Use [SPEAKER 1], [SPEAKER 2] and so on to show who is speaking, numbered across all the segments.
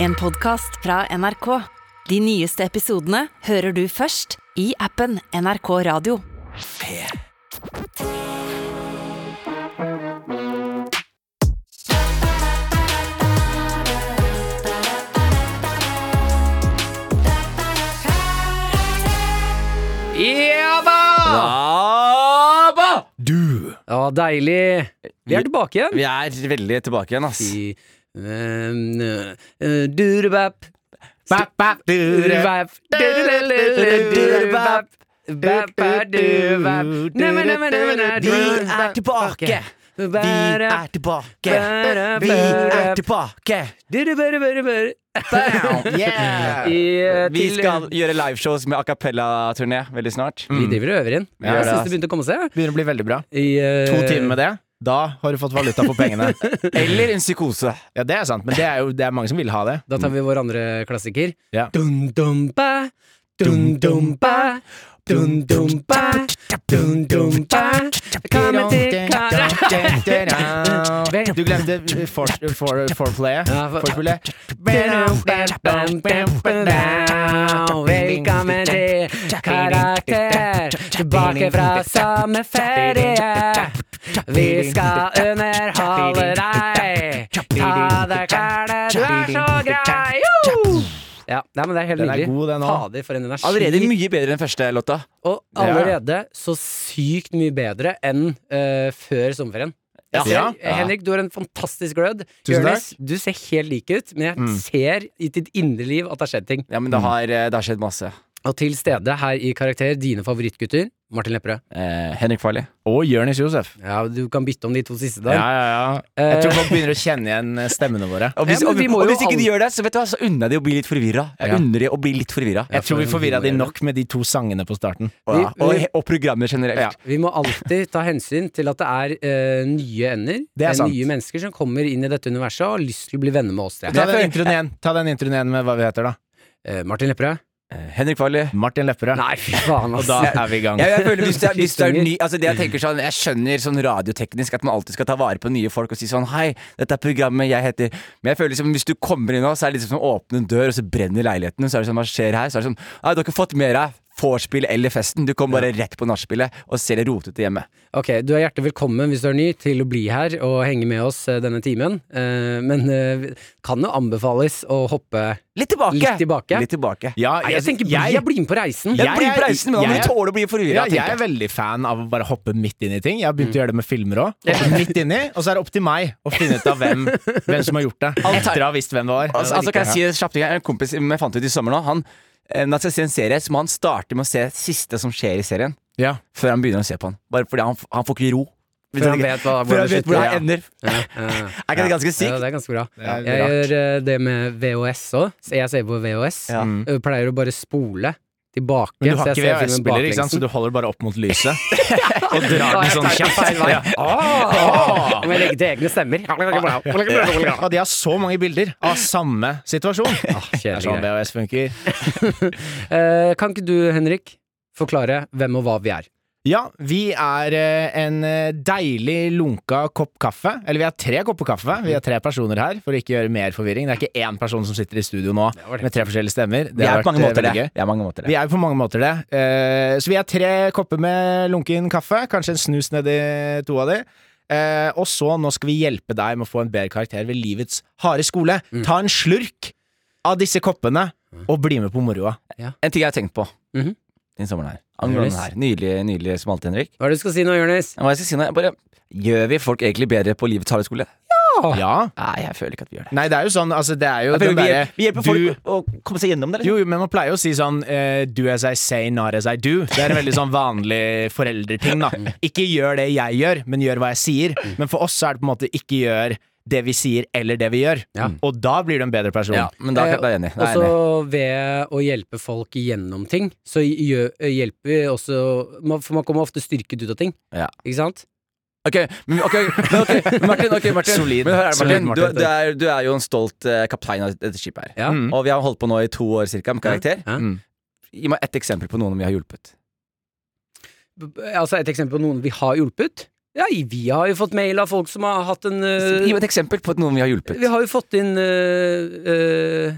[SPEAKER 1] En podcast fra NRK. De nyeste episodene hører du først i appen NRK Radio.
[SPEAKER 2] Abba!
[SPEAKER 3] Du!
[SPEAKER 2] Ja, deilig. Vi er tilbake igjen.
[SPEAKER 3] Vi er veldig tilbake igjen, ass.
[SPEAKER 2] I, ehm, eh, Durebap.
[SPEAKER 3] Bap, bap, dure.
[SPEAKER 2] Durebap. Dudelele, Durebap. Bap, bap, durebap. Næmen, næmen, næmen, næmen,
[SPEAKER 3] Vi er
[SPEAKER 2] durebap.
[SPEAKER 3] tilbake. Vi
[SPEAKER 2] Bare-
[SPEAKER 3] er tilbake.
[SPEAKER 2] bare-
[SPEAKER 3] Vi er
[SPEAKER 2] bare-
[SPEAKER 3] tilbake.
[SPEAKER 2] Dere, bare, bare, bare.
[SPEAKER 3] Yeah.
[SPEAKER 2] I, eh,
[SPEAKER 3] Vi
[SPEAKER 2] til-
[SPEAKER 3] skal gjøre liveshows med a cappella-turné veldig snart.
[SPEAKER 2] Vi driver og øver inn.
[SPEAKER 3] Ja,
[SPEAKER 2] Jeg
[SPEAKER 3] det er
[SPEAKER 2] syns
[SPEAKER 3] ass.
[SPEAKER 2] det begynte å komme seg. eh,
[SPEAKER 4] Begynner å bli veldig bra.
[SPEAKER 2] To
[SPEAKER 4] To timer med det, da har du fått valuta for pengene.
[SPEAKER 3] Eller en psykose.
[SPEAKER 4] Ja, det er sant, men det er jo det er mange som vil ha det.
[SPEAKER 2] Da tar vi vår andre klassiker.
[SPEAKER 4] Ja.
[SPEAKER 2] Dun-dum-ba, dun-dum-ba, dun-dum-ba, dun-dum-ba. Kommer til kara-
[SPEAKER 4] Vent, Du glemte eh, for- for- foreplayet.
[SPEAKER 2] Ja, for-
[SPEAKER 4] Forespillet.
[SPEAKER 2] Velkommen til Karakter, tilbake fra samme ferie. Vi skal underholde deg. Ta av deg klærne, du er så grei. Jo! Ja, nei, men det er helt
[SPEAKER 4] Den er
[SPEAKER 2] nydelig.
[SPEAKER 4] god, den òg.
[SPEAKER 2] Fader, for en energi.
[SPEAKER 3] Allerede mye bedre enn første låta.
[SPEAKER 2] Og allerede så sykt mye bedre enn eh, før sommerferien. Jeg ser,
[SPEAKER 4] Ja.
[SPEAKER 2] eh, Henrik, du har en fantastisk glød.
[SPEAKER 4] Tusen Mm.
[SPEAKER 2] Jonis, du ser helt lik ut, men jeg ser i ditt indre liv at det har skjedd ting.
[SPEAKER 3] Ja, men det har, eh, det har skjedd masse.
[SPEAKER 2] Og til stede her i Karakter, dine favorittgutter, Martin Lepperød.
[SPEAKER 3] Eh, Henrik Farley.
[SPEAKER 4] Og Jonis Josef.
[SPEAKER 2] Ja, du kan bytte om de to siste
[SPEAKER 4] Ja,
[SPEAKER 2] der. Eh,
[SPEAKER 4] ja, ja. Jeg tror folk begynner å kjenne igjen eh, stemmene våre.
[SPEAKER 3] Og hvis,
[SPEAKER 2] Ja, men
[SPEAKER 3] og,
[SPEAKER 2] vi må
[SPEAKER 3] og
[SPEAKER 2] jo
[SPEAKER 3] hvis ikke de
[SPEAKER 2] alle-
[SPEAKER 3] gjør det, så vet du hva, så unner jeg de å bli litt forvirra. Jeg
[SPEAKER 4] Ja.
[SPEAKER 3] unner de å bli litt forvirra.
[SPEAKER 4] Jeg tror vi forvirra de nok med de to sangene på starten.
[SPEAKER 3] Og, ja,
[SPEAKER 2] Vi-
[SPEAKER 3] og,
[SPEAKER 2] vi-
[SPEAKER 3] og programmet generelt.
[SPEAKER 4] Ja.
[SPEAKER 2] Vi må alltid ta hensyn til at det er eh, nye ender.
[SPEAKER 4] Det er sant.
[SPEAKER 2] nye mennesker som kommer inn i dette universet og har lyst til å bli venner med oss tre.
[SPEAKER 4] Ta den introen igjen Ta den introen igjen med hva vi heter, da.
[SPEAKER 2] Eh, Martin Lepperød?
[SPEAKER 3] Eh, Henrik Farley.
[SPEAKER 4] Martin Lepperød.
[SPEAKER 2] Nei, fy faen,
[SPEAKER 4] Og
[SPEAKER 2] ass.
[SPEAKER 4] da er vi i gang.
[SPEAKER 3] Ja, jeg føler hvis det, er- hvis det er
[SPEAKER 2] Klippfinger.
[SPEAKER 3] ny Altså det Jeg tenker sånn Jeg skjønner sånn radioteknisk at man alltid skal ta vare på nye folk og si sånn Hei, dette er programmet jeg heter Men jeg føler liksom hvis du kommer inn nå, så er det liksom som å åpne en dør, og så brenner leiligheten, og så er det sånn Hva skjer her? Så er det sånn Nei, du har ikke fått mer av vorspiel eller festen. Du kom bare rett på nachspielet og ser det rotete hjemme.
[SPEAKER 2] Ok, du er hjertelig velkommen hvis du er ny til å bli her og henge med oss eh, denne timen. Eh, Men eh, vi- kan jo anbefales å hoppe
[SPEAKER 3] Litt tilbake!
[SPEAKER 2] Litt tilbake?
[SPEAKER 3] Litt tilbake.
[SPEAKER 4] Ja,
[SPEAKER 2] Nei, jeg tenker bli, jeg,
[SPEAKER 4] jeg-
[SPEAKER 2] blir med på reisen.
[SPEAKER 3] Jeg,
[SPEAKER 4] Jeg
[SPEAKER 3] blir
[SPEAKER 4] er-
[SPEAKER 3] på reisen, men da må
[SPEAKER 4] jeg
[SPEAKER 3] du
[SPEAKER 4] er-
[SPEAKER 3] tåle å bli
[SPEAKER 4] Ja,
[SPEAKER 3] forvirra.
[SPEAKER 4] jeg er
[SPEAKER 3] tenker jeg. Mm.
[SPEAKER 4] veldig fan av å bare hoppe midt inn i ting. Jeg har begynt å gjøre det med filmer òg. Midt inni, og så er det opp til meg å finne ut av hvem, hvem som har gjort det. Etter å ha visst hvem det var.
[SPEAKER 3] Altså, altså kan jeg si det kjapt? Jeg har En kompis som jeg fant ut i sommer nå, han eh, når han skal se en serie, så må han starte med å se siste som skjer i serien,
[SPEAKER 4] Ja.
[SPEAKER 3] før han begynner å se på den. Bare fordi han, han får ikke ro.
[SPEAKER 2] Før han vet hva-
[SPEAKER 3] Før han vet hvor
[SPEAKER 2] Ja,
[SPEAKER 3] det ender.
[SPEAKER 2] ja, ja.
[SPEAKER 3] Er ikke det ganske
[SPEAKER 2] Ja,
[SPEAKER 3] sykt?
[SPEAKER 2] det er ganske bra.
[SPEAKER 4] Det er
[SPEAKER 2] Jeg
[SPEAKER 4] rart.
[SPEAKER 2] gjør eh, det med VHS òg. Jeg ser på VHS.
[SPEAKER 3] Ja.
[SPEAKER 2] Jeg Eh, pleier å bare spole tilbake.
[SPEAKER 4] Mm. Men du har
[SPEAKER 2] så jeg
[SPEAKER 4] ikke
[SPEAKER 2] ser filmen
[SPEAKER 4] VHS-spiller, ikke sant?
[SPEAKER 2] baklengsen.
[SPEAKER 4] så du holder bare opp mot lyset og
[SPEAKER 2] Ja,
[SPEAKER 4] drar den
[SPEAKER 2] jeg
[SPEAKER 4] sånn
[SPEAKER 2] tar det
[SPEAKER 4] kjapt.
[SPEAKER 2] feil vei.
[SPEAKER 4] Ja. Ah!
[SPEAKER 2] Åh! Må jeg legge til egne stemmer? Ah,
[SPEAKER 4] Ja, de har så mange bilder av samme situasjon. Det er
[SPEAKER 2] Kjedelig
[SPEAKER 4] sånn
[SPEAKER 2] greie.
[SPEAKER 4] VHS funker.
[SPEAKER 2] Eh, Kan ikke du, Henrik, forklare hvem og hva vi er?
[SPEAKER 4] Ja, vi er eh, en eh, deilig lunka kopp kaffe. Eller vi har tre kopper kaffe. Vi er tre personer her, for å ikke gjøre mer forvirring. Det er ikke én person som sitter i studio nå
[SPEAKER 2] Det var det.
[SPEAKER 4] med tre forskjellige stemmer.
[SPEAKER 3] Vi
[SPEAKER 4] har
[SPEAKER 3] er på mange
[SPEAKER 4] vært, eh,
[SPEAKER 3] måter det.
[SPEAKER 4] veldig gøy.
[SPEAKER 3] Vi er mange måter
[SPEAKER 4] Vi
[SPEAKER 3] det.
[SPEAKER 4] er jo på mange måter det. Eh, så vi er tre kopper med lunken kaffe, kanskje en snus nedi to av de. Eh, og så, nå skal vi hjelpe deg med å få en bedre karakter ved livets harde skole.
[SPEAKER 3] Mm.
[SPEAKER 4] Ta en slurk av disse koppene, og bli med på moroa.
[SPEAKER 3] En ting jeg har tenkt på
[SPEAKER 2] Mhm.
[SPEAKER 3] den sommeren her. Angående den
[SPEAKER 2] Jonas?
[SPEAKER 3] her. Nydelig, nydelig smalt, Henrik.
[SPEAKER 2] Hva er det du skal si nå, Jonis?
[SPEAKER 3] Men Hva jeg skal si nå? Jeg bare Gjør vi folk egentlig bedre på livets harde skole?
[SPEAKER 4] Ja.
[SPEAKER 3] Nei, jeg føler ikke at vi gjør det.
[SPEAKER 4] Nei, det er jo sånn, altså, det er jo
[SPEAKER 3] Jeg føler
[SPEAKER 4] den
[SPEAKER 3] vi,
[SPEAKER 4] derre
[SPEAKER 3] hjelper, vi hjelper
[SPEAKER 4] du-
[SPEAKER 3] folk å komme seg gjennom det. Liksom.
[SPEAKER 4] Jo, jo, men man pleier jo å si sånn eh, Do as I say, not as I do. Det er en veldig sånn vanlig foreldreting, da. Ikke gjør det jeg gjør, men gjør hva jeg sier. Men for oss så er det på en måte ikke gjør det vi sier, eller det vi gjør.
[SPEAKER 2] Ja.
[SPEAKER 4] Og da blir du en bedre person.
[SPEAKER 3] Ja, men da, da er jeg enig. Da
[SPEAKER 2] Og
[SPEAKER 3] er jeg
[SPEAKER 2] så
[SPEAKER 3] enig.
[SPEAKER 2] ved å hjelpe folk gjennom ting, så gjø- hjelper vi også man- For man kommer ofte styrket ut av ting,
[SPEAKER 3] Ja.
[SPEAKER 2] ikke sant?
[SPEAKER 3] Ok, men, ok, men ok, Martin, ok, Martin.
[SPEAKER 4] Solid.
[SPEAKER 3] Men hør her,
[SPEAKER 4] Solid,
[SPEAKER 3] Martin.
[SPEAKER 4] Martin.
[SPEAKER 3] Du, du, er, du er jo en stolt eh, kaptein av dette skipet her.
[SPEAKER 2] Ja.
[SPEAKER 3] Og vi har holdt på nå i to år cirka med karakter.
[SPEAKER 2] Mm. Ja.
[SPEAKER 4] Mm.
[SPEAKER 3] Gi meg ett eksempel på noen vi har hjulpet.
[SPEAKER 2] B- Altså Et eksempel på noen vi har hjulpet. Ja, vi har jo fått mail av folk som har hatt en eh,
[SPEAKER 3] Gi meg et eksempel på noen vi har hjulpet.
[SPEAKER 2] Vi har jo fått inn eh, eh,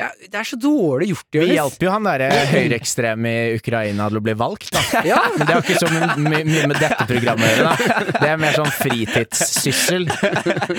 [SPEAKER 2] ja, Det er så dårlig gjort,
[SPEAKER 4] Vi
[SPEAKER 2] Jonis.
[SPEAKER 4] hjalp jo han derre høyreekstreme i Ukraina til å bli valgt, da.
[SPEAKER 2] Ja.
[SPEAKER 4] Men det har ikke så my- my- mye med dette programmet å gjøre, da. Det er mer sånn fritidssyssel.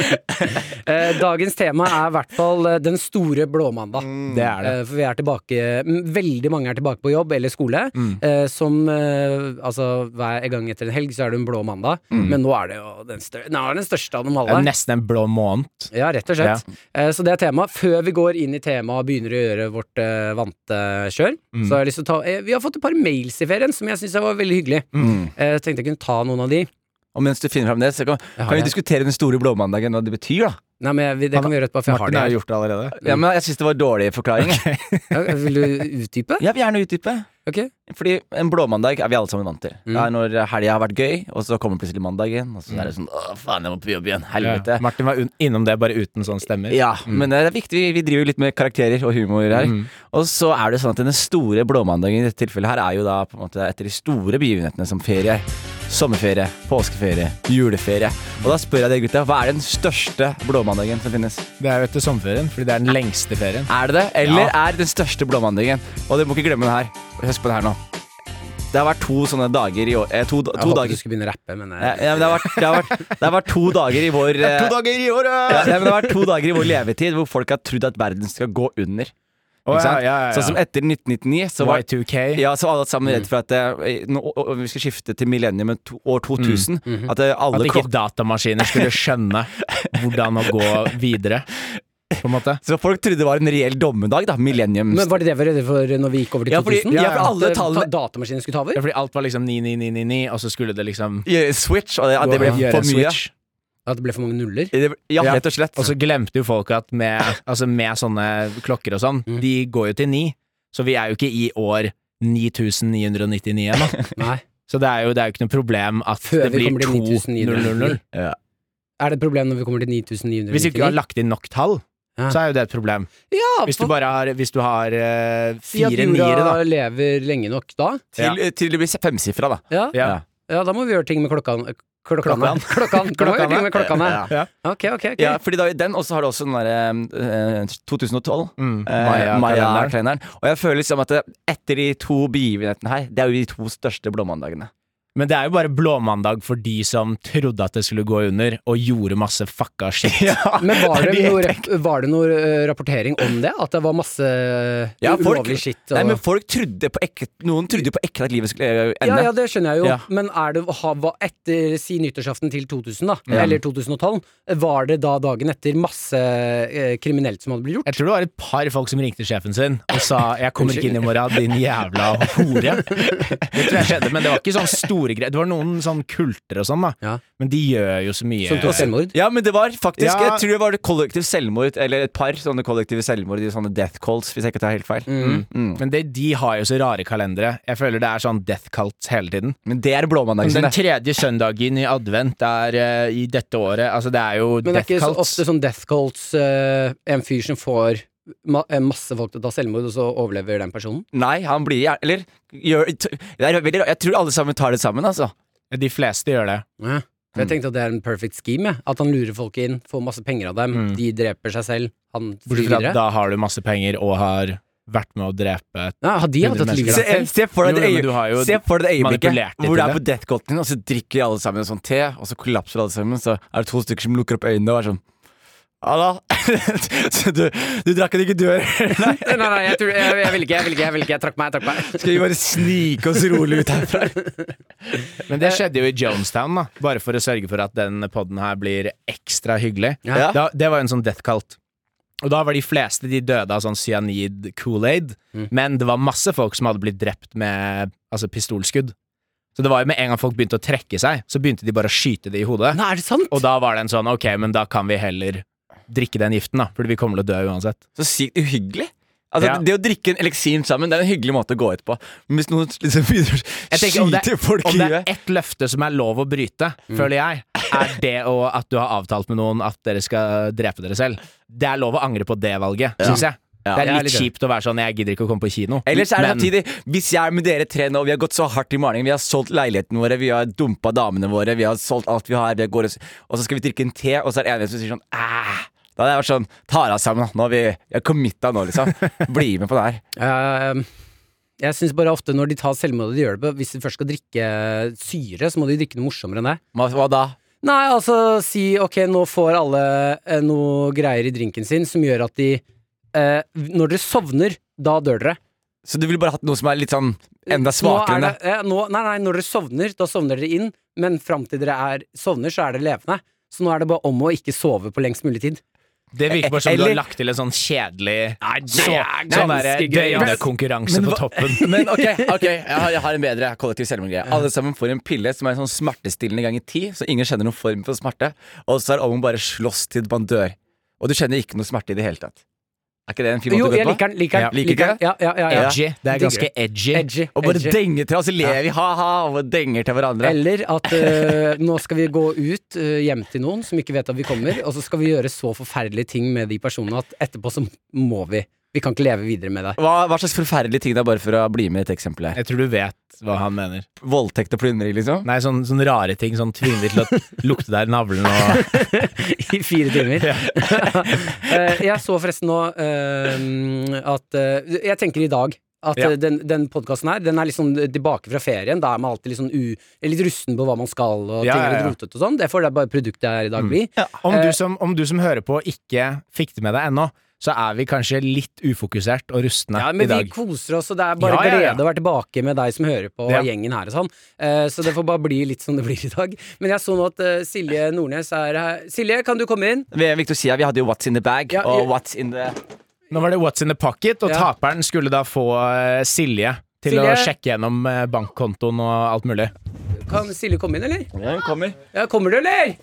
[SPEAKER 2] Eh, dagens tema er i hvert fall eh, den store blåmandag.
[SPEAKER 4] Det er det.
[SPEAKER 2] Eh, For vi er tilbake m, Veldig mange er tilbake på jobb eller skole.
[SPEAKER 3] Mm.
[SPEAKER 2] eh, Som eh, altså hver gang etter en helg så er det en blå mandag,
[SPEAKER 3] Mm.
[SPEAKER 2] men nå er det jo den, stør nå er det den største av dem
[SPEAKER 4] Det er
[SPEAKER 2] alle.
[SPEAKER 4] Nesten en blå måned.
[SPEAKER 2] Ja, rett og slett. Eh, Så det er tema. Før vi går inn i temaet og begynner å gjøre vårt eh, vante kjør,
[SPEAKER 3] Mm.
[SPEAKER 2] så har jeg lyst til å ta eh, Vi har fått et par mails i ferien som jeg syns var veldig hyggelig.
[SPEAKER 3] Mm.
[SPEAKER 2] Eh, Jeg tenkte jeg kunne ta noen av de.
[SPEAKER 3] Og mens du finner fram det, så kan,
[SPEAKER 2] Jeg har
[SPEAKER 3] kan vi
[SPEAKER 2] det.
[SPEAKER 3] diskutere den store blåmandagen, hva det betyr, da.
[SPEAKER 2] Nei, men jeg, vi- det kan vi gjøre etterpå, for jeg har
[SPEAKER 4] Martin
[SPEAKER 2] det
[SPEAKER 4] har
[SPEAKER 2] her.
[SPEAKER 4] gjort det allerede.
[SPEAKER 2] Mm.
[SPEAKER 3] Ja, men Jeg syns det var dårlig forklaring.
[SPEAKER 2] Ja, Vil du utdype?
[SPEAKER 3] Jeg vil gjerne utdype.
[SPEAKER 2] Ok.
[SPEAKER 3] Fordi en blåmandag er vi alle sammen vant til.
[SPEAKER 2] Mm.
[SPEAKER 3] Det er når helga har vært gøy, og så kommer plutselig mandagen, og så er det
[SPEAKER 2] Mm.
[SPEAKER 3] sånn Å, faen, jeg må på jobb igjen. Helvete.
[SPEAKER 4] Ja. Martin var un- innom det bare uten sånn stemmer.
[SPEAKER 3] Ja,
[SPEAKER 2] Mm.
[SPEAKER 3] men det er viktig. Vi- Vi driver jo litt med karakterer og humor her. Og så er det sånn at den store blåmandagen i dette tilfellet her er jo da på en måte etter de store begivenhetene som ferie, sommerferie, påskeferie, juleferie. Og da spør jeg dere gutta, hva er den største blåmandagen som finnes?
[SPEAKER 4] Det er jo etter sommerferien, fordi det er den lengste ferien.
[SPEAKER 3] Er det det? Eller er det den største blåmandagen? Og dere må ikke glemme det her. Husk på det her nå. Det har vært to sånne dager i år. Eh, to
[SPEAKER 2] Jeg
[SPEAKER 3] to
[SPEAKER 2] håpet du
[SPEAKER 3] dager.
[SPEAKER 2] skulle begynne å rappe, men
[SPEAKER 3] Ja,
[SPEAKER 2] eh,
[SPEAKER 3] ja, men det, har vært, det, har vært, det har vært to dager i vår eh,
[SPEAKER 4] dager i året!
[SPEAKER 3] ja, nei, men det har vært to dager i vår levetid hvor folk har trodd at verden skal gå under.
[SPEAKER 4] Å,
[SPEAKER 3] Ikke
[SPEAKER 4] ja, ja,
[SPEAKER 3] sant?
[SPEAKER 4] ja, Mm. ja.
[SPEAKER 3] Sånn som etter 1999, så var,
[SPEAKER 4] Y2K.
[SPEAKER 3] ja, så var alle sammen redd for at eh, nå, å- å- vi skal skifte til millennium to, år 2000. At eh,
[SPEAKER 4] Mm, mhm. At
[SPEAKER 3] alle
[SPEAKER 4] ikke
[SPEAKER 3] klok
[SPEAKER 4] datamaskiner skulle skjønne hvordan å gå videre, på en måte.
[SPEAKER 3] Så folk trodde det var en reell dommedag, da. Millennium.
[SPEAKER 2] Men Var det det vi var redde for når vi gikk over til
[SPEAKER 3] Ja, fordi-
[SPEAKER 2] 2000?
[SPEAKER 3] ja, for alle
[SPEAKER 2] At, eh,
[SPEAKER 3] tallene-
[SPEAKER 2] ta- datamaskinen skulle ta
[SPEAKER 4] Ja,
[SPEAKER 2] over?
[SPEAKER 4] fordi alt var liksom 9999, og så skulle det liksom
[SPEAKER 3] Gjøre switch, og det, at det ble
[SPEAKER 4] gjøre
[SPEAKER 3] for mye.
[SPEAKER 4] switch.
[SPEAKER 2] At det ble for mange nuller?
[SPEAKER 3] Det ble- Ja,
[SPEAKER 4] Ja. Altså,
[SPEAKER 3] rett og slett.
[SPEAKER 4] Og så glemte jo folk at med, altså med sånne klokker og sånn,
[SPEAKER 2] Mm.
[SPEAKER 4] de går jo til 9, så vi er jo ikke i år 9999 ennå.
[SPEAKER 2] Nei.
[SPEAKER 4] Så det er jo, det er jo ikke noe problem at
[SPEAKER 2] Før
[SPEAKER 4] det
[SPEAKER 2] vi
[SPEAKER 4] blir
[SPEAKER 2] kommer til
[SPEAKER 4] 2000.
[SPEAKER 2] 9999.
[SPEAKER 3] Ja.
[SPEAKER 2] Er det et problem når vi kommer til 9999?
[SPEAKER 4] Hvis du ikke har lagt inn nok tall,
[SPEAKER 2] Ja.
[SPEAKER 4] så er jo det et problem.
[SPEAKER 2] ja,
[SPEAKER 4] Hvis du
[SPEAKER 2] for-
[SPEAKER 4] bare har, hvis du har eh,
[SPEAKER 2] Si at
[SPEAKER 4] fire niere, da.
[SPEAKER 2] jorda lever lenge nok da.
[SPEAKER 3] Til, eh, til det blir femsifra, da.
[SPEAKER 2] Ja.
[SPEAKER 4] Ja.
[SPEAKER 2] ja, da må vi gjøre ting med klokkene. Klokkene. Klokkene. Da må vi gjøre ting med klokkene.
[SPEAKER 4] Ja.
[SPEAKER 2] Ok, ok. ok.
[SPEAKER 3] Ja, fordi da, den, og så har du også den eh, derre 2012.
[SPEAKER 4] Mm,
[SPEAKER 3] Eh,
[SPEAKER 4] Maya-kalenderen.
[SPEAKER 3] Maya-kalenderen. Og jeg føler liksom at det, etter de to begivenhetene her, det er jo de to største blåmandagene.
[SPEAKER 4] Men det er jo bare blåmandag for de som trodde at det skulle gå under, og gjorde masse fucka shit.
[SPEAKER 2] Men var det,
[SPEAKER 4] Det er
[SPEAKER 2] noe, rap- var det noe eh, rapportering om det? At det var masse
[SPEAKER 3] Ja, folk-
[SPEAKER 2] ulovlig skitt? Og...
[SPEAKER 3] Nei, men folk trodde på ekte Noen trodde jo på ekte at livet skulle eh, ende.
[SPEAKER 2] ja, ja, det skjønner jeg jo.
[SPEAKER 3] Ja.
[SPEAKER 2] Men er det, ha, hva etter si nyttårsaften til 2000, da,
[SPEAKER 3] Ja.
[SPEAKER 2] eller 2012, var det da dagen etter masse eh, kriminelt som hadde blitt gjort?
[SPEAKER 4] Jeg tror det var et par folk som ringte sjefen sin og sa 'jeg kommer ikke inn i morgen, din jævla hore'. Det tror jeg skjedde, men det var ikke sånn store greier. Det var noen sånn kulter og sånn, da.
[SPEAKER 2] Ja.
[SPEAKER 4] Men de gjør jo så mye
[SPEAKER 2] Som tok selvmord?
[SPEAKER 3] Ja, men det var faktisk
[SPEAKER 4] Ja.
[SPEAKER 3] Jeg tror det var det kollektiv selvmord, eller et par sånne kollektive selvmord i sånne death calls, hvis jeg ikke tar helt feil.
[SPEAKER 2] Mm.
[SPEAKER 3] Mm.
[SPEAKER 4] Men det, de har jo så rare kalendere. Jeg føler det er sånn death cult hele tiden.
[SPEAKER 3] Men det er blåmandagen sin,
[SPEAKER 4] Den
[SPEAKER 3] det.
[SPEAKER 2] Liksom,
[SPEAKER 4] tredje søndagen i advent er eh, i dette året Altså, det er jo
[SPEAKER 2] Men det er
[SPEAKER 4] death
[SPEAKER 2] ikke så
[SPEAKER 4] cults.
[SPEAKER 2] ofte sånn death cults eh, En fyr som får ma eh, masse folk til å ta selvmord, og så overlever den personen?
[SPEAKER 3] Nei, han blir gjerne Eller gjør, t- det er veldig, rart. Jeg tror alle sammen tar det sammen, altså.
[SPEAKER 4] De fleste gjør det.
[SPEAKER 2] For jeg
[SPEAKER 4] Mm.
[SPEAKER 2] tenkte at det er en perfect scheme. jeg. At han lurer folk inn, får masse penger av dem,
[SPEAKER 4] Mm.
[SPEAKER 2] de dreper seg selv, han flyr
[SPEAKER 4] Bortsett fra at
[SPEAKER 2] videre.
[SPEAKER 4] da har du masse penger og har vært med å drepe
[SPEAKER 2] Ja, har de hatt et
[SPEAKER 4] Hundre
[SPEAKER 2] liv?
[SPEAKER 4] mennesker.
[SPEAKER 2] da?
[SPEAKER 3] Se, se for deg
[SPEAKER 4] Jo, jo,
[SPEAKER 3] det
[SPEAKER 4] men
[SPEAKER 3] øye-
[SPEAKER 4] du har jo
[SPEAKER 3] se for deg det
[SPEAKER 4] manipulert
[SPEAKER 3] øyeblikket
[SPEAKER 4] dem
[SPEAKER 3] hvor du
[SPEAKER 4] til
[SPEAKER 3] er
[SPEAKER 4] det.
[SPEAKER 3] på death callen, og så drikker alle sammen en sånn te, og så kollapser alle sammen. Så er det to stykker som lukker opp øynene og er sånn Halla! Så du, du drakk at du ikke dør? Nei.
[SPEAKER 2] Nei, nei, nei, jeg, tror, jeg, jeg vil ikke, jeg vil ikke, jeg vil ikke. Jeg trakk meg, jeg trakk meg.
[SPEAKER 3] Skal vi bare snike oss rolig ut herfra?
[SPEAKER 4] Men det skjedde jo i Jonestown, da. Bare for å sørge for at den podden her blir ekstra hyggelig.
[SPEAKER 3] Ja.
[SPEAKER 4] Da, det var jo en sånn death cult. Og da var de fleste de døde av sånn cyanid Kool-Aid.
[SPEAKER 2] Mm.
[SPEAKER 4] Men det var masse folk som hadde blitt drept med altså pistolskudd. Så det var jo med en gang folk begynte å trekke seg, så begynte de bare å skyte det i hodet.
[SPEAKER 2] Nei, er det sant?
[SPEAKER 4] Og da var det en sånn ok, men da kan vi heller drikke den giften, da. Fordi vi kommer til å dø uansett.
[SPEAKER 3] Så sykt uhyggelig. Altså,
[SPEAKER 4] Ja.
[SPEAKER 3] Det å drikke en eliksir sammen Det er en hyggelig måte å gå ut på. Men hvis noen liksom begynner å
[SPEAKER 4] Jeg tenker om det-
[SPEAKER 3] skyte folk i
[SPEAKER 4] Om det er
[SPEAKER 3] huet Mm.
[SPEAKER 4] ett løfte som er lov å bryte, føler jeg, er det å, at du har avtalt med noen at dere skal drepe dere selv. Det er lov å angre på det valget, synes syns jeg.
[SPEAKER 3] Ja,
[SPEAKER 4] det
[SPEAKER 2] jeg
[SPEAKER 4] er
[SPEAKER 2] er
[SPEAKER 4] litt
[SPEAKER 2] litt enig.
[SPEAKER 4] kjipt å være sånn 'jeg gidder ikke å komme på kino'.
[SPEAKER 3] Ellers er det sånn
[SPEAKER 4] Men-
[SPEAKER 3] samtidig Hvis jeg med dere tre nå Vi har gått så hardt i malingen Vi har solgt leilighetene våre Vi har dumpa damene våre Vi har solgt alt vi har vi går, og s- Og så skal vi drikke en te Og så er det en av oss som sier sånn Æh Da hadde jeg vært sånn Ta deg sammen da Nå har vi Jeg er committa nå liksom Bli med på det her
[SPEAKER 2] Eh, jeg syns bare ofte når de tar selvmord, de gjør det på Hvis de først skal drikke eh, syre, så må de drikke noe morsommere enn det.
[SPEAKER 3] Hva, hva da?
[SPEAKER 2] Nei, altså si ok, nå får alle eh, noe greier i drinken sin som gjør at de eh, Når dere sovner, da dør dere.
[SPEAKER 3] Så du ville bare hatt noe som er litt sånn Enda
[SPEAKER 2] nå
[SPEAKER 3] svakere enn
[SPEAKER 2] er
[SPEAKER 3] det
[SPEAKER 2] det. eh, Nå, nei, nei, når dere sovner, da sovner dere inn, men fram til dere er sovner, så er dere levende. Så nå er det bare om å ikke sove på lengst mulig tid.
[SPEAKER 4] Det virker bare som du
[SPEAKER 3] Eller-
[SPEAKER 4] har lagt til en sånn kjedelig
[SPEAKER 2] det
[SPEAKER 4] så-
[SPEAKER 2] er
[SPEAKER 4] sånn
[SPEAKER 2] ganske
[SPEAKER 4] derre
[SPEAKER 2] gøy, ass.
[SPEAKER 4] døgnekonkurranse på toppen.
[SPEAKER 3] Men ok, ok jeg, har, jeg har en bedre kollektiv selvmordgreie. Alle sammen får en pille som er en sånn smertestillende ganger ti, så ingen kjenner noen form for smerte. Og så er det om å bare slåss til man dør. Og du kjenner ikke noe smerte i det hele tatt. Er ikke det en fin måte
[SPEAKER 2] Jo,
[SPEAKER 3] å gå
[SPEAKER 2] jeg
[SPEAKER 3] på?
[SPEAKER 2] liker den. Liker
[SPEAKER 3] Ja.
[SPEAKER 2] den.
[SPEAKER 3] Liker
[SPEAKER 2] liker den. Ja, ja, ja, ja.
[SPEAKER 4] Edgy. Det er ganske edgy.
[SPEAKER 2] Edgy.
[SPEAKER 3] Og bare
[SPEAKER 2] edgy.
[SPEAKER 3] denger til, og så ler vi ha-ha, og bare denger til hverandre.
[SPEAKER 2] Eller at eh, nå skal vi gå ut eh, hjem til noen som ikke vet at vi kommer, og så skal vi gjøre så forferdelige ting med de personene at etterpå så må vi. Vi kan ikke leve videre med det.
[SPEAKER 3] Hva, hva slags forferdelige ting det er, bare for å bli med i et eksempel her?
[SPEAKER 4] Jeg tror du vet hva han mener.
[SPEAKER 3] Voldtekt og plyndring, liksom?
[SPEAKER 4] Nei, sånn, sånne rare ting. Sånn tvinge til å lukte deg i navlen og
[SPEAKER 2] I fire timer. Eh, jeg så forresten nå eh, at eh, Jeg tenker i dag at
[SPEAKER 4] Ja.
[SPEAKER 2] eh, den, den podkasten her, den er litt sånn tilbake fra ferien. Da er man alltid litt sånn u, litt rusten på hva man skal, og
[SPEAKER 4] Ja,
[SPEAKER 2] ting er
[SPEAKER 4] ja,
[SPEAKER 2] litt
[SPEAKER 4] ja. Mm.
[SPEAKER 2] rotete og sånn. Det får det bare produktet jeg er i dag bli.
[SPEAKER 4] om,
[SPEAKER 2] Eh.
[SPEAKER 4] du som, om du som hører på, ikke fikk det med deg ennå, så er vi kanskje litt ufokusert og rustne
[SPEAKER 2] Ja,
[SPEAKER 4] i
[SPEAKER 2] men vi
[SPEAKER 4] dag.
[SPEAKER 2] koser oss, og det er bare
[SPEAKER 4] Ja, ja, ja.
[SPEAKER 2] glede å være tilbake med deg som hører på, og
[SPEAKER 4] Ja.
[SPEAKER 2] gjengen her og sånn. Eh, så det får bare bli litt som det blir i dag. Men jeg så nå at eh, Silje Nordnes er her. Silje, kan du komme inn?
[SPEAKER 3] Det er viktig å si her, Vi hadde jo What's in the bag
[SPEAKER 2] Ja,
[SPEAKER 3] og
[SPEAKER 2] ja.
[SPEAKER 3] What's in the
[SPEAKER 4] Nå var det What's in the pocket, og
[SPEAKER 2] Ja.
[SPEAKER 4] taperen skulle da få eh, Silje til å
[SPEAKER 2] Silje?
[SPEAKER 4] sjekke gjennom eh, bankkontoen og alt mulig.
[SPEAKER 2] Kan Silje komme inn, eller?
[SPEAKER 3] Ja, hun kommer.
[SPEAKER 2] Ja, kommer du, eller?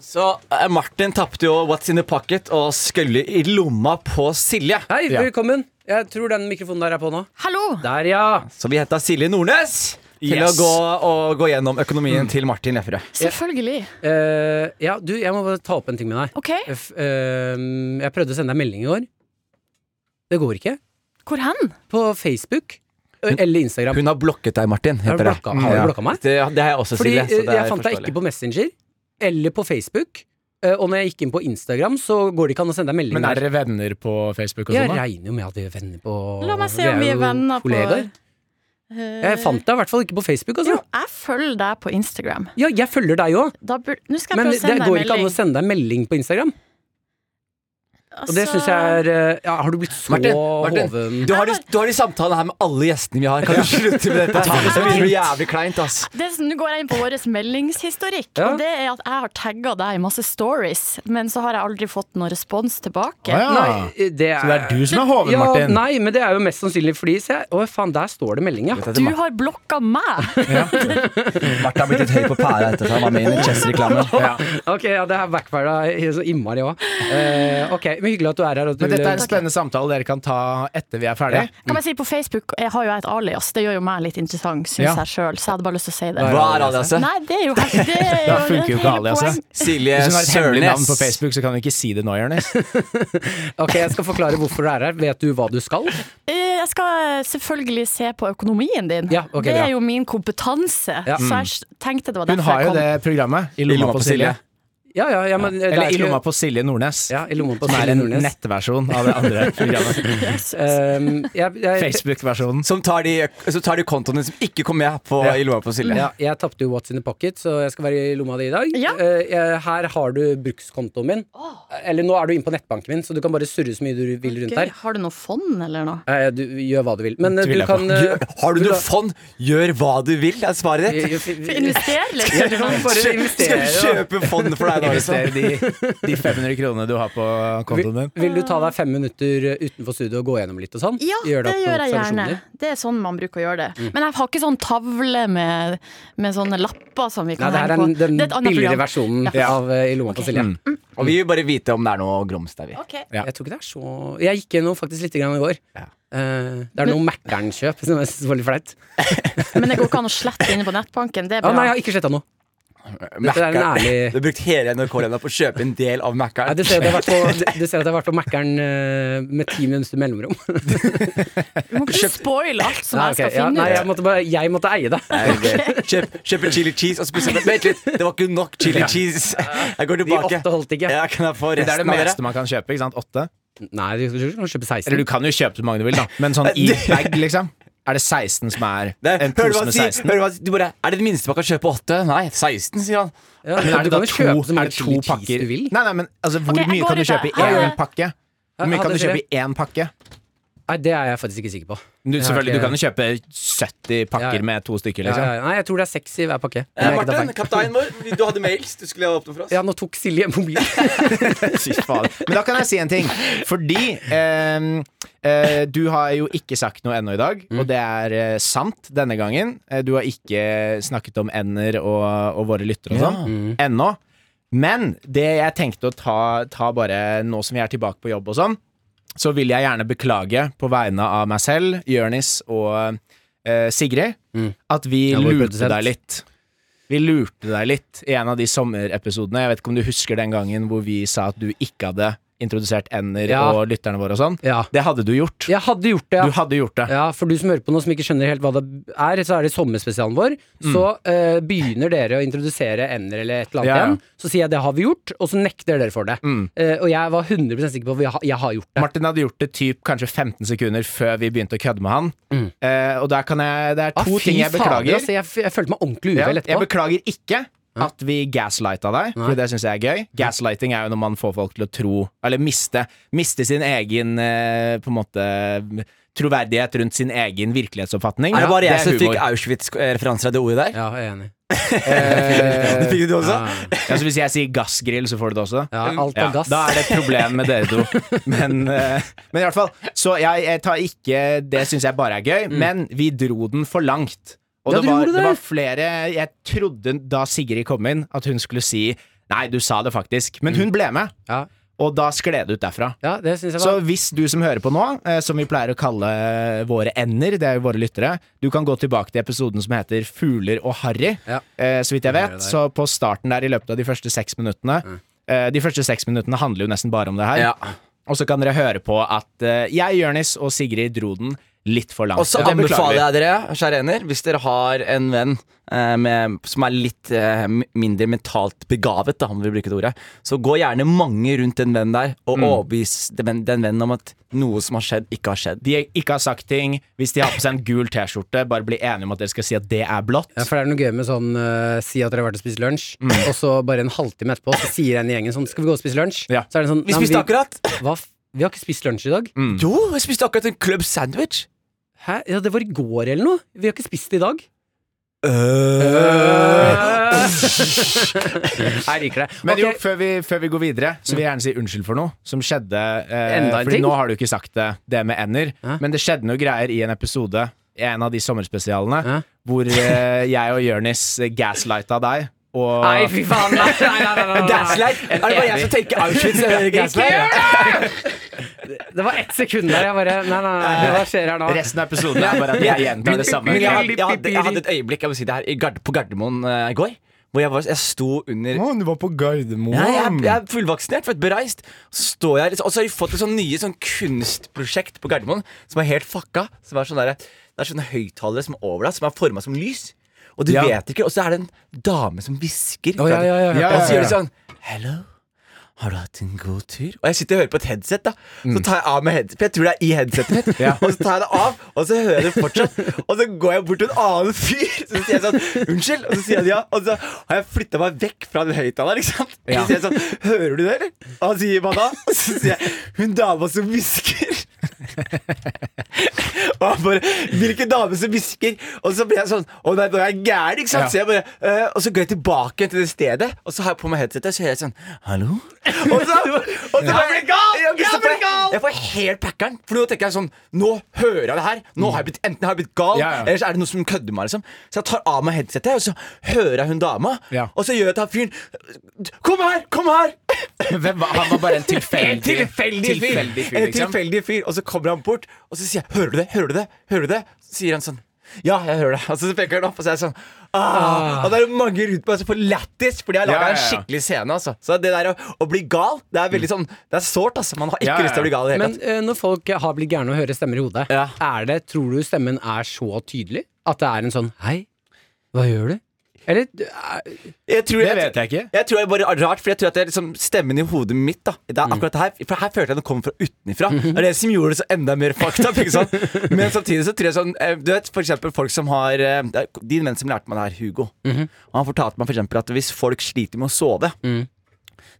[SPEAKER 3] Så eh, Martin tapte jo What's in the pocket og skølle i lomma på Silje.
[SPEAKER 2] Hei,
[SPEAKER 4] Ja.
[SPEAKER 2] velkommen. Jeg tror den mikrofonen der er på nå.
[SPEAKER 1] Hallo!
[SPEAKER 2] Der, ja.
[SPEAKER 3] Så vi henta Silje Nordnes til å
[SPEAKER 4] Yes.
[SPEAKER 3] gå, og gå gjennom økonomien til Martin Lepperød.
[SPEAKER 1] Selvfølgelig.
[SPEAKER 2] Eh, ja, du, jeg må bare ta opp en ting med deg.
[SPEAKER 1] Ok,
[SPEAKER 2] F- eh, jeg prøvde å sende deg melding i går. Det går ikke.
[SPEAKER 1] hvor hen?
[SPEAKER 2] På Facebook eh, eller Instagram.
[SPEAKER 3] Hun har blokket deg, Martin.
[SPEAKER 2] Har du
[SPEAKER 3] Heter det.
[SPEAKER 2] blokka- har du
[SPEAKER 3] Ja.
[SPEAKER 2] blokka meg?
[SPEAKER 3] Det, det har jeg også,
[SPEAKER 2] Fordi
[SPEAKER 3] Silje. Så
[SPEAKER 2] eh,
[SPEAKER 3] det
[SPEAKER 2] jeg
[SPEAKER 3] er
[SPEAKER 2] fant deg ikke
[SPEAKER 3] forståelig.
[SPEAKER 2] på Messenger eller på Facebook. eh, Og når jeg gikk inn på Instagram, så går det ikke an å sende deg melding.
[SPEAKER 4] Men er
[SPEAKER 2] der.
[SPEAKER 4] dere venner på Facebook og
[SPEAKER 2] jeg
[SPEAKER 4] sånn? da?
[SPEAKER 2] regner jo med at vi er venner på
[SPEAKER 5] La meg se
[SPEAKER 2] vi er
[SPEAKER 5] om vi er
[SPEAKER 2] jo
[SPEAKER 5] venner på
[SPEAKER 2] kollegaer.
[SPEAKER 5] Eh,
[SPEAKER 2] Jeg fant deg i hvert fall ikke på Facebook.
[SPEAKER 5] Jo,
[SPEAKER 2] Altså.
[SPEAKER 5] jeg følger deg på Instagram.
[SPEAKER 2] Ja, jeg følger deg òg,
[SPEAKER 5] Da bur... Nå skal jeg
[SPEAKER 2] men
[SPEAKER 5] prøve å
[SPEAKER 2] det
[SPEAKER 5] sende deg
[SPEAKER 2] går
[SPEAKER 5] en
[SPEAKER 2] ikke an å
[SPEAKER 5] melding.
[SPEAKER 2] sende deg melding på Instagram. Og det
[SPEAKER 5] Altså-
[SPEAKER 2] syns jeg er eh, ja, Har du blitt så
[SPEAKER 3] Martin, Martin,
[SPEAKER 2] hoven?
[SPEAKER 3] du har, de, du har de samtalene her med alle gjestene vi har. Kan du slutte med dette? Det blir jo jævlig kleint, ass.
[SPEAKER 5] Det er sånn, Nå går jeg inn på vår meldingshistorikk,
[SPEAKER 2] Ja.
[SPEAKER 5] og det er at jeg har tagga deg i masse stories, men så har jeg aldri fått noen respons tilbake.
[SPEAKER 4] Å, ja.
[SPEAKER 2] Nei, eh, det er
[SPEAKER 4] Ah. Så det er du som er hoven,
[SPEAKER 2] ja,
[SPEAKER 4] Martin?
[SPEAKER 2] Nei, men det er jo mest sannsynlig fordi se, Å, faen, der står det melding, ja.
[SPEAKER 3] Dette
[SPEAKER 5] Du
[SPEAKER 3] er Mar-
[SPEAKER 5] har blokka meg!
[SPEAKER 3] Martin har blitt litt høy på pæra etter at han var med i en Chess-reklame.
[SPEAKER 2] Ok, ja, det her backfira så innmari òg. Eh, ok, men hyggelig at du er her. og at du
[SPEAKER 4] Men dette
[SPEAKER 2] ville-
[SPEAKER 4] er en spennende samtale dere kan ta etter vi er ferdige.
[SPEAKER 5] Kan jeg si På Facebook jeg har jo jeg et alias, det gjør jo meg litt interessant, syns
[SPEAKER 4] Ja.
[SPEAKER 5] jeg sjøl, så jeg hadde bare lyst til å si det.
[SPEAKER 3] Hva er aliaset?
[SPEAKER 5] Nei, det er jo helt det er jo,
[SPEAKER 4] Da funker jo ikke
[SPEAKER 5] hele
[SPEAKER 4] aliaset.
[SPEAKER 5] poeng.
[SPEAKER 3] Silje
[SPEAKER 4] Hvis hun har et hemmelig navn på
[SPEAKER 3] Sørnes.
[SPEAKER 4] Facebook, så kan hun ikke si det nå, Jonis.
[SPEAKER 2] Ok, jeg skal forklare hvorfor du er her. Vet du hva du skal?
[SPEAKER 5] Eh, Jeg skal selvfølgelig se på økonomien din.
[SPEAKER 2] Ja, ok,
[SPEAKER 5] det
[SPEAKER 2] bra.
[SPEAKER 5] er jo min kompetanse,
[SPEAKER 2] Ja. Mm.
[SPEAKER 5] så jeg s- tenkte det var
[SPEAKER 4] Hun
[SPEAKER 5] derfor
[SPEAKER 4] har
[SPEAKER 5] jeg
[SPEAKER 4] jo
[SPEAKER 5] kom.
[SPEAKER 4] det programmet I lomma på Silje.
[SPEAKER 2] Ja, ja, ja, men det er
[SPEAKER 4] Eller I
[SPEAKER 2] ikke-
[SPEAKER 4] lomma på Silje Nordnes.
[SPEAKER 2] Ja, i lomma på
[SPEAKER 4] Som er
[SPEAKER 2] Silje
[SPEAKER 4] en
[SPEAKER 2] Nordnes.
[SPEAKER 4] nettversjon av det andre programmet.
[SPEAKER 2] Ehm, jeg, jeg,
[SPEAKER 4] Facebook-versjonen.
[SPEAKER 3] Som tar de, så tar de kontoene som ikke kom med på,
[SPEAKER 4] Ja.
[SPEAKER 3] i lomma på Silje.
[SPEAKER 2] ja, jeg tapte jo What's in the pocket, så jeg skal være i lomma di i dag.
[SPEAKER 5] Ja.
[SPEAKER 2] Eh, jeg- her har du brukskontoen min. Eller nå er du inne på nettbanken min, så du kan bare surre så mye du vil rundt
[SPEAKER 5] Gøy.
[SPEAKER 2] der.
[SPEAKER 5] Har du noe fond eller noe?
[SPEAKER 2] Eh, du gjør hva du vil. Men eh,
[SPEAKER 4] Tviler
[SPEAKER 2] du
[SPEAKER 4] jeg
[SPEAKER 2] kan eh,
[SPEAKER 3] Gjør- Har du
[SPEAKER 2] vil
[SPEAKER 3] noe fond? Gjør hva du vil, er svaret ditt.
[SPEAKER 2] Invester.
[SPEAKER 5] Investere litt?
[SPEAKER 2] Bare
[SPEAKER 3] Skal vi
[SPEAKER 2] investere. da.
[SPEAKER 3] kjøpe fond for deg nå, liksom?
[SPEAKER 4] Investere de, de 500 kronene du har på kontoen din.
[SPEAKER 2] Vil du ta deg fem minutter eh, utenfor studio og gå gjennom litt og sånn?
[SPEAKER 5] Ja,
[SPEAKER 2] Gjør
[SPEAKER 5] det
[SPEAKER 2] opp noen Mm.
[SPEAKER 5] gjør jeg gjerne.
[SPEAKER 2] observasjoner?
[SPEAKER 5] Det er sånn man bruker å gjøre det. Men jeg har ikke sånn tavle med, med sånne lapper som vi
[SPEAKER 2] Nei,
[SPEAKER 5] kan
[SPEAKER 2] det her er
[SPEAKER 5] henge
[SPEAKER 2] den,
[SPEAKER 5] på.
[SPEAKER 2] den
[SPEAKER 5] Det er et annet
[SPEAKER 2] billigere
[SPEAKER 5] program.
[SPEAKER 2] versjonen
[SPEAKER 5] Ja.
[SPEAKER 2] av eh, I lomma på
[SPEAKER 4] Mm.
[SPEAKER 2] Silje.
[SPEAKER 3] Og vi vil bare vite om det er noe grums der, vi.
[SPEAKER 5] Ok.
[SPEAKER 4] Ja.
[SPEAKER 2] Jeg tror ikke det er så Jeg gikk gjennom faktisk litt grann i går.
[SPEAKER 3] Ja.
[SPEAKER 2] Eh, det er noe Mækkern-kjøp som jeg synes var litt flaut.
[SPEAKER 5] Men det går ikke an å slette inne på nettbanken. Det er
[SPEAKER 2] Ja,
[SPEAKER 5] bra.
[SPEAKER 2] nei, jeg har ikke sletta noe. Dette er en
[SPEAKER 3] Mac'eren.
[SPEAKER 2] ærlig-
[SPEAKER 3] Du har brukt hele NRK-lønna på å kjøpe en del av
[SPEAKER 2] Ja,
[SPEAKER 3] Mac-en.
[SPEAKER 2] du ser at jeg har vært på, du- du ser at jeg har vært på Mækkern eh, med ti minutter mellomrom.
[SPEAKER 5] Du må ikke spoile alt som
[SPEAKER 2] Nei,
[SPEAKER 5] jeg
[SPEAKER 2] ok,
[SPEAKER 5] skal
[SPEAKER 2] ja,
[SPEAKER 5] finne
[SPEAKER 2] nei,
[SPEAKER 5] ut.
[SPEAKER 2] jeg måtte, bare, jeg måtte eie det.
[SPEAKER 3] Kjøp, kjøp en chili cheese og spise Vent litt, det var ikke nok chili cheese! Jeg går
[SPEAKER 2] De
[SPEAKER 3] tilbake.
[SPEAKER 2] åtte holdt ikke.
[SPEAKER 3] Ja, kan jeg få
[SPEAKER 4] Det er det
[SPEAKER 3] resten av
[SPEAKER 4] meste
[SPEAKER 3] dere?
[SPEAKER 4] man kan kjøpe. ikke sant? Åtte?
[SPEAKER 2] Nei, du du kan kjøpe 16.
[SPEAKER 4] Eller du kan jo kjøpe så mange du vil, da. Men sånn i
[SPEAKER 3] Det-
[SPEAKER 4] bag, liksom. Er det 16 som er
[SPEAKER 3] Det,
[SPEAKER 4] en
[SPEAKER 3] hører du
[SPEAKER 4] pose
[SPEAKER 3] hva han
[SPEAKER 4] med
[SPEAKER 3] sier?
[SPEAKER 4] 16?
[SPEAKER 3] Hører du hva han sier? Du bare, er det det minste man kan kjøpe? Åtte? Nei, 16, sier han.
[SPEAKER 2] ja,
[SPEAKER 4] Men
[SPEAKER 2] men
[SPEAKER 4] er
[SPEAKER 2] du
[SPEAKER 4] det da
[SPEAKER 2] kan jo kjøpe
[SPEAKER 4] to,
[SPEAKER 2] så
[SPEAKER 4] er
[SPEAKER 2] mye
[SPEAKER 4] det to
[SPEAKER 2] chili cheese
[SPEAKER 4] pakker?
[SPEAKER 2] du vil.
[SPEAKER 4] Nei, nei, men altså, hvor
[SPEAKER 5] Ok, jeg
[SPEAKER 4] mye
[SPEAKER 5] går
[SPEAKER 4] kan du
[SPEAKER 5] ut, jeg.
[SPEAKER 4] kjøpe i
[SPEAKER 5] Ha
[SPEAKER 4] én
[SPEAKER 5] det.
[SPEAKER 4] pakke? Hvor
[SPEAKER 2] Ha
[SPEAKER 4] mye kan
[SPEAKER 2] det,
[SPEAKER 4] du kjøpe
[SPEAKER 2] Siri.
[SPEAKER 4] i én pakke?
[SPEAKER 2] Nei, det er jeg faktisk ikke sikker på.
[SPEAKER 4] Du,
[SPEAKER 2] Jeg har
[SPEAKER 4] selvfølgelig, du
[SPEAKER 2] ikke-
[SPEAKER 4] kan jo kjøpe 70
[SPEAKER 2] Ja, ja.
[SPEAKER 4] pakker med to stykker,
[SPEAKER 2] Ja,
[SPEAKER 4] liksom.
[SPEAKER 2] ja, Nei, jeg tror det er seks i hver pakke.
[SPEAKER 3] Eh,
[SPEAKER 2] Jeg er ikke da
[SPEAKER 3] Martin,
[SPEAKER 2] feil.
[SPEAKER 3] kapteinen vår, du hadde mails du skulle åpne for oss.
[SPEAKER 2] Ja, nå tok Silje mobilen.
[SPEAKER 4] Fy faen. Men da kan jeg si en ting. Fordi ehm, eh, du har jo ikke sagt noe ennå i dag, og det er eh, sant denne gangen. Eh, Du har ikke snakket om ender og, og våre lyttere og sånn ennå. Men det jeg tenkte å ta, ta bare nå som vi er tilbake på jobb og sånn, så vil jeg gjerne beklage på vegne av meg selv, Jørnis og eh, Sigrid,
[SPEAKER 2] Mm.
[SPEAKER 4] at vi
[SPEAKER 2] Ja, vår
[SPEAKER 4] lurte
[SPEAKER 2] produsent.
[SPEAKER 4] deg litt. Vi lurte deg litt i en av de sommerepisodene. Jeg vet ikke om du husker den gangen hvor vi sa at du ikke hadde introdusert ender
[SPEAKER 2] Ja.
[SPEAKER 4] og lytterne våre og sånn.
[SPEAKER 2] Ja.
[SPEAKER 4] Det hadde du gjort.
[SPEAKER 2] Jeg hadde gjort det, ja.
[SPEAKER 4] Du hadde gjort det.
[SPEAKER 2] Ja, for du som hører på nå som ikke skjønner helt hva det er, så er det sommerspesialen vår. Så eh, begynner dere å introdusere ender eller et eller annet
[SPEAKER 4] Ja, Mm. ja.
[SPEAKER 2] igjen. Så sier jeg det har vi gjort, og så nekter dere for det. Eh, og jeg var 100 sikker på at jeg, har- jeg har gjort det.
[SPEAKER 4] Martin hadde gjort det typ kanskje 15 sekunder før vi begynte å kødde med han.
[SPEAKER 2] Mm.
[SPEAKER 4] Eh, og der kan jeg, det er
[SPEAKER 2] Ah,
[SPEAKER 4] to
[SPEAKER 2] fy
[SPEAKER 4] ting jeg
[SPEAKER 2] fader,
[SPEAKER 4] beklager.
[SPEAKER 2] altså, jeg, f- jeg følte meg ordentlig
[SPEAKER 4] Ja,
[SPEAKER 2] uvel
[SPEAKER 4] jeg
[SPEAKER 2] etterpå.
[SPEAKER 4] beklager ikke at vi gaslighta deg,
[SPEAKER 2] Nei.
[SPEAKER 4] for det syns jeg er gøy. Gaslighting er jo når man får folk til å tro, eller miste, miste sin egen eh, på en måte troverdighet rundt sin egen virkelighetsoppfatning.
[SPEAKER 3] Er det bare jeg som
[SPEAKER 4] humor.
[SPEAKER 3] fikk Auschwitz-referanser av det ordet der?
[SPEAKER 2] Ja, jeg er enig.
[SPEAKER 3] Det fikk du også?
[SPEAKER 2] Ja,
[SPEAKER 4] Ja, så hvis jeg sier gassgrill, så får du det også?
[SPEAKER 2] ja, alt
[SPEAKER 4] Ja,
[SPEAKER 2] av gass.
[SPEAKER 4] da er det et problem med dere to. Men, eh, men i hvert fall, så jeg, jeg tar ikke Det syns jeg bare er gøy, men vi dro den for langt. Og
[SPEAKER 2] Mm. Ja,
[SPEAKER 4] det,
[SPEAKER 2] dere
[SPEAKER 4] var,
[SPEAKER 2] gjorde
[SPEAKER 4] det
[SPEAKER 2] det.
[SPEAKER 4] var flere Jeg trodde da Sigrid kom inn, at hun skulle si Nei, du sa det faktisk.
[SPEAKER 2] Mm.
[SPEAKER 4] Men hun ble med,
[SPEAKER 2] Ja,
[SPEAKER 4] og da skled det ut derfra.
[SPEAKER 2] ja, det syns jeg
[SPEAKER 4] Så
[SPEAKER 2] var
[SPEAKER 4] hvis du som hører på nå, eh, som vi pleier å kalle eh, våre ender, det er jo våre lyttere, du kan gå tilbake til episoden som heter 'Fugler og Harry',
[SPEAKER 2] Ja.
[SPEAKER 4] eh, så vidt jeg
[SPEAKER 2] hører
[SPEAKER 4] vet.
[SPEAKER 2] deg.
[SPEAKER 4] Så på starten der i løpet av de første seks minuttene eh, De første seks minuttene handler jo nesten bare om det her.
[SPEAKER 3] Ja.
[SPEAKER 4] Og så kan dere høre på at eh, jeg, Jørnis og Sigrid dro den litt for langt.
[SPEAKER 3] Og så
[SPEAKER 4] det beklager
[SPEAKER 3] anbefaler
[SPEAKER 4] vi.
[SPEAKER 3] jeg dere, kjære ener, hvis dere har en venn eh, med, som er litt eh, m- mindre mentalt begavet, da, om vi bruker det ordet, så gå gjerne mange rundt den vennen der og overbevis den, den vennen om at noe som har skjedd, ikke har skjedd.
[SPEAKER 4] De ikke har sagt ting. Hvis de har på seg en gul T-skjorte, bare bli enige om at dere skal si at det er blått.
[SPEAKER 2] ja, for det er noe gøy med sånn eh, si at dere har vært og spist lunsj,
[SPEAKER 4] Mm.
[SPEAKER 2] og så bare en halvtime etterpå så sier en i gjengen sånn skal vi gå og spise lunsj?
[SPEAKER 4] Ja.
[SPEAKER 2] Så er det sånn
[SPEAKER 3] Vi
[SPEAKER 2] «Nei, men
[SPEAKER 3] spiste akkurat
[SPEAKER 2] Hva f vi har ikke spist lunsj i dag.
[SPEAKER 3] Jo, vi spiste akkurat en club sandwich.
[SPEAKER 2] Hæ? Ja, det var i går eller noe. Vi har ikke spist det i dag. Øh. Jeg liker det.
[SPEAKER 4] Øh. Men
[SPEAKER 2] Ok,
[SPEAKER 4] jo, før vi, før vi går videre, så vil jeg gjerne si unnskyld for noe som skjedde. Eh,
[SPEAKER 2] Enda en
[SPEAKER 4] fordi
[SPEAKER 2] ting?
[SPEAKER 4] nå har du ikke sagt det, det med ender,
[SPEAKER 2] Hæ?
[SPEAKER 4] men det skjedde noe greier i en episode, i en av de sommerspesialene,
[SPEAKER 2] Hæ?
[SPEAKER 4] hvor eh, jeg og Jørnis gaslighta deg. Og
[SPEAKER 2] Nei, fy faen. Nei, nei, nei, nei, nei, nei.
[SPEAKER 3] Gaslight? Er det bare jeg som tenker Auschwitz? eller Gaslight?
[SPEAKER 2] Det var ett sekund der. Jeg bare Nei, nei, nei, hva skjer her nå?
[SPEAKER 4] resten av episoden er bare at jeg gjentar det samme.
[SPEAKER 3] Men jeg hadde, jeg, hadde, jeg hadde et øyeblikk jeg må si det her, i Gard- på Gardermoen eh, i går, hvor jeg, var, jeg sto under
[SPEAKER 4] Å, du var på Gardermoen.
[SPEAKER 3] Nei, jeg, jeg er fullvaksinert, født bereist. Så står jeg liksom, Og så har de fått et sånn nye sånn kunstprosjekt på Gardermoen som er helt fucka. Som er sånn der, det er sånne høyttalere som er over deg, som er forma som lys. Og du
[SPEAKER 4] Ja.
[SPEAKER 3] vet ikke, og så er det en dame som hvisker.
[SPEAKER 2] Å, ja, ja, ja, ja.
[SPEAKER 3] Og så
[SPEAKER 4] Ja, ja, ja.
[SPEAKER 3] gjør de sånn Hello, har du hatt en god tur? Og jeg sitter og hører på et headset, da. Så tar jeg av med headset, for jeg tror det er i headsetet mitt.
[SPEAKER 4] Mm. Ja.
[SPEAKER 3] Og så tar jeg det av, og så hører jeg det fortsatt. Og så går jeg bort til en annen fyr, så sier jeg sånn Unnskyld. Og så sier han ja. Og så har jeg flytta meg vekk fra den høyttaleren, ikke sant.
[SPEAKER 4] Ja.
[SPEAKER 3] Så sier jeg sånn Hører du det, eller? Og han sier hva da? Og så sier jeg Hun dama som hvisker. Og han bare Hvilken dame som hvisker? Og så ble jeg sånn Å nei, nå er jeg gæren, ikke sant?
[SPEAKER 4] Ja.
[SPEAKER 3] Så jeg bare «Øh», Og så går jeg tilbake igjen til det stedet, og så har jeg på meg headsetet, så hører jeg sånn Hallo? Og så, og så bare, jeg gal! Jeg, så får jeg, jeg får helt packeren. For nå tenker jeg sånn Nå hører jeg det her. Nå har jeg blitt, enten har jeg blitt gal,
[SPEAKER 4] Ja, ja.
[SPEAKER 3] eller så er det noe som kødder med meg. Liksom. Så jeg tar av meg headsetet, og så hører jeg hun dama,
[SPEAKER 4] Ja.
[SPEAKER 3] og så gjør jeg til han fyren Kom her! Kom her!
[SPEAKER 4] Hvem var, han var bare en
[SPEAKER 3] En
[SPEAKER 4] tilfeldig
[SPEAKER 3] tilfeldig fyr!
[SPEAKER 4] tilfeldig fyr,
[SPEAKER 3] En
[SPEAKER 4] liksom.
[SPEAKER 3] tilfeldig fyr Og så kommer han bort, og så sier jeg 'Hører du det? Hører du det?' Hører du det? Så sier han sånn Ja, jeg hører det. Og så peker han opp, og så er jeg sånn ah. Og det er mange rundt meg som får lættis, fordi jeg har laga
[SPEAKER 4] Ja, ja,
[SPEAKER 3] en
[SPEAKER 4] ja.
[SPEAKER 3] skikkelig scene. Altså. Så det der å, å bli gal, det er veldig sånn Det er sårt, altså. Man har ikke
[SPEAKER 4] Ja, ja, ja.
[SPEAKER 3] lyst til å bli gal i det hele
[SPEAKER 2] Men
[SPEAKER 3] tatt.
[SPEAKER 2] eh, når folk har blitt gærne og hører stemmer i hodet,
[SPEAKER 3] Ja.
[SPEAKER 2] er det, tror du stemmen er så tydelig at det er en sånn Hei, hva gjør du? Eller du er-
[SPEAKER 3] Jeg tror
[SPEAKER 4] Det
[SPEAKER 3] jeg,
[SPEAKER 4] vet jeg ikke.
[SPEAKER 3] Jeg tror jeg bare er rart, for jeg tror at det er liksom stemmen i hodet mitt da Det
[SPEAKER 2] Mm.
[SPEAKER 3] er akkurat det her, for her følte jeg den kom fra utenifra
[SPEAKER 2] Mhm.
[SPEAKER 3] Det er det som gjorde det så enda mer fakta ikke sant? Men samtidig så tror jeg sånn eh, Du vet for eksempel folk som har eh, det er De menn som lærte meg det her, Hugo
[SPEAKER 2] Mhm.
[SPEAKER 3] Og han fortalte meg for eksempel at hvis folk sliter med å sove
[SPEAKER 2] Mm.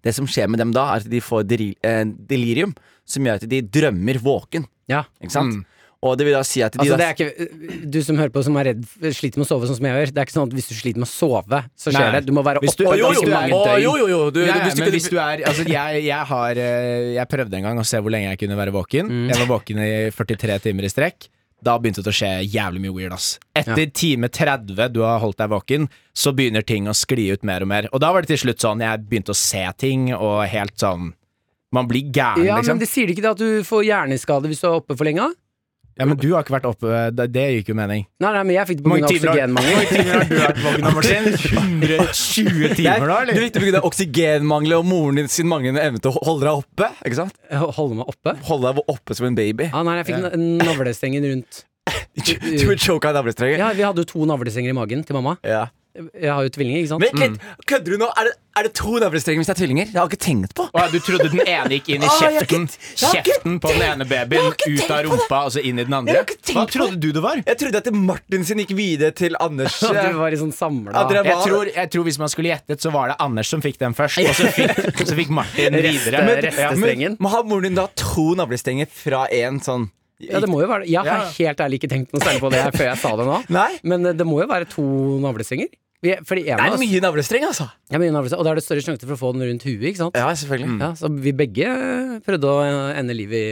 [SPEAKER 3] Det som skjer med dem da er at de får deri- eh, delirium Som gjør at de drømmer våken,
[SPEAKER 2] Ja.
[SPEAKER 3] ikke sant? Og det vil da si at de
[SPEAKER 2] Mm. Altså,
[SPEAKER 3] da,
[SPEAKER 2] det er ikke, du som hører på som er redd, sliter med å sove sånn som jeg gjør. Det er ikke sånn at hvis du sliter med å sove, så skjer
[SPEAKER 4] Nei.
[SPEAKER 2] det. Du må være
[SPEAKER 4] Hvis du-
[SPEAKER 2] oppe
[SPEAKER 3] Å, jo, jo,
[SPEAKER 2] ganske mange
[SPEAKER 3] Å,
[SPEAKER 2] døgn.
[SPEAKER 3] jo, jo, jo du,
[SPEAKER 4] Ja, ja,
[SPEAKER 3] hvis du
[SPEAKER 4] men
[SPEAKER 3] ikke-
[SPEAKER 4] hvis du er Altså, jeg, jeg har eh, Jeg prøvde en gang å se hvor lenge jeg kunne være våken. Jeg var våken i 43 timer i strekk. Da begynte det å skje jævlig mye weird, ass. Etter time 30 du har holdt deg våken, så begynner ting å skli ut mer og mer. Og da var det til slutt sånn jeg begynte å se ting, og helt sånn Man blir gæren,
[SPEAKER 2] Ja, men
[SPEAKER 4] liksom.
[SPEAKER 2] det sier de ikke det at du får hjerneskade hvis du er oppe for lenge?
[SPEAKER 4] Ja, men du har ikke vært oppe Det, det gikk jo mening.
[SPEAKER 2] Nei, nei, men jeg fikk det pga. oksygenmangel.
[SPEAKER 4] mange timer har du vært våken, Martin? 120 timer, da,
[SPEAKER 3] Du
[SPEAKER 4] eller?
[SPEAKER 3] vet ikke pga. oksygenmangel og moren din sin manglende evne til å holde deg oppe. Ikke sant?
[SPEAKER 2] Holde meg oppe?
[SPEAKER 3] Holde deg oppe som en baby.
[SPEAKER 2] Ja, nei, jeg fikk
[SPEAKER 4] Ja.
[SPEAKER 2] na- navlestengen rundt.
[SPEAKER 3] Du er choka i navlestrengen.
[SPEAKER 2] Ja, vi hadde jo to navlestenger i magen til mamma.
[SPEAKER 3] Ja.
[SPEAKER 2] Jeg har jo tvillinger, ikke sant?
[SPEAKER 3] Vent litt!
[SPEAKER 2] Mm.
[SPEAKER 3] Kødder du nå? Er det, er det to navlestrenger hvis det er tvillinger? Jeg har ikke tenkt på.
[SPEAKER 4] Å ja, du trodde den ene gikk inn i
[SPEAKER 3] Å, jeg har
[SPEAKER 4] kjeften
[SPEAKER 3] jeg har ikke
[SPEAKER 4] Kjeften på den ene babyen,
[SPEAKER 3] jeg har ikke
[SPEAKER 4] ut av
[SPEAKER 3] tenkt på det.
[SPEAKER 4] rumpa og så inn i den
[SPEAKER 3] Jeg
[SPEAKER 4] andre?
[SPEAKER 3] har ikke tenkt
[SPEAKER 4] Hva
[SPEAKER 3] på
[SPEAKER 4] trodde du det var?
[SPEAKER 3] Jeg trodde at Martin sin gikk videre til Anders.
[SPEAKER 2] Så
[SPEAKER 3] eh,
[SPEAKER 2] du var i sånn samla
[SPEAKER 3] Ja, dere var-
[SPEAKER 4] Jeg tror, jeg tror Hvis man skulle gjettet, så var det Anders som fikk den først. Og så fikk, så fikk Martin videre.
[SPEAKER 2] Reste-
[SPEAKER 4] Ja, men-
[SPEAKER 2] restestrengen.
[SPEAKER 3] eh, Men har moren din da to navlestenger fra én sånn
[SPEAKER 2] Ja, det må jo være det. Jeg har
[SPEAKER 4] Ja.
[SPEAKER 2] helt ærlig ikke tenkt noe særlig på det her før jeg sa det nå.
[SPEAKER 3] Nei.
[SPEAKER 2] Men eh, det må jo være to navlestenger. Vi- Fordi en
[SPEAKER 3] Det
[SPEAKER 2] av
[SPEAKER 3] er
[SPEAKER 2] oss
[SPEAKER 3] mye navlestreng, altså.
[SPEAKER 2] Ja, mye navlestenger, Og da er det større sjanse for å få den rundt huet, ikke sant?
[SPEAKER 3] Ja, selvfølgelig.
[SPEAKER 2] Ja, så vi begge prøvde å eh, ende livet i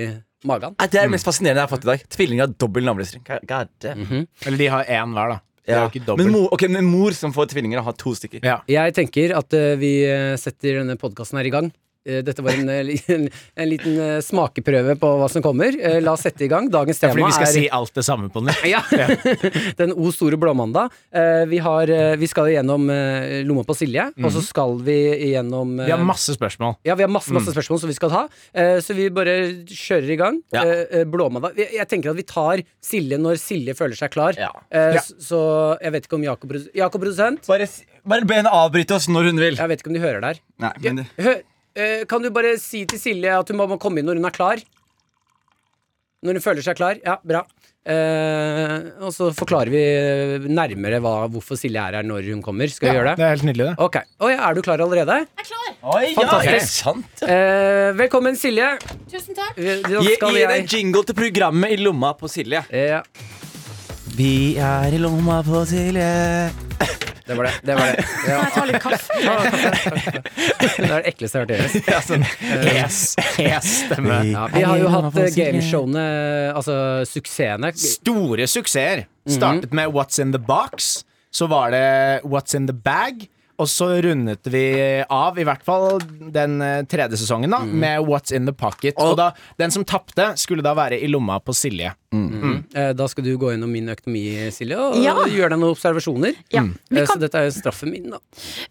[SPEAKER 2] magen.
[SPEAKER 3] Nei, Det er det mest fascinerende jeg har fått i dag. Tvillinger har dobbel navlestreng. God damn.
[SPEAKER 4] Eller de har én hver, da. Det er
[SPEAKER 3] Ja.
[SPEAKER 4] jo ikke dobbelt.
[SPEAKER 3] men, mor, ok, men mor som får tvillinger, har to stykker.
[SPEAKER 4] Ja.
[SPEAKER 2] Jeg tenker at eh, vi eh, setter denne podkasten her i gang. Eh, Dette var en, eh, li- en, en liten eh, smakeprøve på hva som kommer. Eh, La oss sette i gang. Dagens tema
[SPEAKER 4] Fordi vi skal
[SPEAKER 2] er
[SPEAKER 4] si alt det samme på den.
[SPEAKER 2] ja. Den O store blåmandag. Eh, Vi, har, eh, vi skal gjennom eh, lomma på Silje, og så skal vi gjennom
[SPEAKER 4] Mhm. Vi har Mhm. masse spørsmål.
[SPEAKER 2] ja, vi har masse, masse spørsmål som vi skal ta, eh, så vi bare kjører i gang.
[SPEAKER 3] Ja.
[SPEAKER 2] Eh, eh, Blåmandag. Jeg jeg tenker at vi tar Silje når Silje føler seg klar.
[SPEAKER 3] Ja.
[SPEAKER 2] Eh,
[SPEAKER 4] Ja.
[SPEAKER 2] s- Så jeg vet ikke om Jakob, produs- Jakob produsent
[SPEAKER 3] Bare, s- bare be henne avbryte oss når hun vil.
[SPEAKER 2] Jeg vet ikke om de hører der.
[SPEAKER 3] Nei, men det-
[SPEAKER 2] Hø, eh, kan du bare si til Silje at hun må må komme inn når hun er klar? Når hun føler seg klar? Ja, bra. Eh, og så forklarer vi nærmere hva, hvorfor Silje er her når hun kommer. Skal vi gjøre
[SPEAKER 4] Det
[SPEAKER 2] det?
[SPEAKER 4] er helt nydelig, det.
[SPEAKER 2] Ok. Å ja, er du klar allerede?
[SPEAKER 5] Jeg er klar!
[SPEAKER 3] Oi, ja,
[SPEAKER 2] Fantastisk.
[SPEAKER 3] er det sant? ja?
[SPEAKER 2] Eh, velkommen, Silje.
[SPEAKER 5] Tusen takk!
[SPEAKER 2] Vi- da
[SPEAKER 3] Gi,
[SPEAKER 2] skal
[SPEAKER 3] gi
[SPEAKER 2] jeg-
[SPEAKER 3] henne en jingle til programmet i lomma på Silje.
[SPEAKER 2] Ja,
[SPEAKER 3] Vi er i lomma på Silje.
[SPEAKER 2] det var det. Det var det. Ja.
[SPEAKER 5] Kan jeg ta litt kaffe?
[SPEAKER 2] Det er det ekleste jeg har hørt. i hele.
[SPEAKER 3] Ja, sånn.
[SPEAKER 4] Hes, hes stemme.
[SPEAKER 2] Ja, vi har jo hatt eh, gameshowene, altså suksessene.
[SPEAKER 4] Store suksesser. Startet med What's in the box. Så var det What's in the bag. Og så rundet vi av, i hvert fall den eh, tredje sesongen, da
[SPEAKER 2] Mm.
[SPEAKER 4] med What's in the pocket. Og da, den som tapte, skulle da være i lomma på Silje.
[SPEAKER 2] Eh, Da skal du gå gjennom min økonomi, Silje, og
[SPEAKER 5] Ja.
[SPEAKER 2] gjøre deg noen observasjoner.
[SPEAKER 5] Ja.
[SPEAKER 2] Eh,
[SPEAKER 5] Vi,
[SPEAKER 2] Så
[SPEAKER 5] kan,
[SPEAKER 2] dette er jo straffen min, da.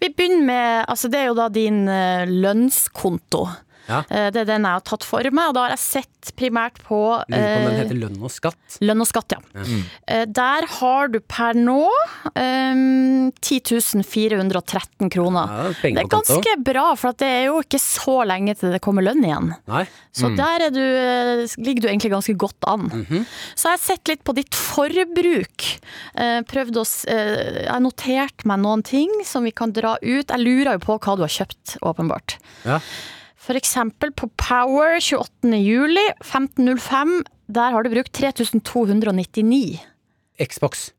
[SPEAKER 5] vi begynner med Altså, det er jo da din eh, lønnskonto.
[SPEAKER 2] Ja.
[SPEAKER 5] Eh, Det er den jeg har tatt for meg, og da har jeg sett primært på,
[SPEAKER 2] Lurer på om
[SPEAKER 5] eh,
[SPEAKER 2] den heter Mm. lønn og skatt.
[SPEAKER 5] lønn og skatt, ja. Eh, Der har du per nå eh, 10 413 kroner.
[SPEAKER 2] Ja,
[SPEAKER 5] Det
[SPEAKER 2] penger
[SPEAKER 5] er
[SPEAKER 2] på konto.
[SPEAKER 5] ganske bra, for at det er jo ikke så lenge til det kommer lønn igjen.
[SPEAKER 2] Nei.
[SPEAKER 5] Så der er du, eh, ligger du egentlig ganske godt an.
[SPEAKER 2] Mhm.
[SPEAKER 5] Så jeg har sett litt på ditt forbruk. Eh, Prøvd å, s- eh, jeg har notert meg noen ting som vi kan dra ut. Jeg lurer jo på hva du har kjøpt, åpenbart.
[SPEAKER 2] Ja.
[SPEAKER 5] For eksempel på Power 28. juli 1505. Der har du brukt 3299
[SPEAKER 2] Xbox.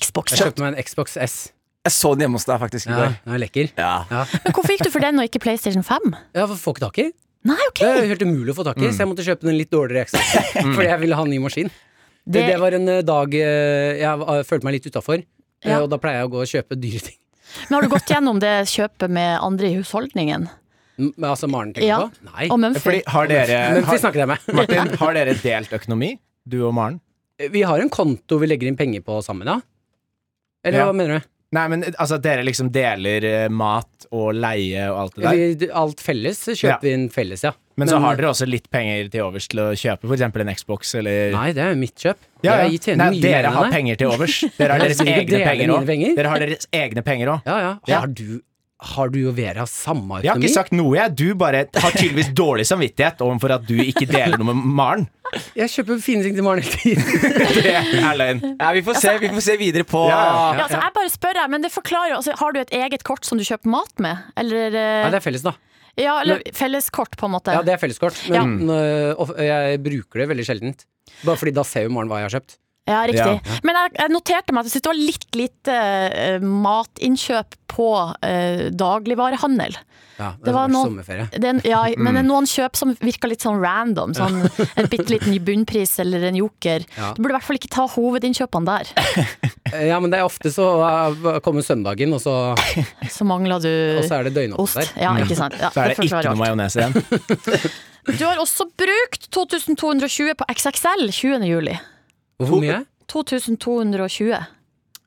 [SPEAKER 5] Xbox.
[SPEAKER 2] Jeg kjøpte meg en Xbox S.
[SPEAKER 3] Jeg så den hjemme hos deg faktisk i
[SPEAKER 2] Ja,
[SPEAKER 3] går.
[SPEAKER 2] den er lekker.
[SPEAKER 3] Ja.
[SPEAKER 5] Men hvorfor gikk du for den og ikke PlayStation 5?
[SPEAKER 2] Ja, for får ikke tak i.
[SPEAKER 5] Nei,
[SPEAKER 2] Det
[SPEAKER 5] OK!
[SPEAKER 2] er helt umulig å få tak
[SPEAKER 4] Mm.
[SPEAKER 2] i, så jeg måtte kjøpe den litt dårligere Xbox. Fordi jeg ville ha en ny maskin. Det, det var en eh, dag eh, jeg eh, følte meg litt utafor,
[SPEAKER 5] Ja.
[SPEAKER 2] og da pleier jeg å gå og kjøpe dyre ting.
[SPEAKER 5] Men har du gått gjennom det kjøpet med andre i husholdningen?
[SPEAKER 2] M- Altså Maren tenker
[SPEAKER 5] Ja.
[SPEAKER 2] på? Nei.
[SPEAKER 5] Og Mumphy?
[SPEAKER 4] Fordi har dere,
[SPEAKER 2] Men vi
[SPEAKER 4] har,
[SPEAKER 2] snakker jeg med.
[SPEAKER 4] Martin, har dere delt økonomi? Du og Maren?
[SPEAKER 2] Vi har en konto vi legger inn penger på sammen, ja? Eller
[SPEAKER 4] Ja.
[SPEAKER 2] hva mener du?
[SPEAKER 4] Nei, men altså, dere liksom deler eh, mat og leie og alt det der.
[SPEAKER 2] Vi, alt felles så
[SPEAKER 4] Ja.
[SPEAKER 2] kjøper vi inn felles, ja.
[SPEAKER 4] Men så har dere også litt penger til overs til å kjøpe f.eks. en Xbox eller
[SPEAKER 2] Nei, det er jo mitt kjøp.
[SPEAKER 4] Ja, ja.
[SPEAKER 2] Jeg tjener
[SPEAKER 4] Nei,
[SPEAKER 2] mye mer
[SPEAKER 4] dere
[SPEAKER 2] enn
[SPEAKER 4] har
[SPEAKER 2] deg.
[SPEAKER 4] penger til overs. Dere har
[SPEAKER 2] Jeg
[SPEAKER 4] deres
[SPEAKER 2] skal ikke
[SPEAKER 4] egne
[SPEAKER 2] dele
[SPEAKER 4] penger
[SPEAKER 2] mine
[SPEAKER 4] òg.
[SPEAKER 2] penger.
[SPEAKER 4] Dere har deres egne penger òg.
[SPEAKER 2] Ja, ja.
[SPEAKER 4] Ja.
[SPEAKER 2] Har du, har du og Vera samme økonomi?
[SPEAKER 4] Jeg har ikke sagt noe, jeg. Du bare har tydeligvis dårlig samvittighet overfor at du ikke deler noe med Maren.
[SPEAKER 2] Jeg kjøper fine ting til Maren hele tiden.
[SPEAKER 4] Det er løgn.
[SPEAKER 3] Ja, vi får se, vi får se videre på
[SPEAKER 4] Ja,
[SPEAKER 5] Ja, altså, jeg bare spør, jeg, men det forklarer altså, Har du et eget kort som du kjøper mat med? Eller, eh,
[SPEAKER 2] Nei, det er felles, da.
[SPEAKER 5] ja, eller felleskort, på en måte.
[SPEAKER 2] Ja, det er felleskort, men øh, of- jeg bruker det veldig sjeldent. Bare fordi da ser jo Maren hva jeg har kjøpt.
[SPEAKER 5] Ja, riktig.
[SPEAKER 4] Ja.
[SPEAKER 5] Men jeg, jeg noterte meg at jeg syntes det var litt lite eh, matinnkjøp på eh, dagligvarehandel.
[SPEAKER 2] Ja, det,
[SPEAKER 5] Det var
[SPEAKER 2] var
[SPEAKER 5] nå-
[SPEAKER 2] sommerferie.
[SPEAKER 5] Det er en, ja, men
[SPEAKER 2] Mm.
[SPEAKER 5] det er noen kjøp som virker litt sånn random. Sånn En bitte liten bunnpris eller en joker.
[SPEAKER 2] Ja.
[SPEAKER 5] Du burde i hvert fall ikke ta hovedinnkjøpene der.
[SPEAKER 2] Eh, Ja, men det er ofte så øh, kommer søndagen, og så,
[SPEAKER 5] Så mangler
[SPEAKER 2] og
[SPEAKER 5] du
[SPEAKER 2] så er det døgnåpent
[SPEAKER 5] ost.
[SPEAKER 2] der.
[SPEAKER 5] Ja, ikke sant. Ja,
[SPEAKER 4] Så er det ikke
[SPEAKER 5] forklarer
[SPEAKER 4] noe
[SPEAKER 5] alt.
[SPEAKER 4] majones igjen.
[SPEAKER 5] Du har også brukt 2220 på XXL 20. juli.
[SPEAKER 2] Hvor mye?
[SPEAKER 5] 2220.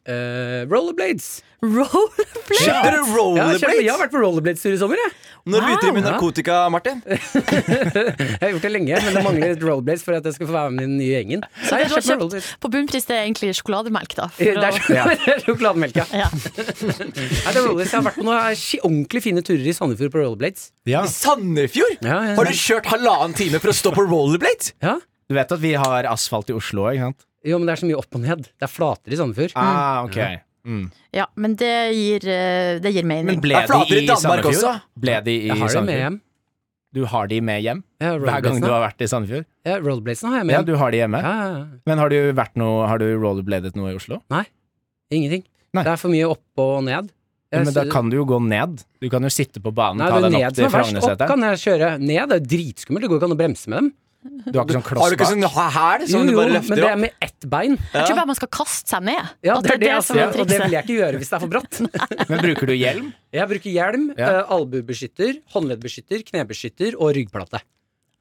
[SPEAKER 2] Eh, rollerblades.
[SPEAKER 5] Rollerblade!
[SPEAKER 3] Kjøper
[SPEAKER 2] Ja, jeg,
[SPEAKER 3] du
[SPEAKER 2] kjøper,
[SPEAKER 3] rollerblades?
[SPEAKER 2] jeg har vært på rollerblades-tur i sommer, jeg.
[SPEAKER 3] Når begynte du med
[SPEAKER 2] Wow.
[SPEAKER 3] narkotika, Martin?
[SPEAKER 2] Jeg har gjort det lenge, men det mangler et rollerblades for at jeg skal få være med i den nye gjengen.
[SPEAKER 5] Så
[SPEAKER 2] Nei,
[SPEAKER 5] det
[SPEAKER 2] jeg
[SPEAKER 5] du har
[SPEAKER 2] kjøper
[SPEAKER 5] kjøpt
[SPEAKER 2] rollerblades.
[SPEAKER 5] på bunnpris, det er egentlig sjokolademelk, da.
[SPEAKER 2] Det
[SPEAKER 5] For
[SPEAKER 2] er
[SPEAKER 5] å,
[SPEAKER 4] Ja.
[SPEAKER 2] det er sjokolademelk, ja.
[SPEAKER 5] ja.
[SPEAKER 2] Nei, det er rollerblades. Jeg har vært på noen ski- ordentlig fine turer i Sandefjord på rollerblades.
[SPEAKER 4] Ja.
[SPEAKER 3] I Sandefjord?
[SPEAKER 2] Ja, ja, ja.
[SPEAKER 3] Har du kjørt halvannen time for å stå på rollerblades?
[SPEAKER 2] Ja.
[SPEAKER 4] Du vet at vi har asfalt i Oslo òg, ikke sant?
[SPEAKER 2] Jo, men det er så mye opp og ned. Det er flatere i Sandefjord.
[SPEAKER 4] Ah, ok. Mm.
[SPEAKER 5] ja, men det gir, eh, det gir mening.
[SPEAKER 4] Men ble
[SPEAKER 3] Det er
[SPEAKER 4] de i
[SPEAKER 3] flatere i Danmark
[SPEAKER 4] Sandefjord?
[SPEAKER 3] også.
[SPEAKER 4] Ble de i
[SPEAKER 2] Jeg har det med
[SPEAKER 4] Sandefjord?
[SPEAKER 2] hjem.
[SPEAKER 4] Du har de med hjem?
[SPEAKER 2] Ja,
[SPEAKER 4] Hver gang du
[SPEAKER 2] rollerbladesene.
[SPEAKER 4] har vært i Sandefjord?
[SPEAKER 2] Ja, rollerbladesene har jeg med
[SPEAKER 4] Ja,
[SPEAKER 2] hjem.
[SPEAKER 4] du har de hjemme.
[SPEAKER 2] Ja, ja, ja.
[SPEAKER 4] Men har du, vært noe, har du rollerbladet noe i Oslo?
[SPEAKER 2] Ingenting.
[SPEAKER 4] Nei.
[SPEAKER 2] Det er for mye opp og ned.
[SPEAKER 4] Ja,
[SPEAKER 2] Jeg
[SPEAKER 4] men da
[SPEAKER 2] sy-
[SPEAKER 4] kan du jo gå ned. Du kan jo sitte på banen,
[SPEAKER 2] Nei,
[SPEAKER 4] ta
[SPEAKER 2] det er
[SPEAKER 4] den opp
[SPEAKER 2] ned som
[SPEAKER 4] til
[SPEAKER 2] er verst. Opp
[SPEAKER 4] Frognerseteren.
[SPEAKER 2] kan jeg kjøre. Ned det er jo dritskummelt. Det går ikke an å bremse med dem.
[SPEAKER 4] Du har ikke sånn
[SPEAKER 3] Har
[SPEAKER 4] kloss
[SPEAKER 3] du ikke
[SPEAKER 4] bak.
[SPEAKER 3] sånn hæl
[SPEAKER 2] Jo,
[SPEAKER 3] som du
[SPEAKER 2] jo,
[SPEAKER 3] bare
[SPEAKER 2] men
[SPEAKER 3] løfter
[SPEAKER 2] det er
[SPEAKER 3] opp?
[SPEAKER 2] med ett bein.
[SPEAKER 5] Jeg tror bare man skal kaste seg ned.
[SPEAKER 2] Ja,
[SPEAKER 5] At
[SPEAKER 2] det er det, altså.
[SPEAKER 5] som er
[SPEAKER 2] Og det vil
[SPEAKER 5] trikset.
[SPEAKER 2] jeg ikke gjøre hvis det er for bratt.
[SPEAKER 4] Men bruker du hjelm?
[SPEAKER 2] Jeg bruker hjelm,
[SPEAKER 4] Ja.
[SPEAKER 2] eh, albuebeskytter, håndleddbeskytter, knebeskytter og ryggplate.